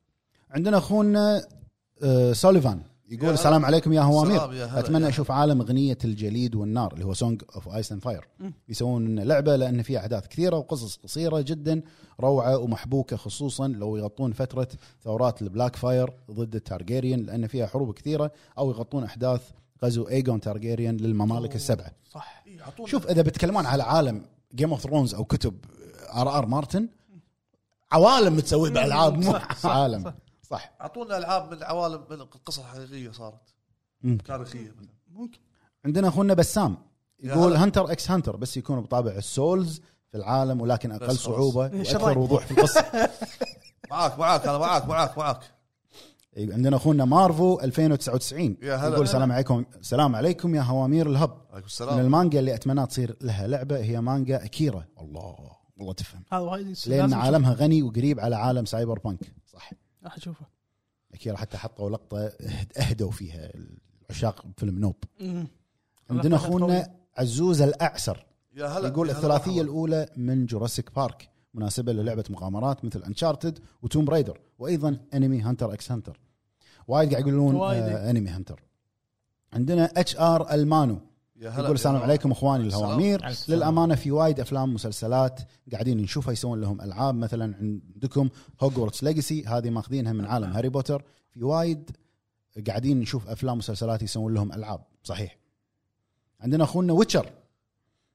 Speaker 1: عندنا اخونا آه، سوليفان يقول
Speaker 2: يا
Speaker 1: السلام عليكم يا هوامير
Speaker 2: سلام، يا هلا، يا
Speaker 1: اتمنى
Speaker 2: هلا.
Speaker 1: اشوف عالم اغنيه الجليد والنار اللي هو سونج اوف ايس اند فاير
Speaker 3: مم.
Speaker 1: يسوون منه لعبه لان فيها احداث كثيره وقصص قصيره جدا روعه ومحبوكه خصوصا لو يغطون فتره ثورات البلاك فاير ضد التارجيريان لان فيها حروب كثيره او يغطون احداث غزو ايجون تارجيريان للممالك السبعه
Speaker 3: صح
Speaker 2: إيه، يعطونا
Speaker 1: شوف اذا بتكلمون على عالم جيم اوف ثرونز او كتب ار ار مارتن عوالم متسويه بالالعاب مو
Speaker 3: صح، صح،
Speaker 1: عالم
Speaker 3: صح.
Speaker 1: صح.
Speaker 2: اعطونا العاب من عوالم من قصص حقيقيه صارت
Speaker 1: ممكن.
Speaker 2: تاريخيه مثلا
Speaker 3: ممكن
Speaker 1: عندنا اخونا بسام
Speaker 2: يا
Speaker 1: يقول
Speaker 2: هلا.
Speaker 1: هنتر اكس هنتر بس يكون بطابع السولز في العالم ولكن اقل
Speaker 2: خلاص.
Speaker 1: صعوبه
Speaker 3: إيش
Speaker 1: واكثر
Speaker 3: رأيك؟
Speaker 1: وضوح في القصه
Speaker 2: معاك معاك انا معاك معاك معاك
Speaker 1: إيه، عندنا اخونا مارفو 2099
Speaker 2: يا هلا.
Speaker 1: يقول السلام عليكم السلام عليكم يا هوامير الهب
Speaker 2: عليكم
Speaker 1: من
Speaker 2: السلام
Speaker 1: المانجا اللي اتمنى تصير لها لعبه هي مانجا اكيرا الله والله تفهم
Speaker 3: هذا وايد يصير.
Speaker 1: لان
Speaker 3: لازم نشوف.
Speaker 1: عالمها غني وقريب على عالم سايبر بانك صح
Speaker 3: راح اشوفه
Speaker 1: اكيرا حتى حطوا لقطه اهدوا فيها العشاق بفيلم نوب
Speaker 3: مم.
Speaker 1: عندنا
Speaker 3: لقطة
Speaker 1: اخونا عزوز الاعسر
Speaker 2: يا هلا
Speaker 1: يقول
Speaker 2: يا هلا،
Speaker 1: الثلاثيه
Speaker 2: مرحبا.
Speaker 1: الاولى من جوراسيك بارك مناسبه للعبه مغامرات مثل انشارتد وتوم رايدر وايضا انمي هانتر اكس هانتر وايد قاعد يقولون
Speaker 3: وايد.
Speaker 1: آه انمي هانتر عندنا اتش ار المانو
Speaker 2: يا هلا
Speaker 1: يقول السلام
Speaker 2: يا هلا.
Speaker 1: عليكم اخواني
Speaker 2: السلام.
Speaker 1: الهوامير
Speaker 4: عليكم السلام.
Speaker 1: للامانه في وايد افلام مسلسلات قاعدين نشوفها يسوون لهم العاب مثلا عندكم هوجورتس ليجسي هذه ماخذينها من عالم هاري بوتر في وايد قاعدين نشوف افلام مسلسلات يسوون لهم العاب صحيح عندنا اخونا ويتشر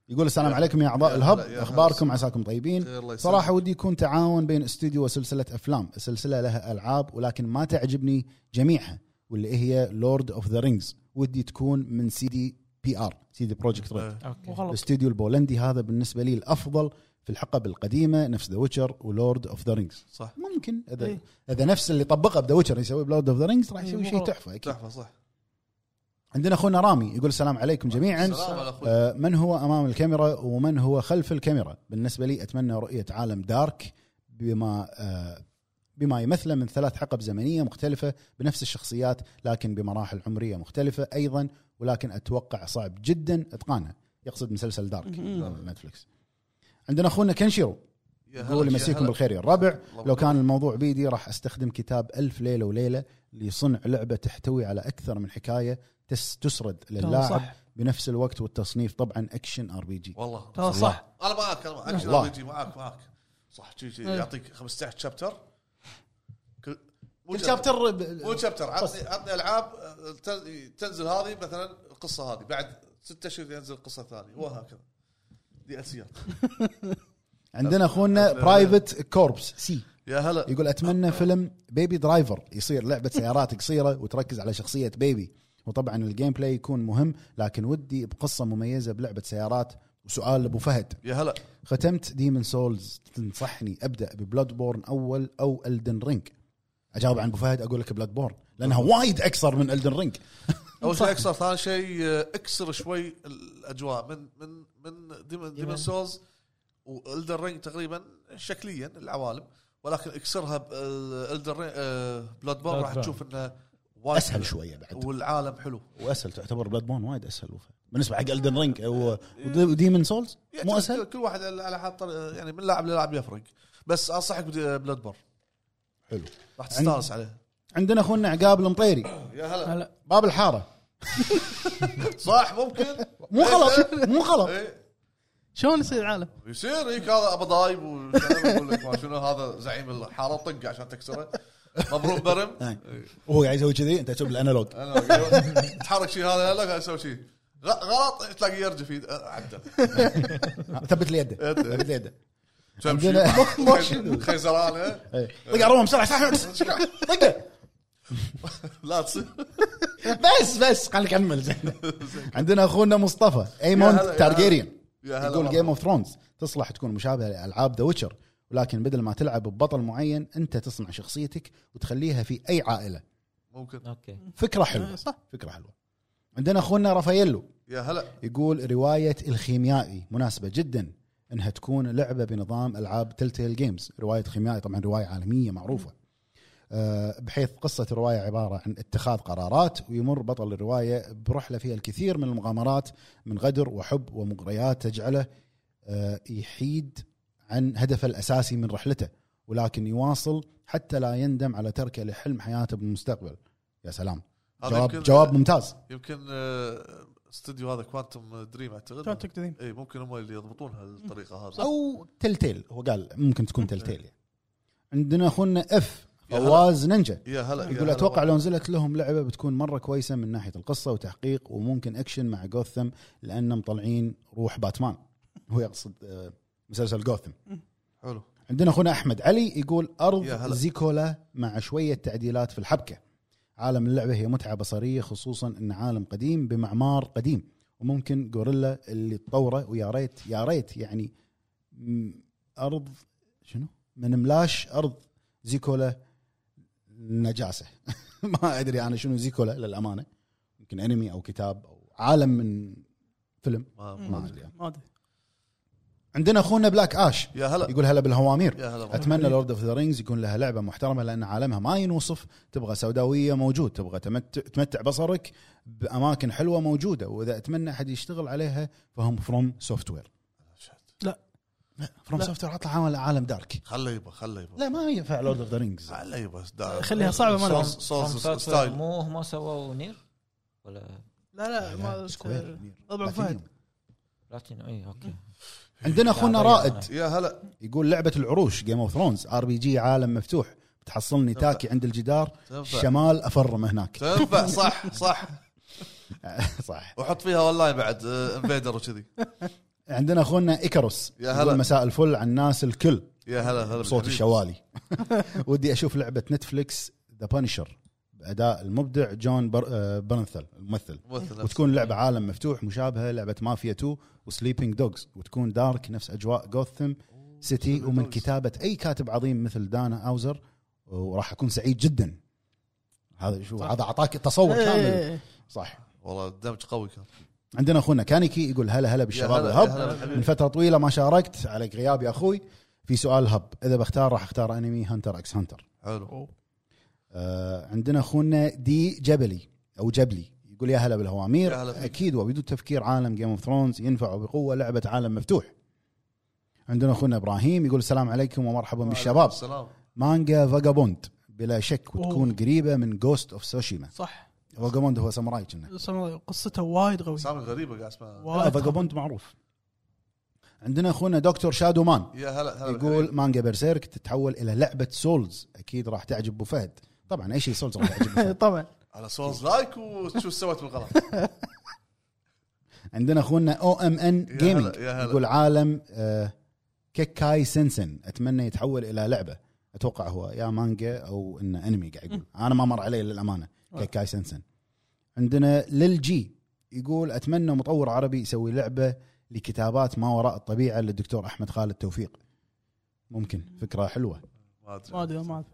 Speaker 1: يقول السلام عليكم يا اعضاء
Speaker 2: يا
Speaker 1: الهب
Speaker 2: هلا، يا هلا.
Speaker 1: اخباركم عساكم طيبين
Speaker 2: خير الله يسلمك.
Speaker 1: صراحه ودي يكون تعاون بين استوديو وسلسله افلام السلسله لها العاب ولكن ما تعجبني جميعها واللي هي لورد اوف ذا رينجز ودي تكون من سي دي بي ار سي دي بروجكت ريد
Speaker 2: إيه.
Speaker 3: مو
Speaker 4: اوكي
Speaker 3: غلط
Speaker 1: الاستوديو البولندي هذا بالنسبه لي الافضل في الحقب القديمه نفس ذا ويتشر ولورد اوف ذا رينجز
Speaker 2: صح
Speaker 1: ممكن اذا
Speaker 3: إيه.
Speaker 1: اذا نفس اللي طبقه بذا ويتشر يسوي بلورد اوف ذا رينجز راح
Speaker 3: إيه،
Speaker 1: يسوي
Speaker 3: مو
Speaker 1: شيء
Speaker 3: غلط.
Speaker 1: تحفه اكيد
Speaker 2: تحفه صح
Speaker 1: عندنا اخونا رامي يقول السلام عليكم جميعا
Speaker 2: السلام على
Speaker 3: طيب.
Speaker 2: اخوي
Speaker 1: آه، من هو امام الكاميرا ومن هو خلف الكاميرا بالنسبه لي اتمنى رؤيه عالم دارك بما آه، بما يمثله من ثلاث حقب زمنيه مختلفه بنفس الشخصيات لكن بمراحل عمريه مختلفه ايضا ولكن اتوقع صعب جدا اتقانها يقصد مسلسل دارك
Speaker 3: مهم.
Speaker 1: نتفلكس عندنا اخونا كنشيرو
Speaker 2: يا هلا،
Speaker 1: يقول
Speaker 2: يا
Speaker 1: يمسيكم
Speaker 2: هلا.
Speaker 1: بالخير يا الربع
Speaker 2: الله
Speaker 1: لو كان الموضوع بيدي راح استخدم كتاب ألف ليله وليله لصنع لعبه تحتوي على اكثر من حكايه تس تسرد للاعب
Speaker 3: صح
Speaker 1: بنفس الوقت والتصنيف طبعا اكشن ار بي جي
Speaker 2: والله
Speaker 3: ترى صح
Speaker 2: انا معاك انا معاك أكشن
Speaker 1: والله.
Speaker 2: ار بي جي، معاك معاك صح شي شي
Speaker 3: إيه.
Speaker 2: يعطيك 15 شابتر كل مو
Speaker 1: كل شابتر ب-
Speaker 2: مو شابتر عطني عطني العاب آه، تن- تنزل هذه مثلا القصه هذه بعد ستة اشهر ينزل القصه الثانيه وهكذا دي اسيات
Speaker 1: عندنا اخونا برايفت كوربس سي
Speaker 2: يا هلا
Speaker 1: يقول اتمنى فيلم بيبي درايفر يصير لعبه سيارات قصيره وتركز على شخصيه بيبي وطبعا الجيم بلاي يكون مهم لكن ودي بقصه مميزه بلعبه سيارات وسؤال لابو فهد
Speaker 2: يا هلا
Speaker 1: ختمت ديمن سولز تنصحني ابدا ببلاد بورن اول او الدن رينج اجاوب عن ابو فهد اقول لك بلاد بورن لانها وايد اكثر من الدن رينج
Speaker 2: اول شيء اكسر ثاني شيء آه، اكسر شوي الاجواء من من من ديمن ديمن سولز والدر رينج تقريبا شكليا العوالم ولكن اكسرها بالدر بلاد بورن آه، راح
Speaker 4: Bloodborne.
Speaker 2: تشوف انه وايد حلو.
Speaker 1: اسهل شويه بعد
Speaker 2: والعالم حلو
Speaker 1: واسهل تعتبر بلاد بون وايد اسهل وفا. بالنسبه حق الدن رينج وديمن سولز مو اسهل
Speaker 2: يعني كل واحد على حد طريق- يعني من لاعب للاعب يفرق بس انصحك بلاد بور
Speaker 1: حلو
Speaker 2: راح تستانس عليه
Speaker 1: عندنا اخونا عقاب المطيري
Speaker 2: يا هلا
Speaker 3: هلا
Speaker 1: باب الحاره
Speaker 2: صح ممكن
Speaker 1: مو غلط مو غلط
Speaker 2: إيه،
Speaker 3: شلون يصير العالم؟
Speaker 2: يصير هيك هذا ابو ضايب وشنو يقول لك ما شنو هذا زعيم الحاره طق عشان تكسره مبروك برم
Speaker 1: إيه. وهو قاعد يسوي كذي انت تشوف الانالوج
Speaker 2: أنا- تحرك شيء هذا لا قاعد يسوي شيء غ- غلط تلاقيه يرجف يد- أه، عدل
Speaker 1: ثبت لي يده ثبت لي يده
Speaker 2: كم
Speaker 1: عندنا-
Speaker 2: شيء.
Speaker 1: ما شنو.
Speaker 2: خيزرانه
Speaker 1: إيه. طق على روحه بسرعه بسرعة. طقه
Speaker 2: لا تصير
Speaker 1: بس بس خلينا نكمل زين عندنا اخونا مصطفى
Speaker 2: يا هلا-
Speaker 1: ايموند
Speaker 2: يا
Speaker 1: تارجيريان
Speaker 2: يا هلا
Speaker 1: يقول
Speaker 2: والله.
Speaker 1: جيم اوف ثرونز تصلح تكون مشابهه لالعاب ذا ويتشر ولكن بدل ما تلعب ببطل معين انت تصنع شخصيتك وتخليها في اي عائله
Speaker 2: ممكن
Speaker 4: اوكي
Speaker 1: فكره حلوه
Speaker 3: صح
Speaker 1: فكره حلوه عندنا اخونا رافاييلو
Speaker 2: يا هلا
Speaker 1: يقول روايه الخيميائي مناسبه جدا انها تكون لعبه بنظام العاب تلتيل جيمز روايه خيميائي طبعا روايه عالميه معروفه آه، بحيث قصه الروايه عباره عن اتخاذ قرارات ويمر بطل الروايه برحله فيها الكثير من المغامرات من غدر وحب ومغريات تجعله آه، يحيد عن هدفه الاساسي من رحلته ولكن يواصل حتى لا يندم على تركه لحلم حياته بالمستقبل يا سلام
Speaker 2: هذا
Speaker 1: جواب
Speaker 2: يمكن-
Speaker 1: جواب ممتاز
Speaker 2: يمكن آه، استوديو هذا كوانتم دريم
Speaker 3: شلون
Speaker 2: اعتقد
Speaker 3: تقدرين؟
Speaker 2: اي إيه، ممكن هم اللي يضبطون هالطريقه هذه
Speaker 1: او تلتيل هو قال ممكن تكون تلتيل يعني. عندنا اخونا اف
Speaker 2: يا هلا.
Speaker 1: فواز نينجا
Speaker 2: يا هلا يا
Speaker 1: يقول
Speaker 2: هلا
Speaker 1: اتوقع لو نزلت لهم لعبه بتكون مره كويسه من ناحيه القصه وتحقيق وممكن اكشن مع جوثم لان مطلعين روح باتمان هو يقصد آه، مسلسل جوثم
Speaker 2: حلو
Speaker 1: عندنا اخونا احمد علي يقول ارض
Speaker 2: يا هلا.
Speaker 1: زيكولا مع شويه تعديلات في الحبكه عالم اللعبه هي متعه بصريه خصوصا ان عالم قديم بمعمار قديم وممكن غوريلا اللي تطوره ويا ريت يا ريت يعني م- ارض شنو من ملاش ارض زيكولا نجاسه ما ادري انا شنو زيكولا للامانه يمكن انمي او كتاب او عالم من فيلم
Speaker 2: ما-
Speaker 1: ما ادري
Speaker 3: ما ادري
Speaker 1: عندنا اخونا بلاك اش
Speaker 2: يا هلا
Speaker 1: يقول هلا بالهوامير
Speaker 2: يا هلا
Speaker 1: اتمنى لورد اوف ذا رينجز يكون لها لعبه محترمه لان عالمها ما ينوصف تبغى سوداويه موجود تبغى تمتع, تمتع بصرك باماكن حلوه موجوده واذا اتمنى احد يشتغل عليها فهم فروم سوفت وير
Speaker 3: لا.
Speaker 1: فروم
Speaker 3: لا.
Speaker 1: سوفت وير عطى عمل عالم دارك
Speaker 2: خله يبا خله يبا
Speaker 1: لا ما ينفع لورد اوف ذا رينجز
Speaker 2: خله يبا
Speaker 3: خليها صعبة ما
Speaker 2: سولز
Speaker 3: لازم.
Speaker 2: سولز ستايل
Speaker 4: مو هم سووا نير ولا
Speaker 3: لا لا ما سكوير ربع فهد
Speaker 4: بلاتينو اي اوكي
Speaker 1: عندنا اخونا رائد
Speaker 2: يا هلا
Speaker 1: يقول لعبه العروش جيم اوف ثرونز ار بي جي عالم مفتوح بتحصلني
Speaker 2: تنفع.
Speaker 1: تاكي عند الجدار
Speaker 2: تنفع
Speaker 1: شمال افرم هناك
Speaker 2: تنفع صح صح
Speaker 1: صح
Speaker 2: وحط فيها والله بعد آه، انفيدر وكذي
Speaker 1: عندنا اخونا ايكاروس
Speaker 2: يا
Speaker 1: يقول
Speaker 2: هلا.
Speaker 1: مساء الفل على الناس الكل
Speaker 2: يا هلا هلا
Speaker 1: بصوت
Speaker 2: بالحبيب.
Speaker 1: الشوالي ودي اشوف لعبه نتفليكس ذا بانشر باداء المبدع جون بر... آه، برنثل الممثل
Speaker 2: ممثل نفسه.
Speaker 1: وتكون لعبه عالم مفتوح مشابهه لعبه مافيا 2 وسليبنج دوجز وتكون دارك نفس اجواء جوثم سيتي
Speaker 2: Sleeping
Speaker 1: ومن
Speaker 2: Dogs.
Speaker 1: كتابه اي كاتب عظيم مثل دانا اوزر وراح اكون سعيد جدا هذا شو هذا اعطاك تصور كامل
Speaker 3: إيه.
Speaker 1: صح
Speaker 2: والله الدمج قوي كان
Speaker 1: عندنا اخونا كانيكي يقول هلا هلا
Speaker 2: يا
Speaker 1: بالشباب
Speaker 2: هلا، يا
Speaker 1: الهب
Speaker 2: هلا بالحبيب.
Speaker 1: من فتره طويله ما شاركت عليك غياب يا اخوي في سؤال هب اذا بختار راح اختار انمي هانتر اكس هانتر
Speaker 2: حلو
Speaker 1: آه، عندنا اخونا دي جبلي او جبلي يقول يا هلا بالهوامير
Speaker 2: يا هلا فيك.
Speaker 1: اكيد وبدون تفكير عالم جيم اوف ثرونز ينفع بقوه لعبه عالم مفتوح عندنا اخونا ابراهيم يقول السلام عليكم ومرحبا بالشباب
Speaker 2: السلام
Speaker 1: مانجا فاجابوند بلا شك وتكون
Speaker 3: أوه.
Speaker 1: قريبه من جوست اوف سوشيما
Speaker 3: صح
Speaker 1: فاجابوند هو ساموراي كنا
Speaker 3: ساموراي قصته وايد قوية
Speaker 2: سامي غريبه قاعد اسمها
Speaker 1: لا،
Speaker 3: وايد
Speaker 1: فاجابوند معروف عندنا اخونا دكتور شادو مان
Speaker 2: يا هلا هلا بالحبيب.
Speaker 1: يقول مانجا برسيرك تتحول الى لعبه سولز اكيد راح تعجب ابو فهد طبعا اي شيء سولز راح يعجب أبو فهد
Speaker 3: طبعا
Speaker 2: على سولز لايك وشو سويت بالغلط
Speaker 1: عندنا اخونا او ام ان
Speaker 2: يا
Speaker 1: جيمنج
Speaker 2: هلا، يا هلا.
Speaker 1: يقول عالم آه، كيكاي سنسن اتمنى يتحول الى لعبه اتوقع هو يا مانجا او انه انمي قاعد يقول انا ما مر علي للامانه كيكاي سنسن عندنا ليل جي يقول اتمنى مطور عربي يسوي لعبه لكتابات ما وراء الطبيعه للدكتور احمد خالد توفيق ممكن فكره حلوه
Speaker 2: ما
Speaker 3: ما ادري ما ادري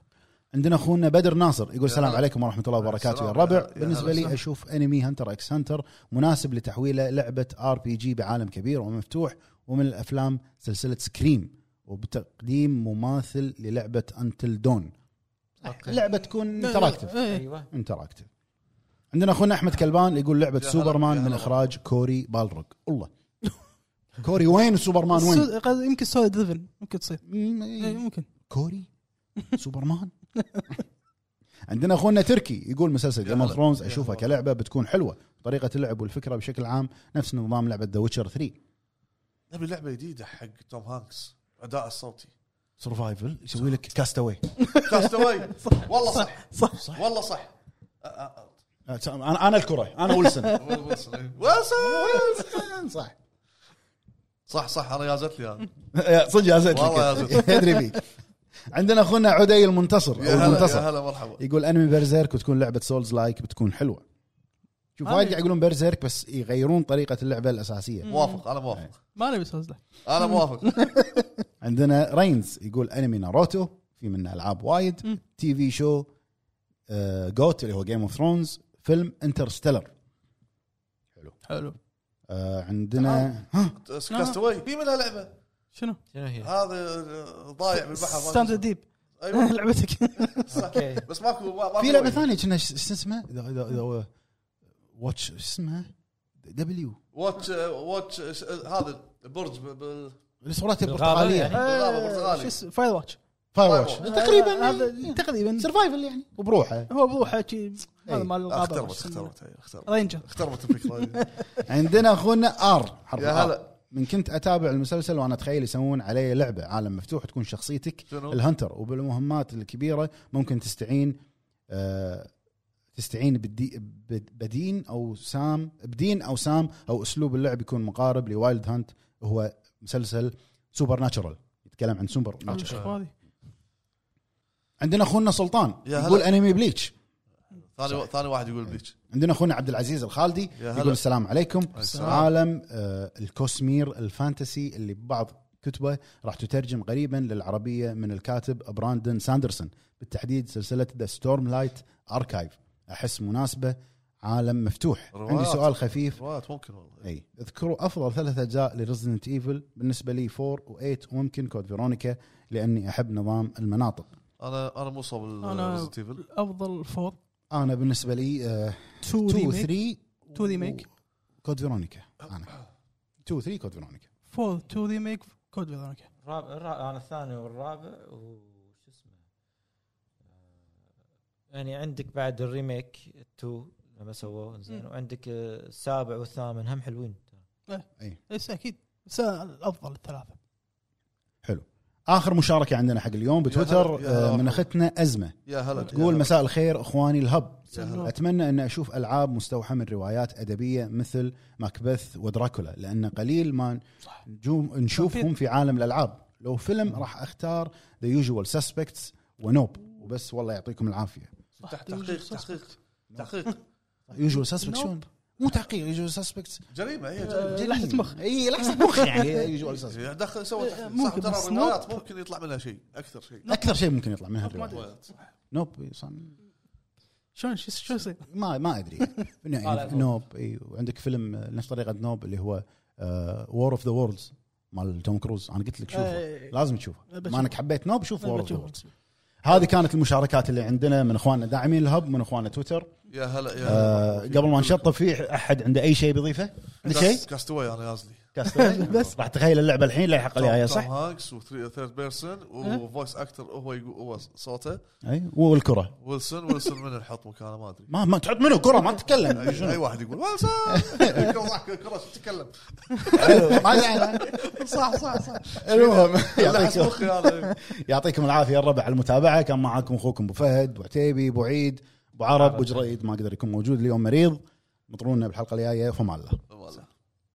Speaker 1: عندنا اخونا بدر ناصر يقول
Speaker 2: يا
Speaker 1: السلام
Speaker 2: هلا.
Speaker 1: عليكم ورحمه الله وبركاته
Speaker 2: السلام
Speaker 1: يا
Speaker 2: يا
Speaker 1: الربع
Speaker 2: هلا- يا
Speaker 1: بالنسبه
Speaker 2: هلا
Speaker 1: لي
Speaker 2: وسهلا.
Speaker 1: اشوف انمي هنتر اكس هنتر مناسب لتحويله لعبه ار بي جي بعالم كبير ومفتوح ومن الافلام سلسله سكريم وبتقديم مماثل للعبه انتل دون لعبه تكون انتراكتف
Speaker 3: إيه.
Speaker 1: يعني
Speaker 4: ايوه
Speaker 1: انتراكتف عندنا اخونا احمد كلبان يقول لعبه
Speaker 2: يا هلا- يا
Speaker 1: سوبرمان
Speaker 2: هلا
Speaker 1: من
Speaker 2: والله.
Speaker 1: اخراج كوري بالروك الله كوري وين سوبرمان وين؟
Speaker 3: السود- قد- يمكن سوليد ريفن ممكن تصير
Speaker 1: مم،
Speaker 3: إيه،
Speaker 1: إيه.
Speaker 3: ممكن
Speaker 1: كوري سوبرمان عندنا اخونا تركي يقول مسلسل
Speaker 2: يا
Speaker 1: جيم اوف
Speaker 2: هلا.
Speaker 1: ثرونز
Speaker 2: يا
Speaker 1: اشوفها
Speaker 2: هلا.
Speaker 1: كلعبه بتكون حلوه طريقه اللعب والفكره بشكل عام نفس نظام لعبه ذا ويتشر 3
Speaker 2: نبي لعبه جديده حق توم هانكس اداء الصوتي
Speaker 1: سرفايفل يسوي لك كاستاوي
Speaker 2: كاستوي والله صح
Speaker 3: صح
Speaker 2: والله صح أ- أ- أ-
Speaker 1: انا انا الكره انا ويلسون
Speaker 2: ويلسون ويلسون.
Speaker 1: صح
Speaker 2: صح صح انا يازت لي هذا
Speaker 1: صدق ازعج
Speaker 2: والله
Speaker 1: لك ادري فيك عندنا اخونا عدي المنتصر
Speaker 2: يا
Speaker 1: او
Speaker 2: هلا
Speaker 1: المنتصر
Speaker 2: يا هلا مرحبا
Speaker 1: يقول انمي برزيرك وتكون لعبه سولز لايك بتكون حلوه شوف
Speaker 3: ما
Speaker 1: وايد
Speaker 3: أدري.
Speaker 1: قاعد يقولون برزيرك بس يغيرون طريقه اللعبه الاساسيه
Speaker 2: موافق انا موافق
Speaker 3: ما نبي سولز لايك
Speaker 2: انا موافق
Speaker 1: عندنا رينز يقول انمي ناروتو في منه العاب وايد
Speaker 3: مم.
Speaker 1: تي في شو آه، جوت اللي هو جيم اوف ثرونز فيلم انترستيلر
Speaker 3: حلو
Speaker 1: آه، عندنا ها
Speaker 2: كاستوي في منها لعبه
Speaker 3: شنو؟
Speaker 4: شنو
Speaker 1: آه.
Speaker 4: هي؟
Speaker 2: هذا ضايع بالبحر
Speaker 3: ستاند ديب
Speaker 2: ايوه
Speaker 3: لعبتك
Speaker 2: صح
Speaker 4: اوكي
Speaker 2: بس ماكو ما- ماكو
Speaker 1: في لعبه
Speaker 2: وايد.
Speaker 1: ثانيه كنا شو اسمها واتش شو اسمها دبليو
Speaker 2: واتش واتش ش- هذا برج ب- بال-
Speaker 1: الصورات
Speaker 4: بالغابة يعني.
Speaker 1: البرتقاليه
Speaker 2: بالغابة برتغالي.
Speaker 3: إيه، شو اسمه فاير واتش
Speaker 1: فاير
Speaker 2: Firewatch.
Speaker 1: واتش تقريبا
Speaker 3: هذا تقريبا
Speaker 1: سرفايفل يعني وبروحه
Speaker 3: هو بروحه شي هذا
Speaker 1: إيه.
Speaker 3: مال الغابه
Speaker 2: آه، اختربت
Speaker 3: آه،
Speaker 2: اختربت أي، اختربت
Speaker 3: رينجر
Speaker 2: اختربت الفكره
Speaker 1: عندنا اخونا ار حرف
Speaker 2: يا
Speaker 1: R.
Speaker 2: هلا.
Speaker 1: من كنت اتابع المسلسل وانا اتخيل يسوون عليه لعبه عالم مفتوح تكون شخصيتك
Speaker 2: شنو؟
Speaker 1: الهنتر وبالمهمات الكبيره ممكن تستعين آه تستعين بالدي بد- بدين او سام بدين او سام او اسلوب اللعب يكون مقارب لوايلد هانت هو مسلسل سوبر ناتشرال يتكلم عن سوبر ناتشرال عندنا اخونا سلطان
Speaker 2: يا هلا.
Speaker 1: يقول انمي بليتش
Speaker 2: ثاني وا- ثاني واحد يقول بليتش
Speaker 1: عندنا اخونا عبد العزيز الخالدي
Speaker 2: يا هلا.
Speaker 1: يقول السلام عليكم
Speaker 2: السلام.
Speaker 1: عالم آه، الكوسمير الفانتسي اللي ببعض كتبه راح تترجم قريبا للعربيه من الكاتب براندن ساندرسون بالتحديد سلسله ذا ستورم لايت اركايف احس مناسبه عالم مفتوح
Speaker 2: روايات.
Speaker 1: عندي سؤال خفيف
Speaker 2: روايات ممكن والله
Speaker 1: اي اذكروا افضل ثلاث اجزاء لريزدنت ايفل بالنسبه لي 4 و8 وممكن كود فيرونيكا لاني احب نظام المناطق
Speaker 2: انا انا مو صوب
Speaker 3: أنا-
Speaker 2: ريزنت ايفل
Speaker 3: افضل فور
Speaker 1: انا بالنسبه لي آه، 2
Speaker 3: 2 ريميك
Speaker 1: 3
Speaker 3: 2 ريميك
Speaker 1: كود فيرونيكا انا 2 3 كود فيرونيكا
Speaker 3: 4 2 ريميك كود فيرونيكا
Speaker 4: الرابع الرابع- انا الثاني والرابع وش اسمه آه، يعني عندك بعد الريميك 2 لما سووه زين
Speaker 3: مم.
Speaker 4: وعندك آه، السابع والثامن هم حلوين
Speaker 3: بس اكيد بس الافضل الثلاثه
Speaker 1: اخر مشاركه عندنا حق اليوم بتويتر
Speaker 2: يا هلا- يا هلا
Speaker 1: آه، من
Speaker 2: والله.
Speaker 1: اختنا ازمه
Speaker 2: يا هلا
Speaker 1: تقول مساء الخير اخواني الهب
Speaker 2: يا هلا.
Speaker 1: اتمنى ان اشوف العاب مستوحاه من روايات ادبيه مثل ماكبث ودراكولا لان قليل ما
Speaker 3: صح.
Speaker 1: نجوم
Speaker 2: طيب.
Speaker 1: نشوفهم في عالم الالعاب لو فيلم راح اختار ذا يوجوال سسبكتس ونوب وبس والله يعطيكم العافيه
Speaker 2: تحقيق تحقيق تحقيق
Speaker 1: يوجوال سسبكتس
Speaker 3: Nope.
Speaker 1: شلون مو تحقيق يوجوال سسبكتس
Speaker 2: جريمه
Speaker 3: آه،
Speaker 2: هي جريمه
Speaker 3: لحظه إيه. مخ
Speaker 1: اي لحسه مخ يعني يوجوال سسبكتس
Speaker 2: دخل سوى تحقيق
Speaker 3: ممكن
Speaker 2: ممكن ترى
Speaker 3: بس
Speaker 2: الروايات ممكن يطلع منها شيء اكثر شيء
Speaker 1: اكثر شيء ممكن يطلع منها
Speaker 3: Nope ما
Speaker 1: الروايات
Speaker 3: أدري.
Speaker 2: روايات.
Speaker 1: نوب صار-
Speaker 3: شلون شو شو يصير؟
Speaker 2: آه،
Speaker 1: ما ما ادري
Speaker 4: لا،
Speaker 1: يعني
Speaker 4: لا.
Speaker 1: نوب اي وعندك فيلم نفس طريقه نوب اللي هو آه، وور اوف ذا وورلدز مال توم كروز انا قلت لك شوفه
Speaker 3: آه،
Speaker 1: لازم تشوفه
Speaker 3: بشوف.
Speaker 1: ما انك حبيت نوب شوف وور اوف ذا
Speaker 3: بشوف.
Speaker 1: وورلدز هذه كانت المشاركات اللي عندنا من اخواننا داعمين الهب من اخواننا تويتر
Speaker 2: يا هلا يا
Speaker 1: آه قبل ما نشطب في احد عنده اي شيء بيضيفه؟ عندك شيء؟
Speaker 2: كاستوي انا يازلي
Speaker 1: بس راح تخيل اللعبه الحين لا يحق عليها يا
Speaker 2: توم-
Speaker 1: صح؟
Speaker 2: توم هانكس وثيرد بيرسون وفويس اكتر هو يقول هو صوته
Speaker 1: اي والكره
Speaker 2: ويلسون ويلسون من نحط مكانه ما ادري
Speaker 1: ما ما تحط منه كره ما تتكلم
Speaker 2: أي- اي واحد يقول ويلسون يقول صح، كرة تتكلم
Speaker 1: حلو ما زعلان.
Speaker 2: صح صح صح
Speaker 1: المهم
Speaker 2: لحس
Speaker 1: يعطيكم
Speaker 2: مخي انا
Speaker 1: يعطيكم العافيه يا الربع على المتابعه كان معاكم اخوكم ابو فهد ابو عتيبي ابو عيد ابو عرب ابو جريد ما قدر يكون موجود اليوم مريض مطرونا بالحلقه الجايه فما الله
Speaker 2: والله.